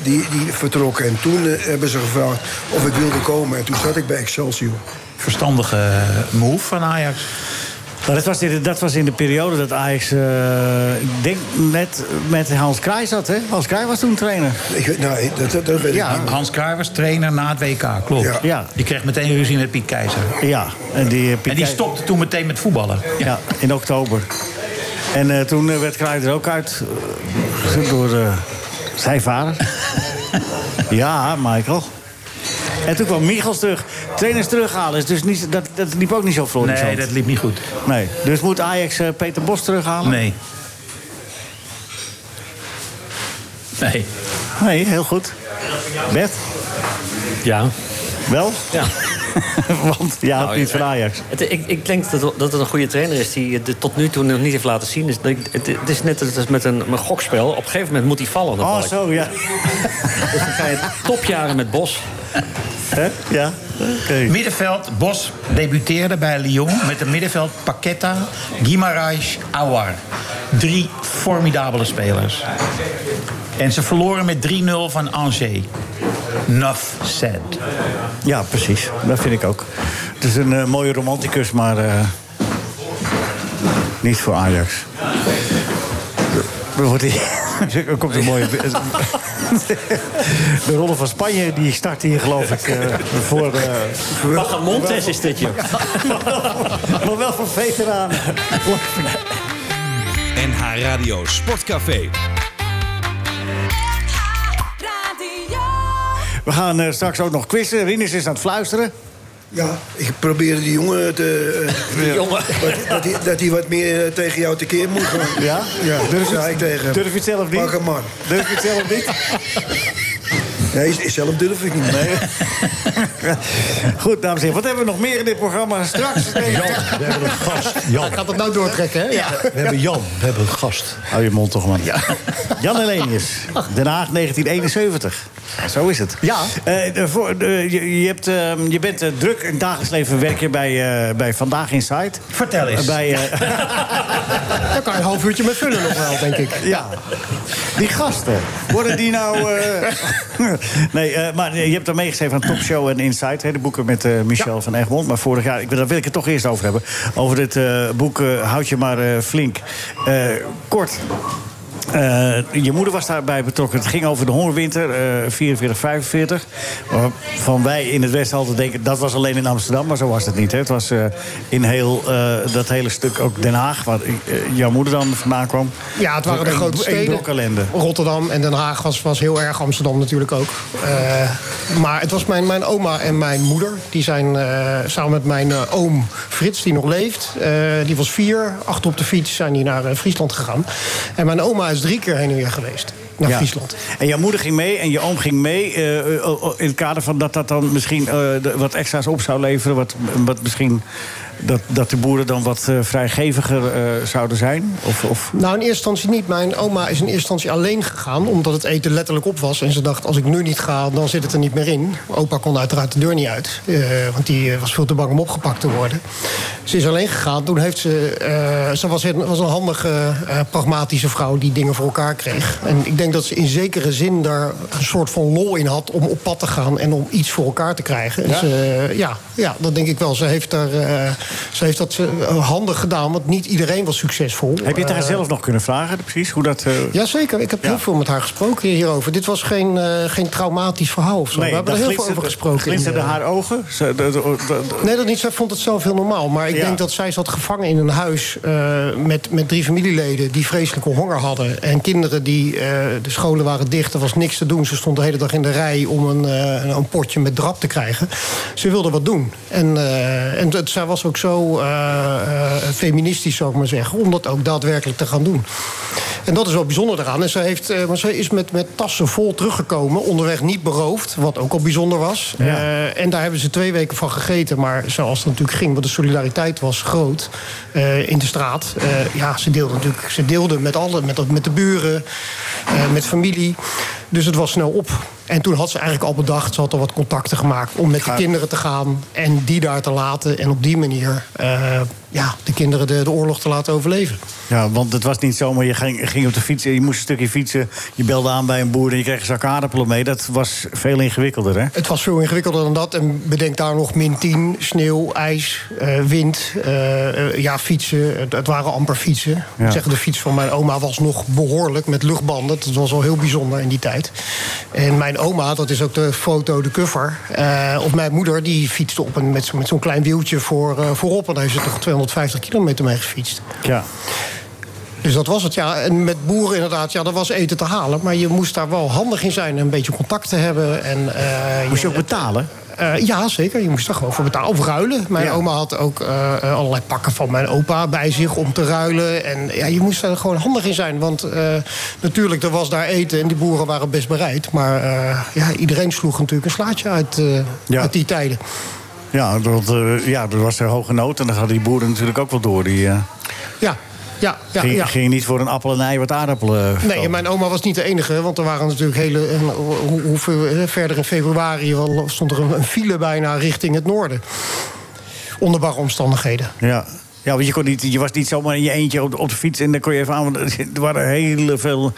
Speaker 6: die, die vertrok. En toen eh, hebben ze gevraagd of ik wilde komen. En toen zat ik bij Excelsior.
Speaker 3: Verstandige move van Ajax.
Speaker 1: Maar dat was, in de, dat was in de periode dat Ajax, eh, ik denk net met Hans Kraai zat, hè? Hans Kraai was toen trainer.
Speaker 6: Ik, weet- nou, dat, dat, dat weet ik
Speaker 1: Ja.
Speaker 6: niet.
Speaker 3: Hans Kraai was trainer na het WK, klopt.
Speaker 6: Ja.
Speaker 1: Ja.
Speaker 3: Die kreeg meteen ruzie met Piet Keizer.
Speaker 1: Ja, en die, eh, Piet
Speaker 3: En die
Speaker 1: Kei-
Speaker 3: stopte toen meteen met voetballen.
Speaker 1: Ja, in oktober. En eh, toen eh, werd Kraai er ook uit. eh, door eh, zijn vader. ja, Michael. En toen kwam Michels terug. Trainers terughalen, is dus niet, dat, dat liep ook niet zo florissant.
Speaker 3: Nee, dat liep niet goed.
Speaker 1: nee. Dus moet Ajax eh, Peter Bos terughalen?
Speaker 3: Nee. Nee.
Speaker 1: Nee, heel goed. Bert,
Speaker 4: Ja.
Speaker 1: wel?
Speaker 4: ja.
Speaker 1: Want ja,
Speaker 4: Nou,
Speaker 1: niet van Ajax.
Speaker 4: Het, ik, ik denk dat, dat het een goede trainer is die het tot nu toe nog niet heeft laten zien. Dus ik- Het, het is net als met een, een gokspel. Op een gegeven moment moet hij vallen. dat
Speaker 1: Oh,
Speaker 4: balk.
Speaker 1: zo, ja.
Speaker 4: Dus dan ga je topjaren met Bos.
Speaker 1: Hè? Ja. Oké.
Speaker 3: Middenveld, Bos debuteerde bij Lyon met een middenveld Paqueta, Guimaraes, Awar. Drie formidabele spelers. En ze verloren met 3-0 van Angers. Nuff said.
Speaker 1: Ja, precies. Dat vind ik ook. Het is een eh, mooie romanticus, maar eh, niet voor Ajax. Dan wordt hij- Er komt een mooie... De rol van Spanje die start hier geloof ik eh, voor... eh,
Speaker 4: Pagamontes is dit, joh.
Speaker 1: maar wel voor veteranen.
Speaker 8: NH Radio Sportcafé.
Speaker 7: Radio.
Speaker 1: We gaan eh, straks ook nog quizzen. Rinus is aan het fluisteren.
Speaker 6: Ja, ik probeerde die jongen te... eh,
Speaker 4: jongen.
Speaker 6: wat- dat hij dat hij wat meer eh, tegen jou tekeer moet gaan.
Speaker 1: Ja?
Speaker 6: Ja,
Speaker 1: Durf
Speaker 6: durf
Speaker 1: je-
Speaker 6: zei ik tegen hem.
Speaker 1: durf je het zelf niet?
Speaker 6: Pak hem maar.
Speaker 1: Durf je het zelf niet?
Speaker 6: Nee, zelf durf ik niet. Nee.
Speaker 1: Goed, dames en heren. Wat hebben we nog meer in dit programma? Straks...
Speaker 2: We hebben een gast, Jan.
Speaker 11: Gaat dat nou doortrekken, hè? Ja.
Speaker 2: We hebben Jan, we hebben een gast.
Speaker 1: Hou je mond toch, man. Jan Helenius, Den Haag 1971. Zo is het.
Speaker 11: Ja.
Speaker 1: Eh, de voor, de- je, je, hebt, eh, je bent eh, druk in het dagelijks leven werk je bij, eh, bij Vandaag Insight.
Speaker 3: Vertel eens.
Speaker 1: Eh, bij, eh,
Speaker 11: Daar kan je een half uurtje mee vullen nog wel, denk ik.
Speaker 1: ja. Die gasten, worden die nou... eh, nee, eh, maar je hebt er meegeschreven aan Top Show en Insight. Hè, de boeken met eh, Michel van Egmond. Maar vorig jaar, ik, wil- daar wil ik het toch eerst over hebben. Over dit eh, boek eh, Houd je maar eh, flink. Eh, kort, Eh, je moeder was daarbij betrokken. Het ging over de hongerwinter, eh 44, 45. Waarvan wij in het Westen altijd denken, dat was alleen in Amsterdam. Maar zo was het niet. Hè. Het was eh, in heel, eh, dat hele stuk ook Den Haag, waar eh, jouw moeder dan vandaan kwam.
Speaker 11: Ja, Ah, het waren de
Speaker 1: Een-
Speaker 11: grote
Speaker 1: een
Speaker 11: steden. Oh,
Speaker 1: blok ellende.
Speaker 11: Rotterdam en Den Haag was, was heel erg. Amsterdam natuurlijk ook. Eh, maar het was mijn, mijn oma en mijn moeder. Die zijn eh, samen met mijn eh, oom Frits, die nog leeft. eh, die was vier. Achter op de fiets zijn die naar eh, Friesland gegaan. En mijn oma is drie keer heen en weer geweest. naar
Speaker 1: Ja.
Speaker 11: Friesland.
Speaker 1: En jouw moeder ging mee en je oom ging mee. eh, eh, oh, in het kader van dat dat dan misschien eh, de- wat extra's op zou leveren. Wat, wat misschien dat, dat de boeren dan wat eh, vrijgeviger eh, zouden zijn. Of, of...
Speaker 11: Nou, in eerste instantie niet. Mijn oma is in eerste instantie alleen gegaan, omdat het eten letterlijk op was. En ze dacht, als ik nu niet ga, dan zit het er niet meer in. Opa kon uiteraard de deur niet uit, eh, want die eh, was veel te bang om opgepakt te worden. Ze is alleen gegaan. Toen heeft ze... eh, ze was een, was een handige, eh, pragmatische vrouw die dingen voor elkaar kreeg. En ik denk dat ze in zekere zin daar een soort van lol in had... om op pad te gaan en om iets voor elkaar te krijgen. En
Speaker 12: Ja?
Speaker 11: ze, eh, ja, ja, dat denk ik wel. Ze heeft, daar, eh, ze heeft dat eh, handig gedaan, want niet iedereen was succesvol.
Speaker 1: Heb je het haar
Speaker 11: Eh,
Speaker 1: zelf nog kunnen vragen, precies? Hoe dat, eh,
Speaker 11: Jazeker, ik heb heel veel met haar gesproken hierover. Dit was geen, eh, geen traumatisch verhaal of zo.
Speaker 1: Nee,
Speaker 11: We hebben
Speaker 1: daar
Speaker 11: er heel veel
Speaker 1: glinsterde-
Speaker 11: over gesproken. in,
Speaker 1: glinsterden
Speaker 11: eh,
Speaker 1: haar ogen? Ze- de- de- de-
Speaker 11: Nee, dat niet. Zij vond het zelf heel normaal. Maar ik
Speaker 1: Ja.
Speaker 11: denk dat zij zat gevangen in een huis eh, met, met drie familieleden die vreselijke honger hadden. En kinderen die, eh, de scholen waren dicht, er was niks te doen. Ze stond de hele dag in de rij om een, eh, een potje met drap te krijgen. Ze wilde wat doen. En, eh, en het, zij was ook zo eh, eh, feministisch, zou ik maar zeggen, om dat ook daadwerkelijk te gaan doen. En dat is wel bijzonder eraan. En zij, heeft, eh, maar zij is met, met tassen vol teruggekomen, onderweg niet beroofd, wat ook al bijzonder was. Eh, en daar hebben ze twee weken van gegeten. Maar zoals het natuurlijk ging, want de solidariteit was groot eh, in de straat. Eh, ja, ze deelden natuurlijk ze deelden met alle, met, met de buren, eh, met familie. Dus het was snel op. En toen had ze eigenlijk al bedacht, ze had al wat contacten gemaakt... om met de kinderen te gaan en die daar te laten. En op die manier eh, ja, de kinderen de, de oorlog te laten overleven.
Speaker 1: Ja, want het was niet zomaar, je ging, ging op de fiets en je moest een stukje fietsen. Je belde aan bij een boer en je kreeg een zak aardappelen mee. Dat was veel ingewikkelder, hè?
Speaker 11: Het was veel ingewikkelder dan dat. En bedenk daar nog min 10, sneeuw, ijs, eh, wind. eh, eh, ja, fietsen. Het, het waren amper fietsen. Ik
Speaker 1: Ja.
Speaker 11: moet zeggen, de fiets van mijn oma was nog behoorlijk met luchtbanden. Dat was al heel bijzonder in die tijd. En mijn oma, dat is ook de foto, de cover. eh, of mijn moeder, die fietste op een, met, zo- met zo'n klein wieltje voor, eh, voorop. En daar heeft ze toch 250 kilometer mee gefietst.
Speaker 1: Ja.
Speaker 11: Dus dat was het, ja. En met boeren inderdaad, ja, er was eten te halen. Maar je moest daar wel handig in zijn en een beetje contact te hebben. En, moest je ook
Speaker 1: betalen?
Speaker 11: ja, zeker. Je moest daar gewoon voor betalen. Of ruilen. Mijn oma had ook eh, allerlei pakken van mijn opa bij zich om te ruilen. En ja, je moest daar gewoon handig in zijn. Want eh, natuurlijk, er was daar eten en die boeren waren best bereid. Maar eh, ja, iedereen sloeg natuurlijk een slaatje uit, eh, uit die tijden.
Speaker 1: Ja, want eh, ja, er was er hoge nood en dat hadden die boeren natuurlijk ook wel door. Die eh,
Speaker 11: Ja, ja, ja.
Speaker 1: ging,
Speaker 11: ja.
Speaker 1: gingen niet voor een appel en ei wat aardappelen.
Speaker 11: Nee, en mijn oma was niet de enige, want er waren natuurlijk hele. en eh, hoe, hoe ver- eh, verder in februari al stond er een, een file bijna richting het noorden. Onder barre omstandigheden.
Speaker 1: Ja. Ja, want je, kon niet, je was niet zomaar in je eentje op de, op de fiets en dan kon je even aan. Want er waren heel veel.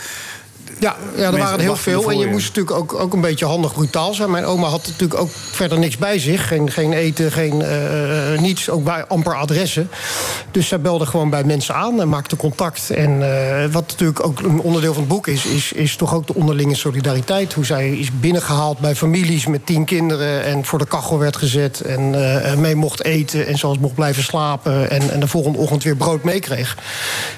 Speaker 11: Ja, ja er
Speaker 1: Mensen
Speaker 11: waren er heel
Speaker 1: wachten
Speaker 11: veel.
Speaker 1: ervoor,
Speaker 11: En je
Speaker 1: ja.
Speaker 11: moest natuurlijk ook, ook een beetje handig brutaal zijn. Mijn oma had natuurlijk ook verder niks bij zich. Geen, geen eten, geen eh, niets. Ook bij amper adressen. Dus zij belde gewoon bij mensen aan en maakte contact. En eh, wat natuurlijk ook een onderdeel van het boek is, is, is toch ook de onderlinge solidariteit. Hoe zij is binnengehaald bij families met tien kinderen. En voor de kachel werd gezet. En eh, mee mocht eten. En zelfs mocht blijven slapen. En, en de volgende ochtend weer brood meekreeg.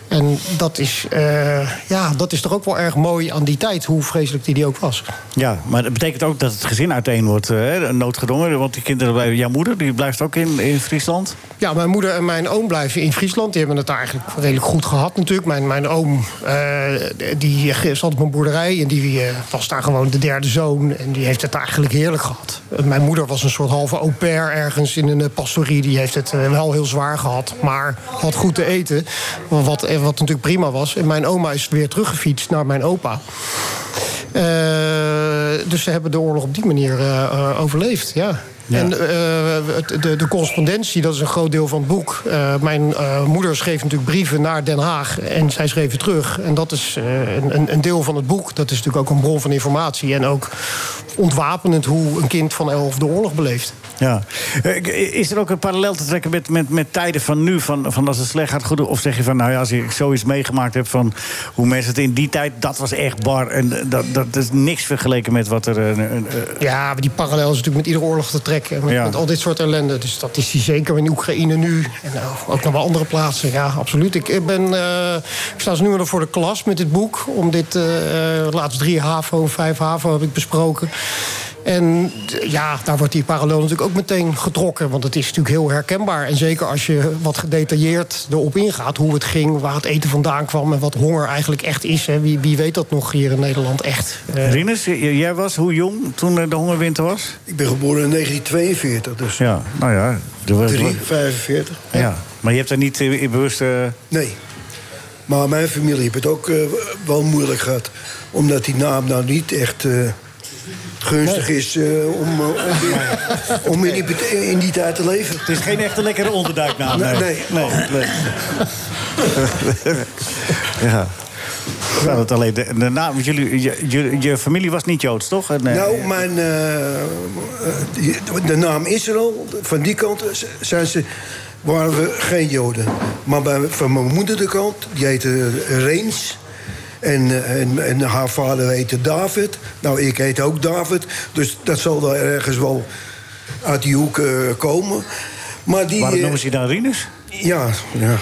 Speaker 11: En dat is, eh, ja, dat is toch ook wel erg mooi aan die tijd, hoe vreselijk die, die ook was.
Speaker 1: Ja, maar dat betekent ook dat het gezin uiteen wordt eh, hè, noodgedwongen. Want die kinderen blijven. Jouw moeder die blijft ook in, in Friesland.
Speaker 11: Ja, mijn moeder en mijn oom blijven in Friesland. Die hebben het daar eigenlijk redelijk goed gehad natuurlijk. Mijn, mijn oom eh, die zat op een boerderij en die eh, was daar gewoon de derde zoon. En die heeft het eigenlijk heerlijk gehad. Eh, Mijn moeder was een soort halve au pair ergens in een eh, pastorie. Die heeft het eh, wel heel zwaar gehad, maar had goed te eten. Wat, eh, wat natuurlijk prima was. En mijn oma is weer teruggefietst naar mijn opa. Eh, dus ze hebben de oorlog op die manier eh, eh, overleefd, ja. En eh, het- de, de correspondentie, dat is een groot deel van het boek. Eh, mijn eh, moeder schreef natuurlijk brieven naar Den Haag en zij schreven terug. En dat is eh, een- een, een deel van het boek. Dat is natuurlijk ook een bron van informatie. En ook ontwapenend hoe een kind van elf de oorlog beleeft.
Speaker 1: Ja. Eh, Is er ook een parallel te trekken met, met, met tijden van nu? Van, van als het slecht gaat, goed. Of zeg je van, nou ja, als ik zoiets meegemaakt heb van hoe mensen het in die tijd, dat was echt bar. En eh, dat, dat is niks vergeleken met wat er. eh, eh, eh,
Speaker 11: Ja, maar die parallel is natuurlijk met iedere oorlog te trekken. Met,
Speaker 1: Ja.
Speaker 11: met al dit soort ellende. Dus dat is die zeker in Oekraïne nu. En nou, ook nog wel andere plaatsen. Ja, absoluut. Ik, ik ben, eh, ik sta dus nu weer voor de klas met dit boek. Om dit, eh eh, laatst drie HAVO, vijf HAVO heb ik besproken. En d- ja, daar wordt die parallel natuurlijk ook meteen getrokken. Want het is natuurlijk heel herkenbaar. En zeker als je wat gedetailleerd erop ingaat. Hoe het ging, waar het eten vandaan kwam. En wat honger eigenlijk echt is. Hè. Wie, wie weet dat nog hier in Nederland echt. Eh,
Speaker 1: Rinus, j- jij was hoe jong toen er de hongerwinter was?
Speaker 6: Ik ben geboren in 1942, dus.
Speaker 1: Ja, nou ja. er was-
Speaker 6: 345.
Speaker 1: ja. Maar je hebt daar niet eh, in bewust... eh,
Speaker 6: Nee. Maar mijn familie heeft het ook eh, wel moeilijk gehad. Omdat die naam nou niet echt eh, gunstig is eh, om, eh, om, in- om in, die, bet- in die tijd te leven.
Speaker 1: Het is geen echte lekkere onderduiknaam.
Speaker 6: Nee, nee.
Speaker 1: ja. Nou, dat alleen de, de naam, want jullie, je, je, je familie was niet Joods, toch? Nee.
Speaker 6: Nou, mijn, eh, eh, die- de naam Israël, van die kant z- zijn ze, waren we geen Joden. Maar bij, van mijn moeder de kant, die heette Reens. En, eh, en, en haar vader heette David. Nou, ik heet ook David. Dus dat zal wel ergens wel uit die hoek eh, komen. Maar die,
Speaker 1: Waarom
Speaker 6: eh,
Speaker 1: noemen ze je dan Rinus?
Speaker 6: Ja, ja.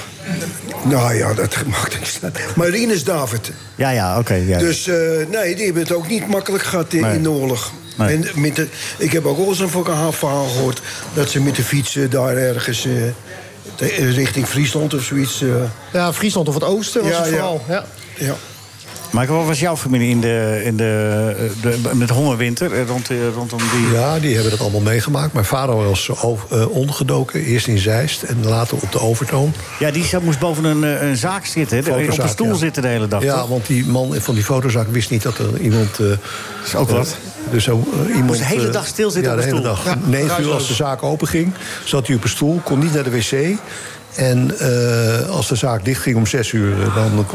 Speaker 6: Nou ja, dat maakt niks uit. Maar Rinus David.
Speaker 1: Ja, Ah ja, oké. ja.
Speaker 6: Dus eh, nee, die hebben het ook niet makkelijk gehad in,
Speaker 1: Nee.
Speaker 6: in de oorlog.
Speaker 1: Nee.
Speaker 6: En met de, ik heb ook al eens een verhaal verhaal gehoord... dat ze met de fietsen daar ergens eh, te- eh, richting Friesland of zoiets... eh,
Speaker 11: ja, Friesland of het Oosten was
Speaker 6: Ja,
Speaker 11: het
Speaker 6: ja.
Speaker 11: vooral. Ja.
Speaker 6: ja.
Speaker 1: Maar wat was jouw familie in de, in de, de- met hongerwinter eh, rond, eh, rondom die...
Speaker 2: Ja, die hebben dat allemaal meegemaakt. Mijn vader was over- eh, ondergedoken, eerst in Zeist en later op de Overtoom.
Speaker 1: Ja, die zat- moest boven een, eh, een zaak zitten, hè? op een
Speaker 2: Fotozaak,
Speaker 1: stoel
Speaker 2: ja.
Speaker 1: zitten de hele dag.
Speaker 2: Ja,
Speaker 1: toch?
Speaker 2: want die man van die fotozaak wist niet dat er iemand... eh,
Speaker 1: is ook
Speaker 2: eh,
Speaker 1: wat.
Speaker 2: dus zo, eh, iemand,
Speaker 1: Moest de hele
Speaker 2: eh,
Speaker 1: dag stilzitten
Speaker 2: ja,
Speaker 1: op een
Speaker 2: de hele
Speaker 1: stoel.
Speaker 2: dag.
Speaker 1: Ja,
Speaker 2: Negen uur
Speaker 1: ruisloos.
Speaker 2: als de zaak open ging, zat hij op een stoel, kon niet naar de wc. En eh, als de zaak dicht ging om zes uur, eh, dan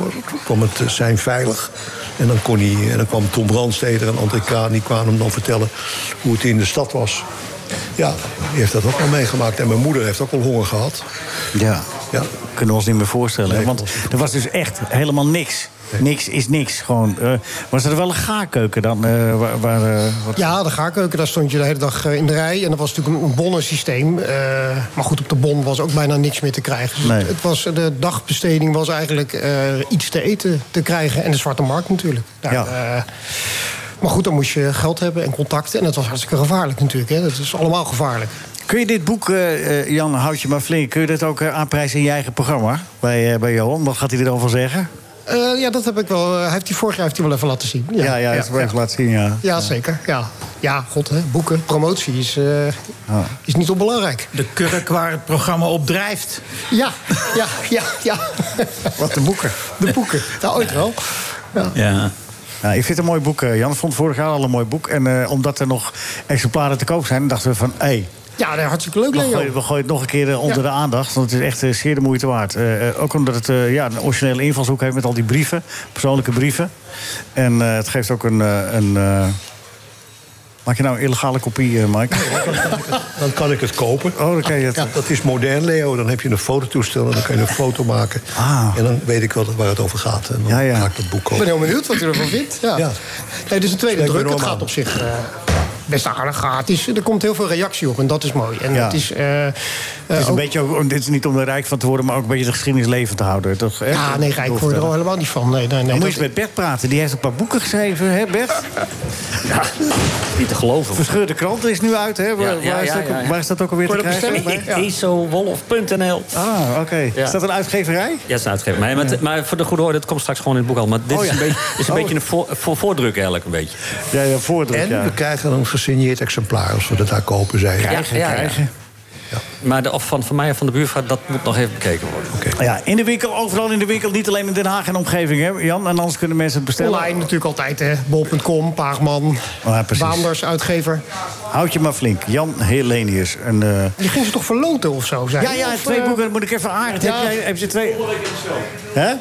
Speaker 2: kwam het eh, zijn veilig. En dan, kon hij, en dan kwam Tom Brandsteder en André Kraan... die kwamen hem dan vertellen hoe het in de stad was. Ja, die heeft dat ook al meegemaakt. En mijn moeder heeft ook al honger gehad.
Speaker 1: Ja.
Speaker 2: Ja.
Speaker 1: Kunnen we ons niet meer voorstellen. hè? Want er was dus echt helemaal niks. Niks is niks. Gewoon, eh, was er wel een gaarkeuken dan? eh, waar, waar, eh, wat-
Speaker 11: Ja, de gaarkeuken, daar stond je de hele dag eh, in de rij. En dat was natuurlijk een- een bonnensysteem. Eh, maar goed, op de bon was ook bijna niks meer te krijgen. Dus
Speaker 1: Nee.
Speaker 11: het, het was, de dagbesteding was eigenlijk eh, iets te eten te krijgen. En de zwarte markt natuurlijk. Daar,
Speaker 1: Ja.
Speaker 11: eh, maar goed, dan moest je geld hebben en contacten. En dat was hartstikke gevaarlijk natuurlijk. Hè. Dat is allemaal gevaarlijk.
Speaker 1: Kun je dit boek, eh, eh, Jan, houd je maar flink... kun je dat ook eh, aanprijzen in je eigen programma? Bij, eh, bij Johan, wat gaat hij er dan van zeggen?
Speaker 11: Eh, ja, dat heb ik wel. eh, hij heeft die vorig jaar heeft hij wel even laten zien.
Speaker 1: Ja, ja, dat wil ik laten zien, ja.
Speaker 11: Ja, zeker. Ja, ja god, hè. boeken, promotie is, eh, is niet onbelangrijk.
Speaker 3: De kurk waar het programma op drijft.
Speaker 11: Ja, ja, ja, ja.
Speaker 1: Wat de boeken.
Speaker 11: De boeken. Nou, ooit wel.
Speaker 3: Ja.
Speaker 1: Nou, ik vind het een mooi boek, eh, Jan. Ik vond het vorig jaar al een mooi boek. En eh, omdat er nog exemplaren te koop zijn, dachten we van... Hey,
Speaker 11: Ja, dat is hartstikke leuk,
Speaker 1: we gooien,
Speaker 11: Leo.
Speaker 1: we gooien het nog een keer eh, onder
Speaker 11: Ja.
Speaker 1: de aandacht. Want het is echt eh, zeer de moeite waard. Eh, eh, ook omdat het eh, ja, een originele invalshoek heeft met al die brieven. Persoonlijke brieven. En eh, het geeft ook een... eh, een eh, Maak je nou een illegale kopie, eh, Mike?
Speaker 2: Dan kan ik het kopen.
Speaker 1: Oh, dan kan je het...
Speaker 2: Ja, dat is modern, Leo. Dan heb je een fototoestel en dan kan je een foto maken.
Speaker 1: Ah.
Speaker 2: En dan weet ik wel waar het over gaat. En dan
Speaker 1: Ja, ja.
Speaker 2: ga ik het boek
Speaker 11: Ik ben
Speaker 2: kopen.
Speaker 11: heel benieuwd wat u ervan vindt. Ja.
Speaker 2: Ja.
Speaker 11: Nee, dus een tweede
Speaker 2: Spreek me
Speaker 11: druk. Het
Speaker 2: normaal.
Speaker 11: gaat op zich eh, best aardig. gratis. er komt heel veel reactie op en dat is mooi. En
Speaker 1: Ja.
Speaker 11: het is, eh, eh,
Speaker 1: Het is, een
Speaker 11: ook-
Speaker 1: beetje, ook- dit is niet om er rijk van te worden, maar ook een beetje de geschiedenis levend te houden. Toch? Hè?
Speaker 11: Ja, nee, Rijk word je er al helemaal niet van. Nee, nee, nee,
Speaker 1: eh, Dan moet
Speaker 11: dat-
Speaker 1: je eens met Bert praten. Die heeft een paar boeken geschreven, hè Bert?
Speaker 4: Niet te geloven.
Speaker 1: Verscheurde krant is nu uit, hè? Waar,
Speaker 4: Ja, ja,
Speaker 1: waar is,
Speaker 4: ja,
Speaker 1: dat,
Speaker 4: ja, ja.
Speaker 1: waar is dat ook alweer te
Speaker 11: Voor de
Speaker 1: krijgen?
Speaker 11: bestemming?
Speaker 1: Bij-
Speaker 4: Isowolf.nl.
Speaker 1: Ah, oké. Is dat een uitgeverij?
Speaker 4: Ja, dat is een uitgever. Maar, maar, maar voor de goede orde, dat komt straks gewoon in het boek al. Maar dit
Speaker 1: Oh,
Speaker 4: is
Speaker 1: ja.
Speaker 4: een beetje, is een, beetje een voor, voor- voordruk eigenlijk een beetje.
Speaker 1: Ja, ja voordruk,
Speaker 2: En
Speaker 1: ja.
Speaker 2: we krijgen een gesigneerd exemplaar als we dat daar kopen, zei hij.
Speaker 4: Ja, ja, ja. Maar de, of van, van mij of van de buurvrouw, dat moet nog even bekeken worden.
Speaker 1: ja. In de winkel, overal in de winkel. Niet alleen in Den Haag en omgeving, hè Jan? En anders kunnen mensen het bestellen. Oh,
Speaker 11: Online natuurlijk altijd, hè. Bol.com, Paagman,
Speaker 1: Ja, precies.
Speaker 11: Waanders, uitgever.
Speaker 1: Houd je maar flink. Jan Helenius. En, eh,
Speaker 11: Je ging ze toch verloten of zo? Zei
Speaker 1: Ja,
Speaker 11: je?
Speaker 1: ja,
Speaker 11: Of,
Speaker 1: twee
Speaker 11: eh,
Speaker 1: boeken. Dat moet ik even aan.
Speaker 11: Ja.
Speaker 1: Heb, jij, heb je twee... Hè?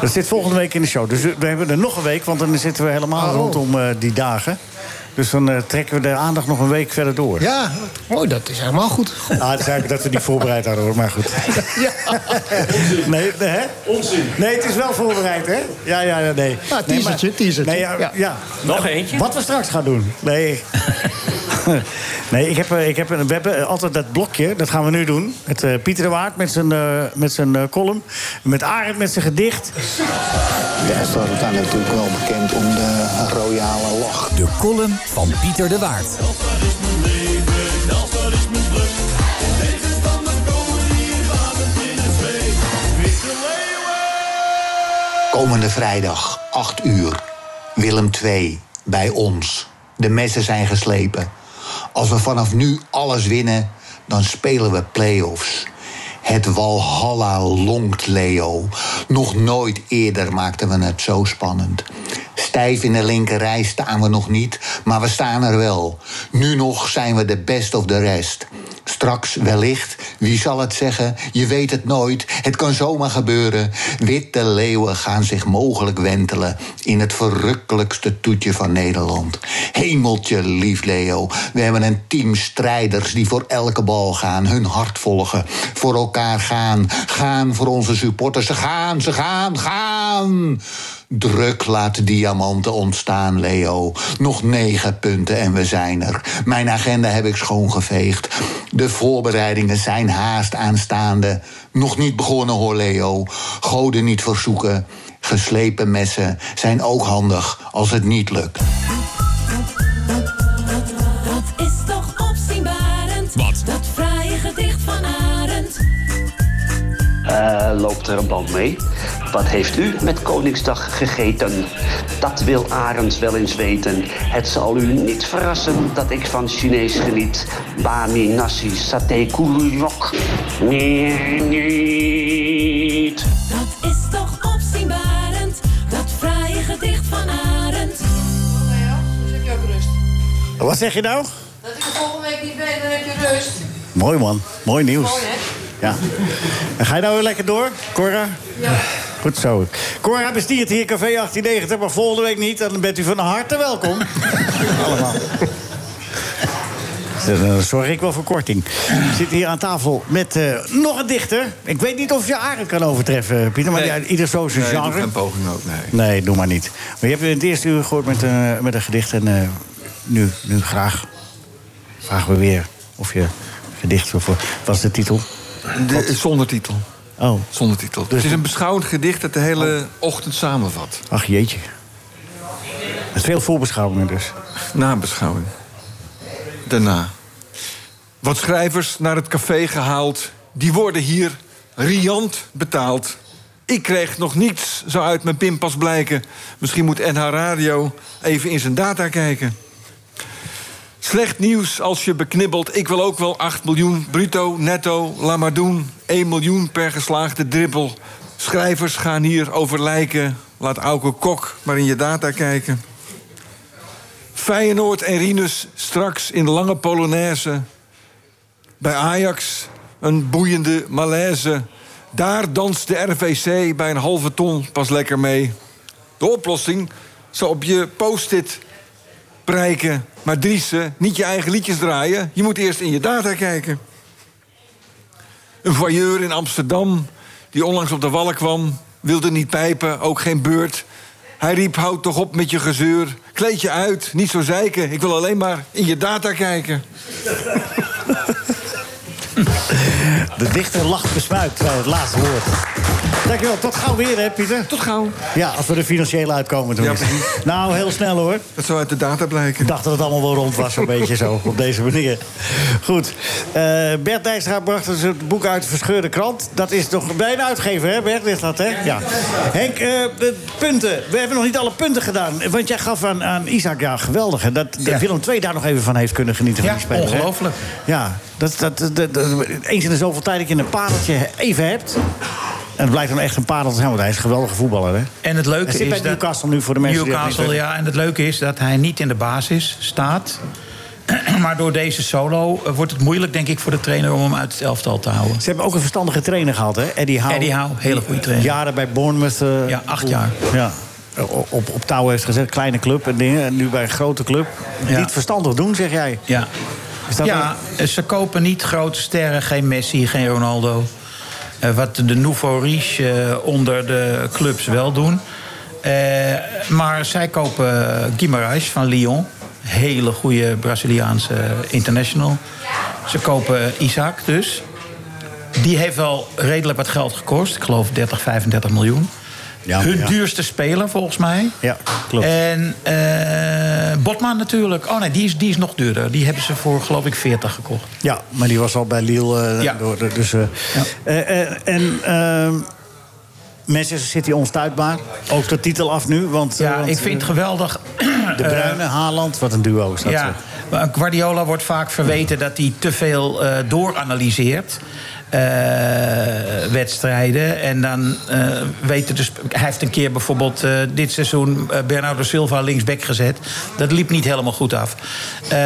Speaker 1: Dat zit volgende week in de show. Dus we hebben er nog een week, want dan zitten we helemaal
Speaker 11: Oh.
Speaker 1: rondom eh, die dagen. Dus dan eh, trekken we de aandacht nog een week verder door.
Speaker 11: Ja, mooi, Oh, dat is helemaal goed.
Speaker 1: Ah, het is eigenlijk dat we niet voorbereid hadden, hoor. Maar goed.
Speaker 11: Ja.
Speaker 1: Nee, nee, hè? Onzin. Nee, het is wel voorbereid, hè? Ja, ja, ja, nee.
Speaker 11: Ja, teasertje,
Speaker 1: nee, maar-
Speaker 11: teasertje.
Speaker 1: Nee, ja, ja.
Speaker 11: Ja.
Speaker 4: Nog eentje?
Speaker 1: Wat we straks gaan doen. Nee. nee, ik heb, eh, ik heb, een- we hebben altijd dat blokje, dat gaan we nu doen. Met eh, Pieter de Waard met zijn, eh, met zijn eh, column. Met Arend met zijn gedicht.
Speaker 12: Meestal wordt daar natuurlijk wel bekend om de royale lach.
Speaker 8: De column van Pieter de Waard.
Speaker 12: Komende vrijdag, 8 uur, Willem II, bij ons. De messen zijn geslepen. Als we vanaf nu alles winnen, dan spelen we play-offs. Het Walhalla longt Leo. Nog nooit eerder maakten we het zo spannend. Stijf in de linkerrij staan we nog niet, maar we staan er wel. Nu nog zijn we de best of the rest. Straks wellicht, wie zal het zeggen? Je weet het nooit, het kan zomaar gebeuren. Witte leeuwen gaan zich mogelijk wentelen in het verrukkelijkste toetje van Nederland. Hemeltje, lief Leo, we hebben een team strijders die voor elke bal gaan, hun hart volgen, voor elkaar gaan, gaan voor onze supporters. Ze gaan, ze gaan, gaan! Druk laat diamanten ontstaan, Leo. Nog negen punten en we zijn er. Mijn agenda heb ik schoongeveegd. De voorbereidingen zijn haast aanstaande. Nog niet begonnen hoor, Leo. Goden niet verzoeken. Geslepen messen zijn ook handig als het niet lukt.
Speaker 7: Dat is toch opzienbarend. Wat? Dat fraaie gedicht van Arend.
Speaker 13: Eh, loopt er een band mee? Wat heeft u met Koningsdag gegeten? Dat wil Arends wel eens weten. Het zal u niet verrassen dat ik van Chinees geniet. Bami, nasi, saté, koelok. Nee, niet.
Speaker 7: Dat is toch opzienbarend. Dat fraaie gedicht van Arend.
Speaker 14: Oh heb je ook rust.
Speaker 1: Wat zeg je nou?
Speaker 14: Dat ik er volgende week niet ben, dan heb je rust.
Speaker 1: Mooi man, mooi nieuws.
Speaker 14: Mooi, hè?
Speaker 1: Ja. En ga je nou weer lekker door, Cora?
Speaker 14: Ja.
Speaker 1: Goed zo. Cora bestiert hier Café 1890, maar volgende week niet. Dan bent u van harte welkom. Allemaal. Dan zorg ik wel voor korting. Ik zit hier aan tafel met eh, nog een dichter. Ik weet niet of je Arend kan overtreffen, Pieter. Maar ja, ieder zo zijn
Speaker 9: Nee, doe
Speaker 1: genre.
Speaker 9: geen poging ook, nee.
Speaker 1: Nee, doe maar niet. Maar je hebt het eerste uur gehoord met een, met een gedicht. En eh, nu, nu graag vragen we weer of je gedicht wil voor. Wat is de titel?
Speaker 9: De- zonder titel.
Speaker 1: Oh.
Speaker 9: Zonder titel. het is een beschouwend gedicht dat de hele ochtend samenvat.
Speaker 1: Ach jeetje. Het is veel voorbeschouwingen dus.
Speaker 9: Nabeschouwing. Daarna. Wat schrijvers naar het café gehaald, die worden hier riant betaald. Ik kreeg nog niets, zou uit mijn pinpas blijken. Misschien moet NH Radio even in zijn data kijken. Slecht nieuws als je beknibbelt. Ik wil ook wel 8 miljoen bruto, netto, laat maar doen. 1 miljoen per geslaagde dribbel. Schrijvers gaan hier over lijken. Laat Auke Kok maar in je data kijken. Feyenoord en Rinus straks in lange Polonaise. Bij Ajax een boeiende malaise. Daar danst de RVC bij een halve ton pas lekker mee. De oplossing zou op je post-it prijken. Maar Driessen, niet je eigen liedjes draaien. Je moet eerst in je data kijken. Een voyeur in Amsterdam, die onlangs op de wallen kwam... wilde niet pijpen, ook geen beurt. Hij riep, houd toch op met je gezeur. Kleed je uit, niet zo zeiken. Ik wil alleen maar in je data kijken.
Speaker 1: De dichter lacht besmuikt bij het laatste woord. Dankjewel, tot gauw weer hè Pieter.
Speaker 9: Tot gauw.
Speaker 1: Ja, als we er financieel uitkomen toen. nou, heel snel hoor.
Speaker 9: Dat zou uit de data blijken.
Speaker 1: Ik dacht dat het allemaal wel rond was, zo'n beetje zo, op deze manier. Goed. Eh, Bert Dijkstra bracht dus het boek uit de Verscheurde Krant. Dat is toch bij een uitgever, hè Bert? Ligt dat, hè? Ja. Henk, eh, de punten. We hebben nog niet alle punten gedaan. Want jij gaf aan, aan Isaac, ja, geweldig. Hè? Dat, dat Willem II daar nog even van heeft kunnen genieten van
Speaker 3: Ja,
Speaker 1: die speler. hè?
Speaker 3: ongelooflijk.
Speaker 1: Ja, dat, dat, dat, dat- eens in de zoveel tijd dat je een pareltje even hebt. En het blijkt dan echt een parel te zijn, want hij is een geweldige voetballer. Hè?
Speaker 3: En het leuke
Speaker 1: hij zit
Speaker 3: is
Speaker 1: bij
Speaker 3: dat-
Speaker 1: Newcastle nu voor de mensen die dat niet
Speaker 3: Newcastle,
Speaker 1: weten.
Speaker 3: ja. En het leuke is dat hij niet in de basis staat. maar door deze solo eh, wordt het moeilijk, denk ik, voor de trainer om hem uit het elftal te houden.
Speaker 1: Ze hebben ook een verstandige trainer gehad, hè? Eddie Howe.
Speaker 3: Eddie Howe, nou, eh, hele goede trainer.
Speaker 1: Jaren bij Bournemouth. eh,
Speaker 3: Ja, acht jaar.
Speaker 1: Ja. o- Op, op touw heeft gezet, kleine club en dingen. En nu bij een grote club.
Speaker 3: Ja.
Speaker 1: Niet verstandig doen, zeg jij.
Speaker 3: Ja,
Speaker 1: Is dat
Speaker 3: ja eh, ze kopen niet grote sterren, geen Messi, geen Ronaldo. Eh, wat de nouveau riche eh, onder de clubs wel doen. Eh, maar zij kopen Guimaraes van Lyon. hele goede Braziliaanse international. Ze kopen Isaac dus. Die heeft wel redelijk wat geld gekost. Ik geloof 30, 35 miljoen.
Speaker 1: Ja,
Speaker 3: Hun
Speaker 1: ja.
Speaker 3: duurste speler volgens mij.
Speaker 1: Ja,
Speaker 3: klopt. En eh, Botman natuurlijk. Oh nee, die is, die is nog duurder. Die hebben ze voor geloof ik 40 gekocht.
Speaker 1: Ja, maar die was al bij Lille. eh, door, door- dus, eh, eh, eh, en ehm, Manchester City onstuitbaar. Ook de titel af nu. Want, eh, ja,
Speaker 3: ik vind het geweldig.
Speaker 1: De Bruyne, Haaland, wat een duo is dat.
Speaker 3: Ja,
Speaker 1: zeg.
Speaker 3: maar Guardiola wordt vaak verweten dat hij te veel eh, dooranalyseert. eh, wedstrijden. En dan eh, weten de sp- Hij heeft een keer bijvoorbeeld eh, dit seizoen eh, Bernardo Silva linksback gezet. Dat liep niet helemaal goed af. Eh,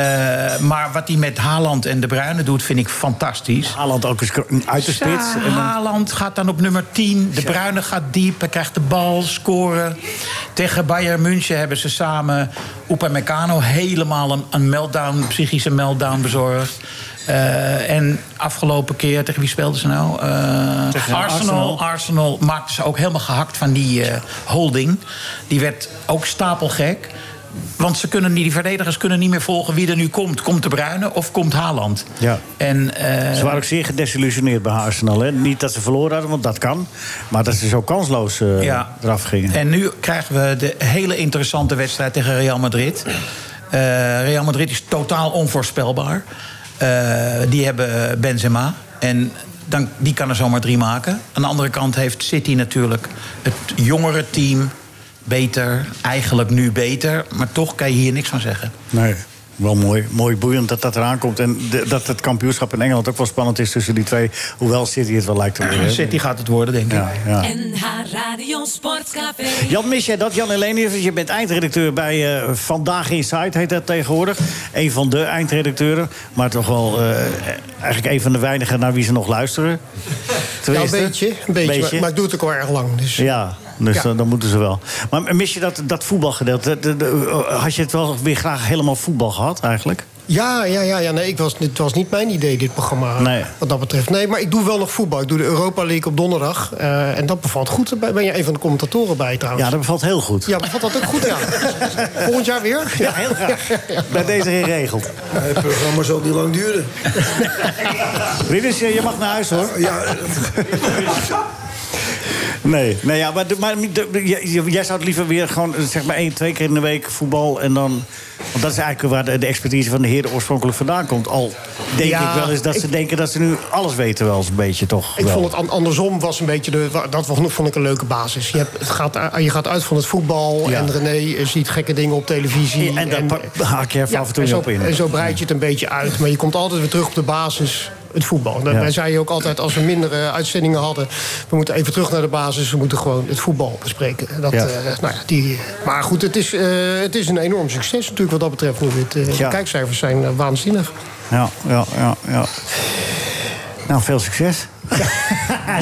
Speaker 3: maar wat hij met Haaland en De Bruyne doet, vind ik fantastisch.
Speaker 1: Haaland ook eens uit de spits.
Speaker 3: Ja, Haaland gaat dan op nummer 10. De Bruyne gaat diep. Hij krijgt de bal, scoren. Tegen Bayern München hebben ze samen Upamecano helemaal een, een meltdown, een psychische meltdown bezorgd. Eh, en afgelopen keer, tegen wie speelden ze nou? Eh,
Speaker 15: Tegen
Speaker 3: Arsenal,
Speaker 15: Arsenal.
Speaker 3: Arsenal. maakte ze ook helemaal gehakt van die eh, holding. Die werd ook stapelgek. Want ze kunnen niet, die verdedigers kunnen niet meer volgen wie er nu komt. Komt de Bruyne of komt Haaland?
Speaker 1: Ja.
Speaker 3: En, eh,
Speaker 1: Ze waren ook zeer gedesillusioneerd bij Arsenal. Hè? Niet dat ze verloren hadden, want dat kan. Maar dat ze zo kansloos eh,
Speaker 3: Ja.
Speaker 1: eraf gingen.
Speaker 3: En nu krijgen we de hele interessante wedstrijd tegen Real Madrid. Eh, Real Madrid is totaal onvoorspelbaar. Eh, die hebben Benzema. En dan, die kan er zomaar drie maken. Aan de andere kant heeft City natuurlijk het jongere team. Beter, eigenlijk nu beter. Maar toch kan je hier niks van zeggen.
Speaker 1: Nee, wel mooi. Mooi boeiend dat dat eraan komt. En de- dat het kampioenschap in Engeland ook wel spannend is tussen die twee. Hoewel City het wel lijkt te worden. hè?
Speaker 3: City gaat het worden, denk ik.
Speaker 1: Ja, ja.
Speaker 7: NH Radio Sportcafé.
Speaker 1: Jan, mis jij dat? Jan Helenius, je bent eindredacteur bij eh, Vandaag Insight, heet dat tegenwoordig. Een van de eindredacteuren. Maar toch wel eh, eigenlijk een van de weinigen naar wie ze nog luisteren.
Speaker 11: Nou, een
Speaker 1: Tenminste.
Speaker 11: beetje, een beetje, Maar, maar ik doe het ook al erg lang. Dus.
Speaker 1: Ja, dus
Speaker 11: Ja.
Speaker 1: Dan, dan moeten ze wel. Maar mis je dat, dat voetbalgedeelte? Dat- dat- dat- Had je het wel weer graag helemaal voetbal gehad eigenlijk?
Speaker 11: Ja, ja, ja, ja. Nee, ik was, dit was niet mijn idee, dit programma.
Speaker 1: Nee.
Speaker 11: Wat dat betreft. Nee, maar ik doe wel nog voetbal. Ik doe de Europa League op donderdag. eh, en dat bevalt goed. Daar ben je een van de commentatoren bij trouwens.
Speaker 1: Ja, dat bevalt heel goed.
Speaker 11: Ja, bevalt dat ook goed, ja. Volgend jaar weer?
Speaker 1: Ja, heel graag. Bij deze geregeld.
Speaker 6: Het programma zal niet lang duren.
Speaker 1: Ridders, eh, je mag naar huis hoor.
Speaker 6: Ja,
Speaker 1: Nee, nee ja, maar, de- maar de- jij, jij zou het liever weer gewoon eh, zeg maar één, twee keer in de week voetbal en dan. Want dat is eigenlijk waar de, de expertise van de heren oorspronkelijk vandaan komt. Al denk
Speaker 11: Ja,
Speaker 1: ik wel eens dat ze
Speaker 11: ik-
Speaker 1: denken dat ze nu alles weten, wel eens een beetje toch?
Speaker 11: Ik
Speaker 1: wel.
Speaker 11: vond het an- andersom was een beetje de. wa- Dat vond vond ik een leuke basis. Je, hebt, het gaat, u- je gaat uit van het voetbal.
Speaker 1: Ja.
Speaker 11: En René eh, ziet gekke dingen op televisie.
Speaker 1: En daar pa- haak je even af en toe
Speaker 11: zo,
Speaker 1: op in.
Speaker 11: En zo breid je het een beetje uit. Maar je komt altijd weer terug op de basis. Het voetbal. Wij
Speaker 1: Ja.
Speaker 11: zei je ook altijd, als we mindere uitzendingen hadden... we moeten even terug naar de basis, we moeten gewoon het voetbal bespreken. Dat,
Speaker 1: Ja.
Speaker 11: eh, nou ja, die, maar goed, het is, eh, het is een enorm succes natuurlijk wat dat betreft. Nu dit, eh,
Speaker 1: Ja.
Speaker 11: De kijkcijfers zijn eh, waanzinnig.
Speaker 1: Ja, ja, ja, ja. Nou, veel succes.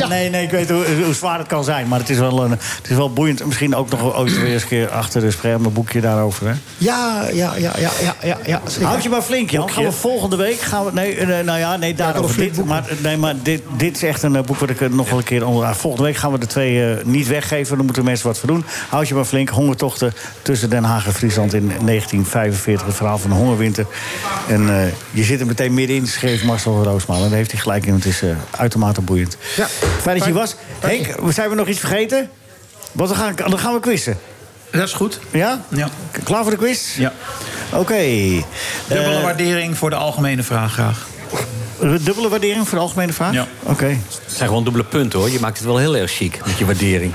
Speaker 1: nee, nee, ik weet hoe, hoe zwaar het kan zijn. Maar het is wel, een, het is wel boeiend. Misschien ook nog ooit weer eens een keer achter de schermen een boekje daarover. Hè?
Speaker 11: Ja, ja, ja, ja, ja, ja. ja zeker.
Speaker 1: Houd je maar flink, Jan. Gaan we volgende week... Gaan we, nee, eh, nou ja, nee, daarover dit. Maar, nee, maar dit, dit is echt een eh, boek wat ik eh, nog wel een keer onder... ah, Volgende week gaan we de twee eh, niet weggeven. Dan moeten mensen wat voor doen. Houd je maar flink. Hongertochten tussen Den Haag en Friesland in 1945. Het verhaal van de hongerwinter. En eh, je zit er meteen middenin, schreef Marcel Roosmaal. En daar heeft hij gelijk in. Het is eh, uitermate boeiend. Fijn dat je was. Henk, zijn we nog iets vergeten? Want dan gaan, dan gaan we quizzen.
Speaker 3: Dat is goed.
Speaker 1: Ja?
Speaker 3: Ja.
Speaker 1: Klaar voor de quiz?
Speaker 3: Ja.
Speaker 1: Oké.
Speaker 3: Dubbele
Speaker 1: Eh,
Speaker 3: waardering voor de algemene vraag graag.
Speaker 1: Dubbele waardering voor de algemene vraag?
Speaker 3: Ja.
Speaker 1: Oké.
Speaker 4: Het zijn gewoon dubbele punten hoor. Je maakt het wel heel erg chic met je waardering.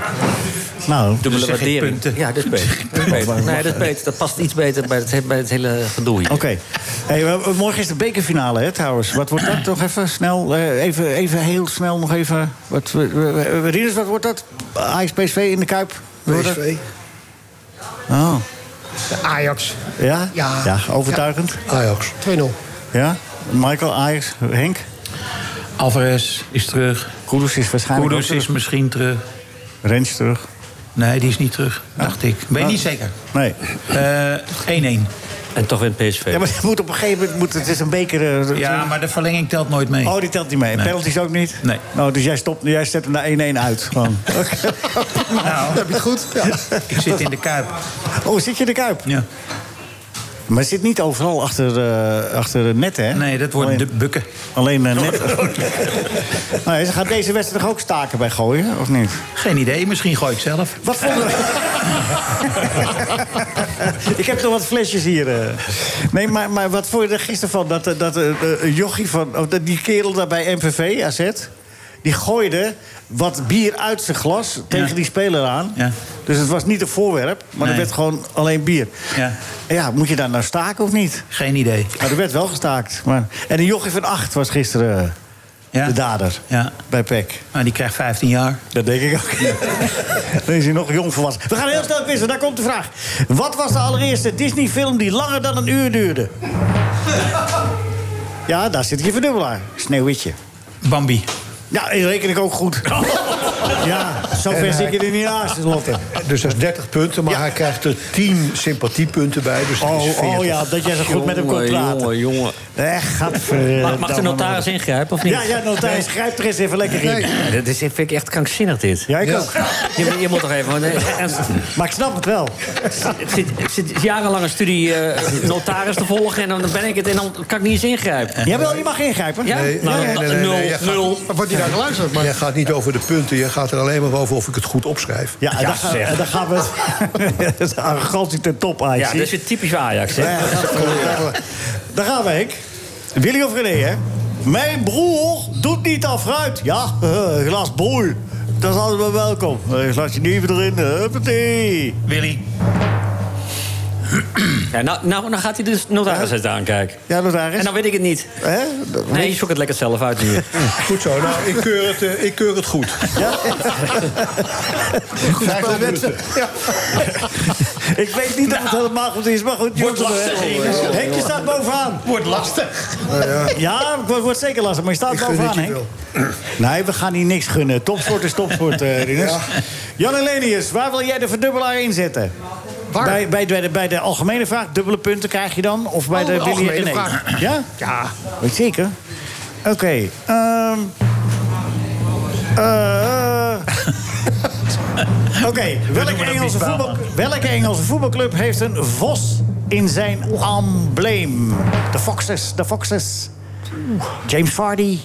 Speaker 1: Nou,
Speaker 4: dubbele
Speaker 1: dus zeg ik
Speaker 4: waardering.
Speaker 1: punten.
Speaker 4: Ja, dat is beter. Dat is beter. Nee, dat is beter. Dat past iets beter bij het, he- bij het hele gedoe hier.
Speaker 1: Oké. Hey, we- morgen is de bekerfinale, hè, trouwens. Wat wordt dat? Toch even snel, eh, even, even heel snel nog even. Wat, we- we- we- we- Rinus, wat wordt dat? Ajax PSV in de Kuip?
Speaker 6: PSV.
Speaker 1: Oh,
Speaker 11: Ajax.
Speaker 1: ja?
Speaker 11: Ja.
Speaker 1: overtuigend?
Speaker 2: Ajax.
Speaker 11: 2-0.
Speaker 1: Ja? Michael, Ajax, Henk?
Speaker 3: Alvarez is terug.
Speaker 1: Kudus is waarschijnlijk
Speaker 3: Kudus
Speaker 1: ook
Speaker 3: is misschien terug.
Speaker 1: Rens terug. Ah.
Speaker 3: Nee, die is niet terug, dacht ik. Ben je niet zeker?
Speaker 1: Nee.
Speaker 3: Eh 1-1.
Speaker 4: En toch wint PSV.
Speaker 1: Ja, maar het moet op een gegeven moment... Moet, het is een beker... eh,
Speaker 3: Ja, maar de verlenging telt nooit mee.
Speaker 1: Oh, die telt niet mee. En
Speaker 3: Nee.
Speaker 1: penalties ook niet?
Speaker 3: Nee.
Speaker 1: Oh, dus jij, stopt, jij zet hem naar 1-1 uit, gewoon. Oké.
Speaker 3: Nou,
Speaker 11: heb je het goed?
Speaker 3: Ik zit in de kuip.
Speaker 1: Oh, zit je in de Kuip?
Speaker 3: Ja.
Speaker 1: Maar het zit niet overal achter, eh, achter de netten, hè? Nee,
Speaker 3: dat worden de bukken. Oh,
Speaker 1: Alleen eh, netten. nee, ze gaat deze wedstrijd toch ook staken bij gooien, of niet?
Speaker 3: Geen idee, misschien gooi ik zelf.
Speaker 1: Wat vonden Ik heb nog wat flesjes hier. eh. Nee, maar, maar wat vond je er gisteren van? Dat, eh, dat eh, eh, jochie van... Of dat die kerel daar bij MVV, AZ... die gooide wat bier uit zijn glas tegen die speler aan. Dus het was niet een voorwerp, maar er
Speaker 3: Nee.
Speaker 1: werd gewoon alleen bier.
Speaker 3: Ja.
Speaker 1: ja, moet je daar nou staken of niet?
Speaker 3: Geen idee.
Speaker 1: Maar er werd wel gestaakt. Maar... En een jochie van acht was gisteren eh, de dader bij PEC.
Speaker 3: Maar Nou, die krijgt 15 jaar.
Speaker 1: Dat denk ik ook. Dan is hij nog jong volwassen. We gaan heel snel quizzen, daar komt de vraag. Wat was de allereerste Disney-film die langer dan een uur duurde? Ja, daar zit je verdubbelaar. Sneeuwwitje.
Speaker 3: Bambi.
Speaker 1: Ja, die reken ik ook goed. Ja, zo
Speaker 3: eh,
Speaker 1: ver zit je er niet naast, Lotte.
Speaker 2: Dus dat is 30 punten, maar hij krijgt er 10 sympathiepunten bij. Dus dat is
Speaker 1: Oh,
Speaker 2: 40.
Speaker 1: oh ja, dat jij zo goed met hem kon praten.
Speaker 4: jongen.
Speaker 1: Echt, gadver...
Speaker 4: Mag, mag de notaris ingrijpen of niet?
Speaker 1: Ja, ja, notaris, grijp er eens even lekker in.
Speaker 4: Ja, dat is, vind ik echt krankzinnig, dit.
Speaker 1: Ja, ik
Speaker 4: Ja.
Speaker 1: ook.
Speaker 4: Je, je moet toch even... want, eh, en-
Speaker 1: Maar ik snap het wel.
Speaker 4: Ik zit, ik zit jarenlang een studie eh, notaris te volgen... en dan ben ik het en dan kan ik niet eens ingrijpen.
Speaker 1: Jawel, je mag ingrijpen.
Speaker 4: Ja?
Speaker 2: Nee,
Speaker 4: nou,
Speaker 2: nee, nee, nee,
Speaker 4: nul,
Speaker 2: nee, jij gaat-
Speaker 4: nul.
Speaker 2: Maar jij gaat niet over de punten, je gaat er alleen maar over of ik het goed opschrijf.
Speaker 1: Ja, daar, gaan- daar gaan we het. Dat is arrogantie ten top, Ajax.
Speaker 4: Ja, dit is weer typisch Ajax, hè?
Speaker 1: Ja, Daar gaan we, Henk. Willy of René, hè? Mijn broer doet niet aan fruit. Ja, eh, glas broer. Dat is altijd wel welkom. Eh, Glas je nieuwe erin. Huppatee.
Speaker 3: Willy.
Speaker 4: Ja, nou, nou, dan gaat hij dus notaris eens aankijken.
Speaker 1: Ja, notaris.
Speaker 4: En dan weet ik het niet. Nee, zoek het lekker zelf uit nu.
Speaker 2: Goed zo, nou, ik keur het, eh, ik keur het goed.
Speaker 1: Goed spel, mensen. Ja. Ik weet niet of het helemaal goed is, maar goed.
Speaker 3: Wordt
Speaker 1: jongens,
Speaker 3: lastig,
Speaker 1: eh,
Speaker 3: Henk.
Speaker 1: Henk, je staat bovenaan.
Speaker 3: Wordt lastig.
Speaker 1: ja, het wordt- wordt zeker lastig, maar je staat
Speaker 3: Ik gun het
Speaker 1: bovenaan,
Speaker 3: je
Speaker 1: Henk. Nee, we gaan hier niks gunnen. Topsport is topsport, eh Rinus. Jan Elenius, waar wil jij de verdubbelaar inzetten? Waar? Bij, bij, bij, de, bij de algemene vraag, dubbele punten krijg je dan? Of bij
Speaker 11: Oh,
Speaker 1: de
Speaker 11: de
Speaker 1: Willy
Speaker 11: algemene
Speaker 1: René?
Speaker 11: vraag.
Speaker 1: Ja? Ja. Weet je zeker? Oké. ehm, eh, Oké, welke, Engelse voetbal- welke Engelse voetbalclub heeft een vos in zijn embleem? De Foxes, de Foxes. James Vardy.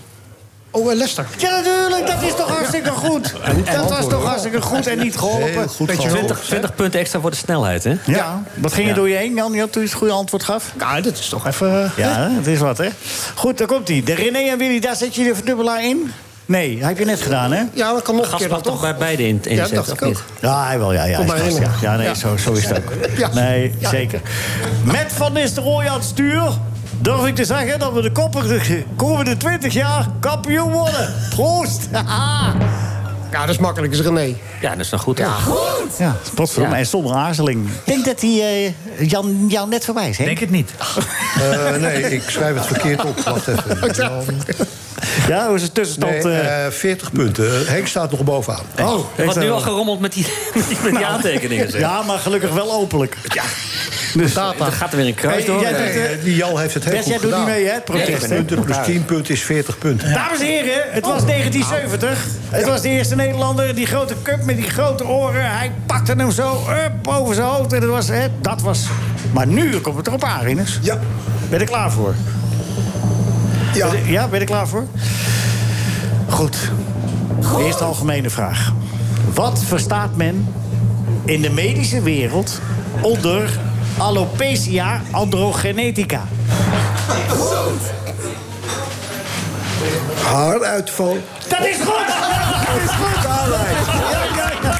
Speaker 11: Oh, en Leicester.
Speaker 1: Ja, natuurlijk, dat is toch hartstikke goed. Dat was toch hartstikke goed en niet geholpen.
Speaker 4: Beetje 20, 20 punten extra voor de snelheid, hè?
Speaker 1: Ja, wat ging er door je heen, Jan, Jan, toen je het goede antwoord gaf?
Speaker 11: Nou, dat is toch even...
Speaker 1: Ja, hè, het is wat, hè? Goed, daar komt hij. De René en Willy, daar zet je de verdubbelaar in? Nee, heb je net gedaan, hè?
Speaker 11: Ja, dat kan nog een
Speaker 4: Gas
Speaker 11: keer dan
Speaker 4: mag
Speaker 11: toch?
Speaker 4: toch bij beide in,
Speaker 11: Ja, dat
Speaker 4: inzetten,
Speaker 11: dacht
Speaker 4: of
Speaker 11: ik
Speaker 4: niet?
Speaker 11: ook.
Speaker 1: Ja, hij wel, ja. Ah ja,
Speaker 11: Kom
Speaker 1: hij
Speaker 11: maar
Speaker 1: is
Speaker 11: in,
Speaker 1: vast, ja.
Speaker 11: ja.
Speaker 1: ja, nee,
Speaker 11: Ja.
Speaker 1: Zo, zo is het ook.
Speaker 11: Ja.
Speaker 1: Nee,
Speaker 11: Ja.
Speaker 1: zeker. Met Van Nistelrooy aan het stuur... durf ik te zeggen dat we de koppen de komende 20 jaar kampioen worden. Proost!
Speaker 11: Ja, dat is makkelijk, dat is René.
Speaker 4: Ja, dat is dan goed.
Speaker 11: Ja.
Speaker 1: Goed! Ja, potverdomme.
Speaker 4: Ja.
Speaker 1: En zonder aarzeling. Ik denk dat hij eh, Jan, Jan net voorbij is, hè?
Speaker 3: Denk het niet.
Speaker 2: Eh, nee, ik schrijf het verkeerd op. Wacht even.
Speaker 1: Oh. Ja, hoe is de
Speaker 2: Nee,
Speaker 1: tussenstand? eh?
Speaker 2: eh, 40 punten. Henk staat nog bovenaan.
Speaker 1: Oh,
Speaker 4: Er
Speaker 1: ik
Speaker 4: wordt
Speaker 1: zou-
Speaker 4: nu al gerommeld met die, met die, met die aantekeningen, zeg.
Speaker 1: Nou. Ja, maar gelukkig wel openlijk. Ja. Dus,
Speaker 4: Er gaat er weer een kruis
Speaker 1: Hey,
Speaker 4: door.
Speaker 1: jij
Speaker 4: Nee.
Speaker 1: doet, eh,
Speaker 2: Eh, die Jal heeft het heel
Speaker 1: Best,
Speaker 2: goed
Speaker 1: jij doet
Speaker 2: gedaan.
Speaker 1: niet mee, hè? het Protest,
Speaker 2: 10
Speaker 1: hè?
Speaker 2: punten plus 10 punten is 40 punten.
Speaker 1: Dames en heren, het
Speaker 6: Oh.
Speaker 1: was 1970. Het was de eerste Nederlander, die grote cup met die grote oren. Hij pakte hem zo up over zijn hoofd. En dat was, hè, dat was... Maar nu komt het erop aan, Rinus.
Speaker 6: Ja.
Speaker 1: Ben je er klaar voor?
Speaker 6: Ja.
Speaker 1: Ben je- ja, ben je er klaar voor? Goed. Eerst de algemene vraag. Wat verstaat men in de medische wereld onder alopecia androgenetica?
Speaker 6: Haaruitval.
Speaker 1: Dat is goed! Dat is goed, Alex. Ja, ja, ja.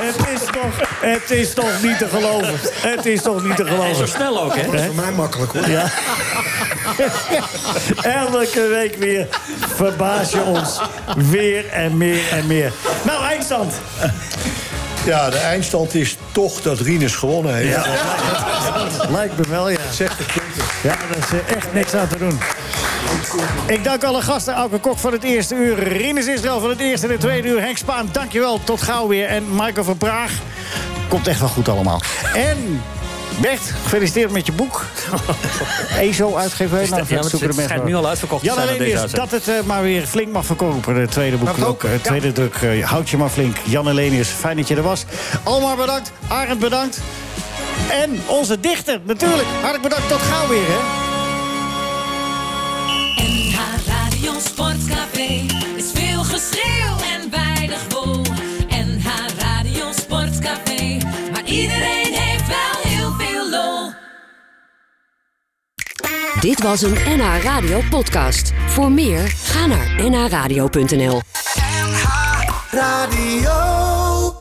Speaker 1: Het is, toch, het is toch niet te geloven. Het is toch niet te
Speaker 4: En zo
Speaker 1: geloven.
Speaker 4: snel ook, hè?
Speaker 6: Dat is voor mij makkelijk hoor.
Speaker 1: Ja. Elke week weer verbaas je ons. Weer en meer en meer. Nou, eindstand.
Speaker 2: Ja, de eindstand is toch dat Rinus gewonnen heeft.
Speaker 1: Lijkt me wel, ja.
Speaker 2: Zegt de punten.
Speaker 1: Ja, daar is eh, echt niks aan te doen. Ik dank alle gasten. Auke Kok van het eerste uur. Rinus Israël van het eerste en het tweede uur. Henk Spaan, dankjewel. Tot gauw weer. En Michael van Praag. Komt echt wel goed allemaal. En Bert, gefeliciteerd met je boek. ESO uitgever. Nou,
Speaker 4: Ja, want het schijnt nu al uitverkocht te
Speaker 1: Ja,
Speaker 4: zijn.
Speaker 1: alleen
Speaker 4: aan deze
Speaker 1: is
Speaker 4: uitzending.
Speaker 1: dat het eh, maar weer flink mag verkopen. Het tweede boek ook. eh, tweede druk. eh, houd je maar flink. Jan Elenius, fijn dat je er was. Almar bedankt. Arend bedankt. En onze dichter, natuurlijk. Hartelijk bedankt. Tot gauw weer, hè.
Speaker 7: NH Radio Sportcafé is veel geschreeuw en weinig wol. NH Radio Sportcafé, maar iedereen heeft wel heel veel lol.
Speaker 15: Dit was een NH Radio podcast. Voor meer, ga naar nhradio.nl.
Speaker 7: Radio.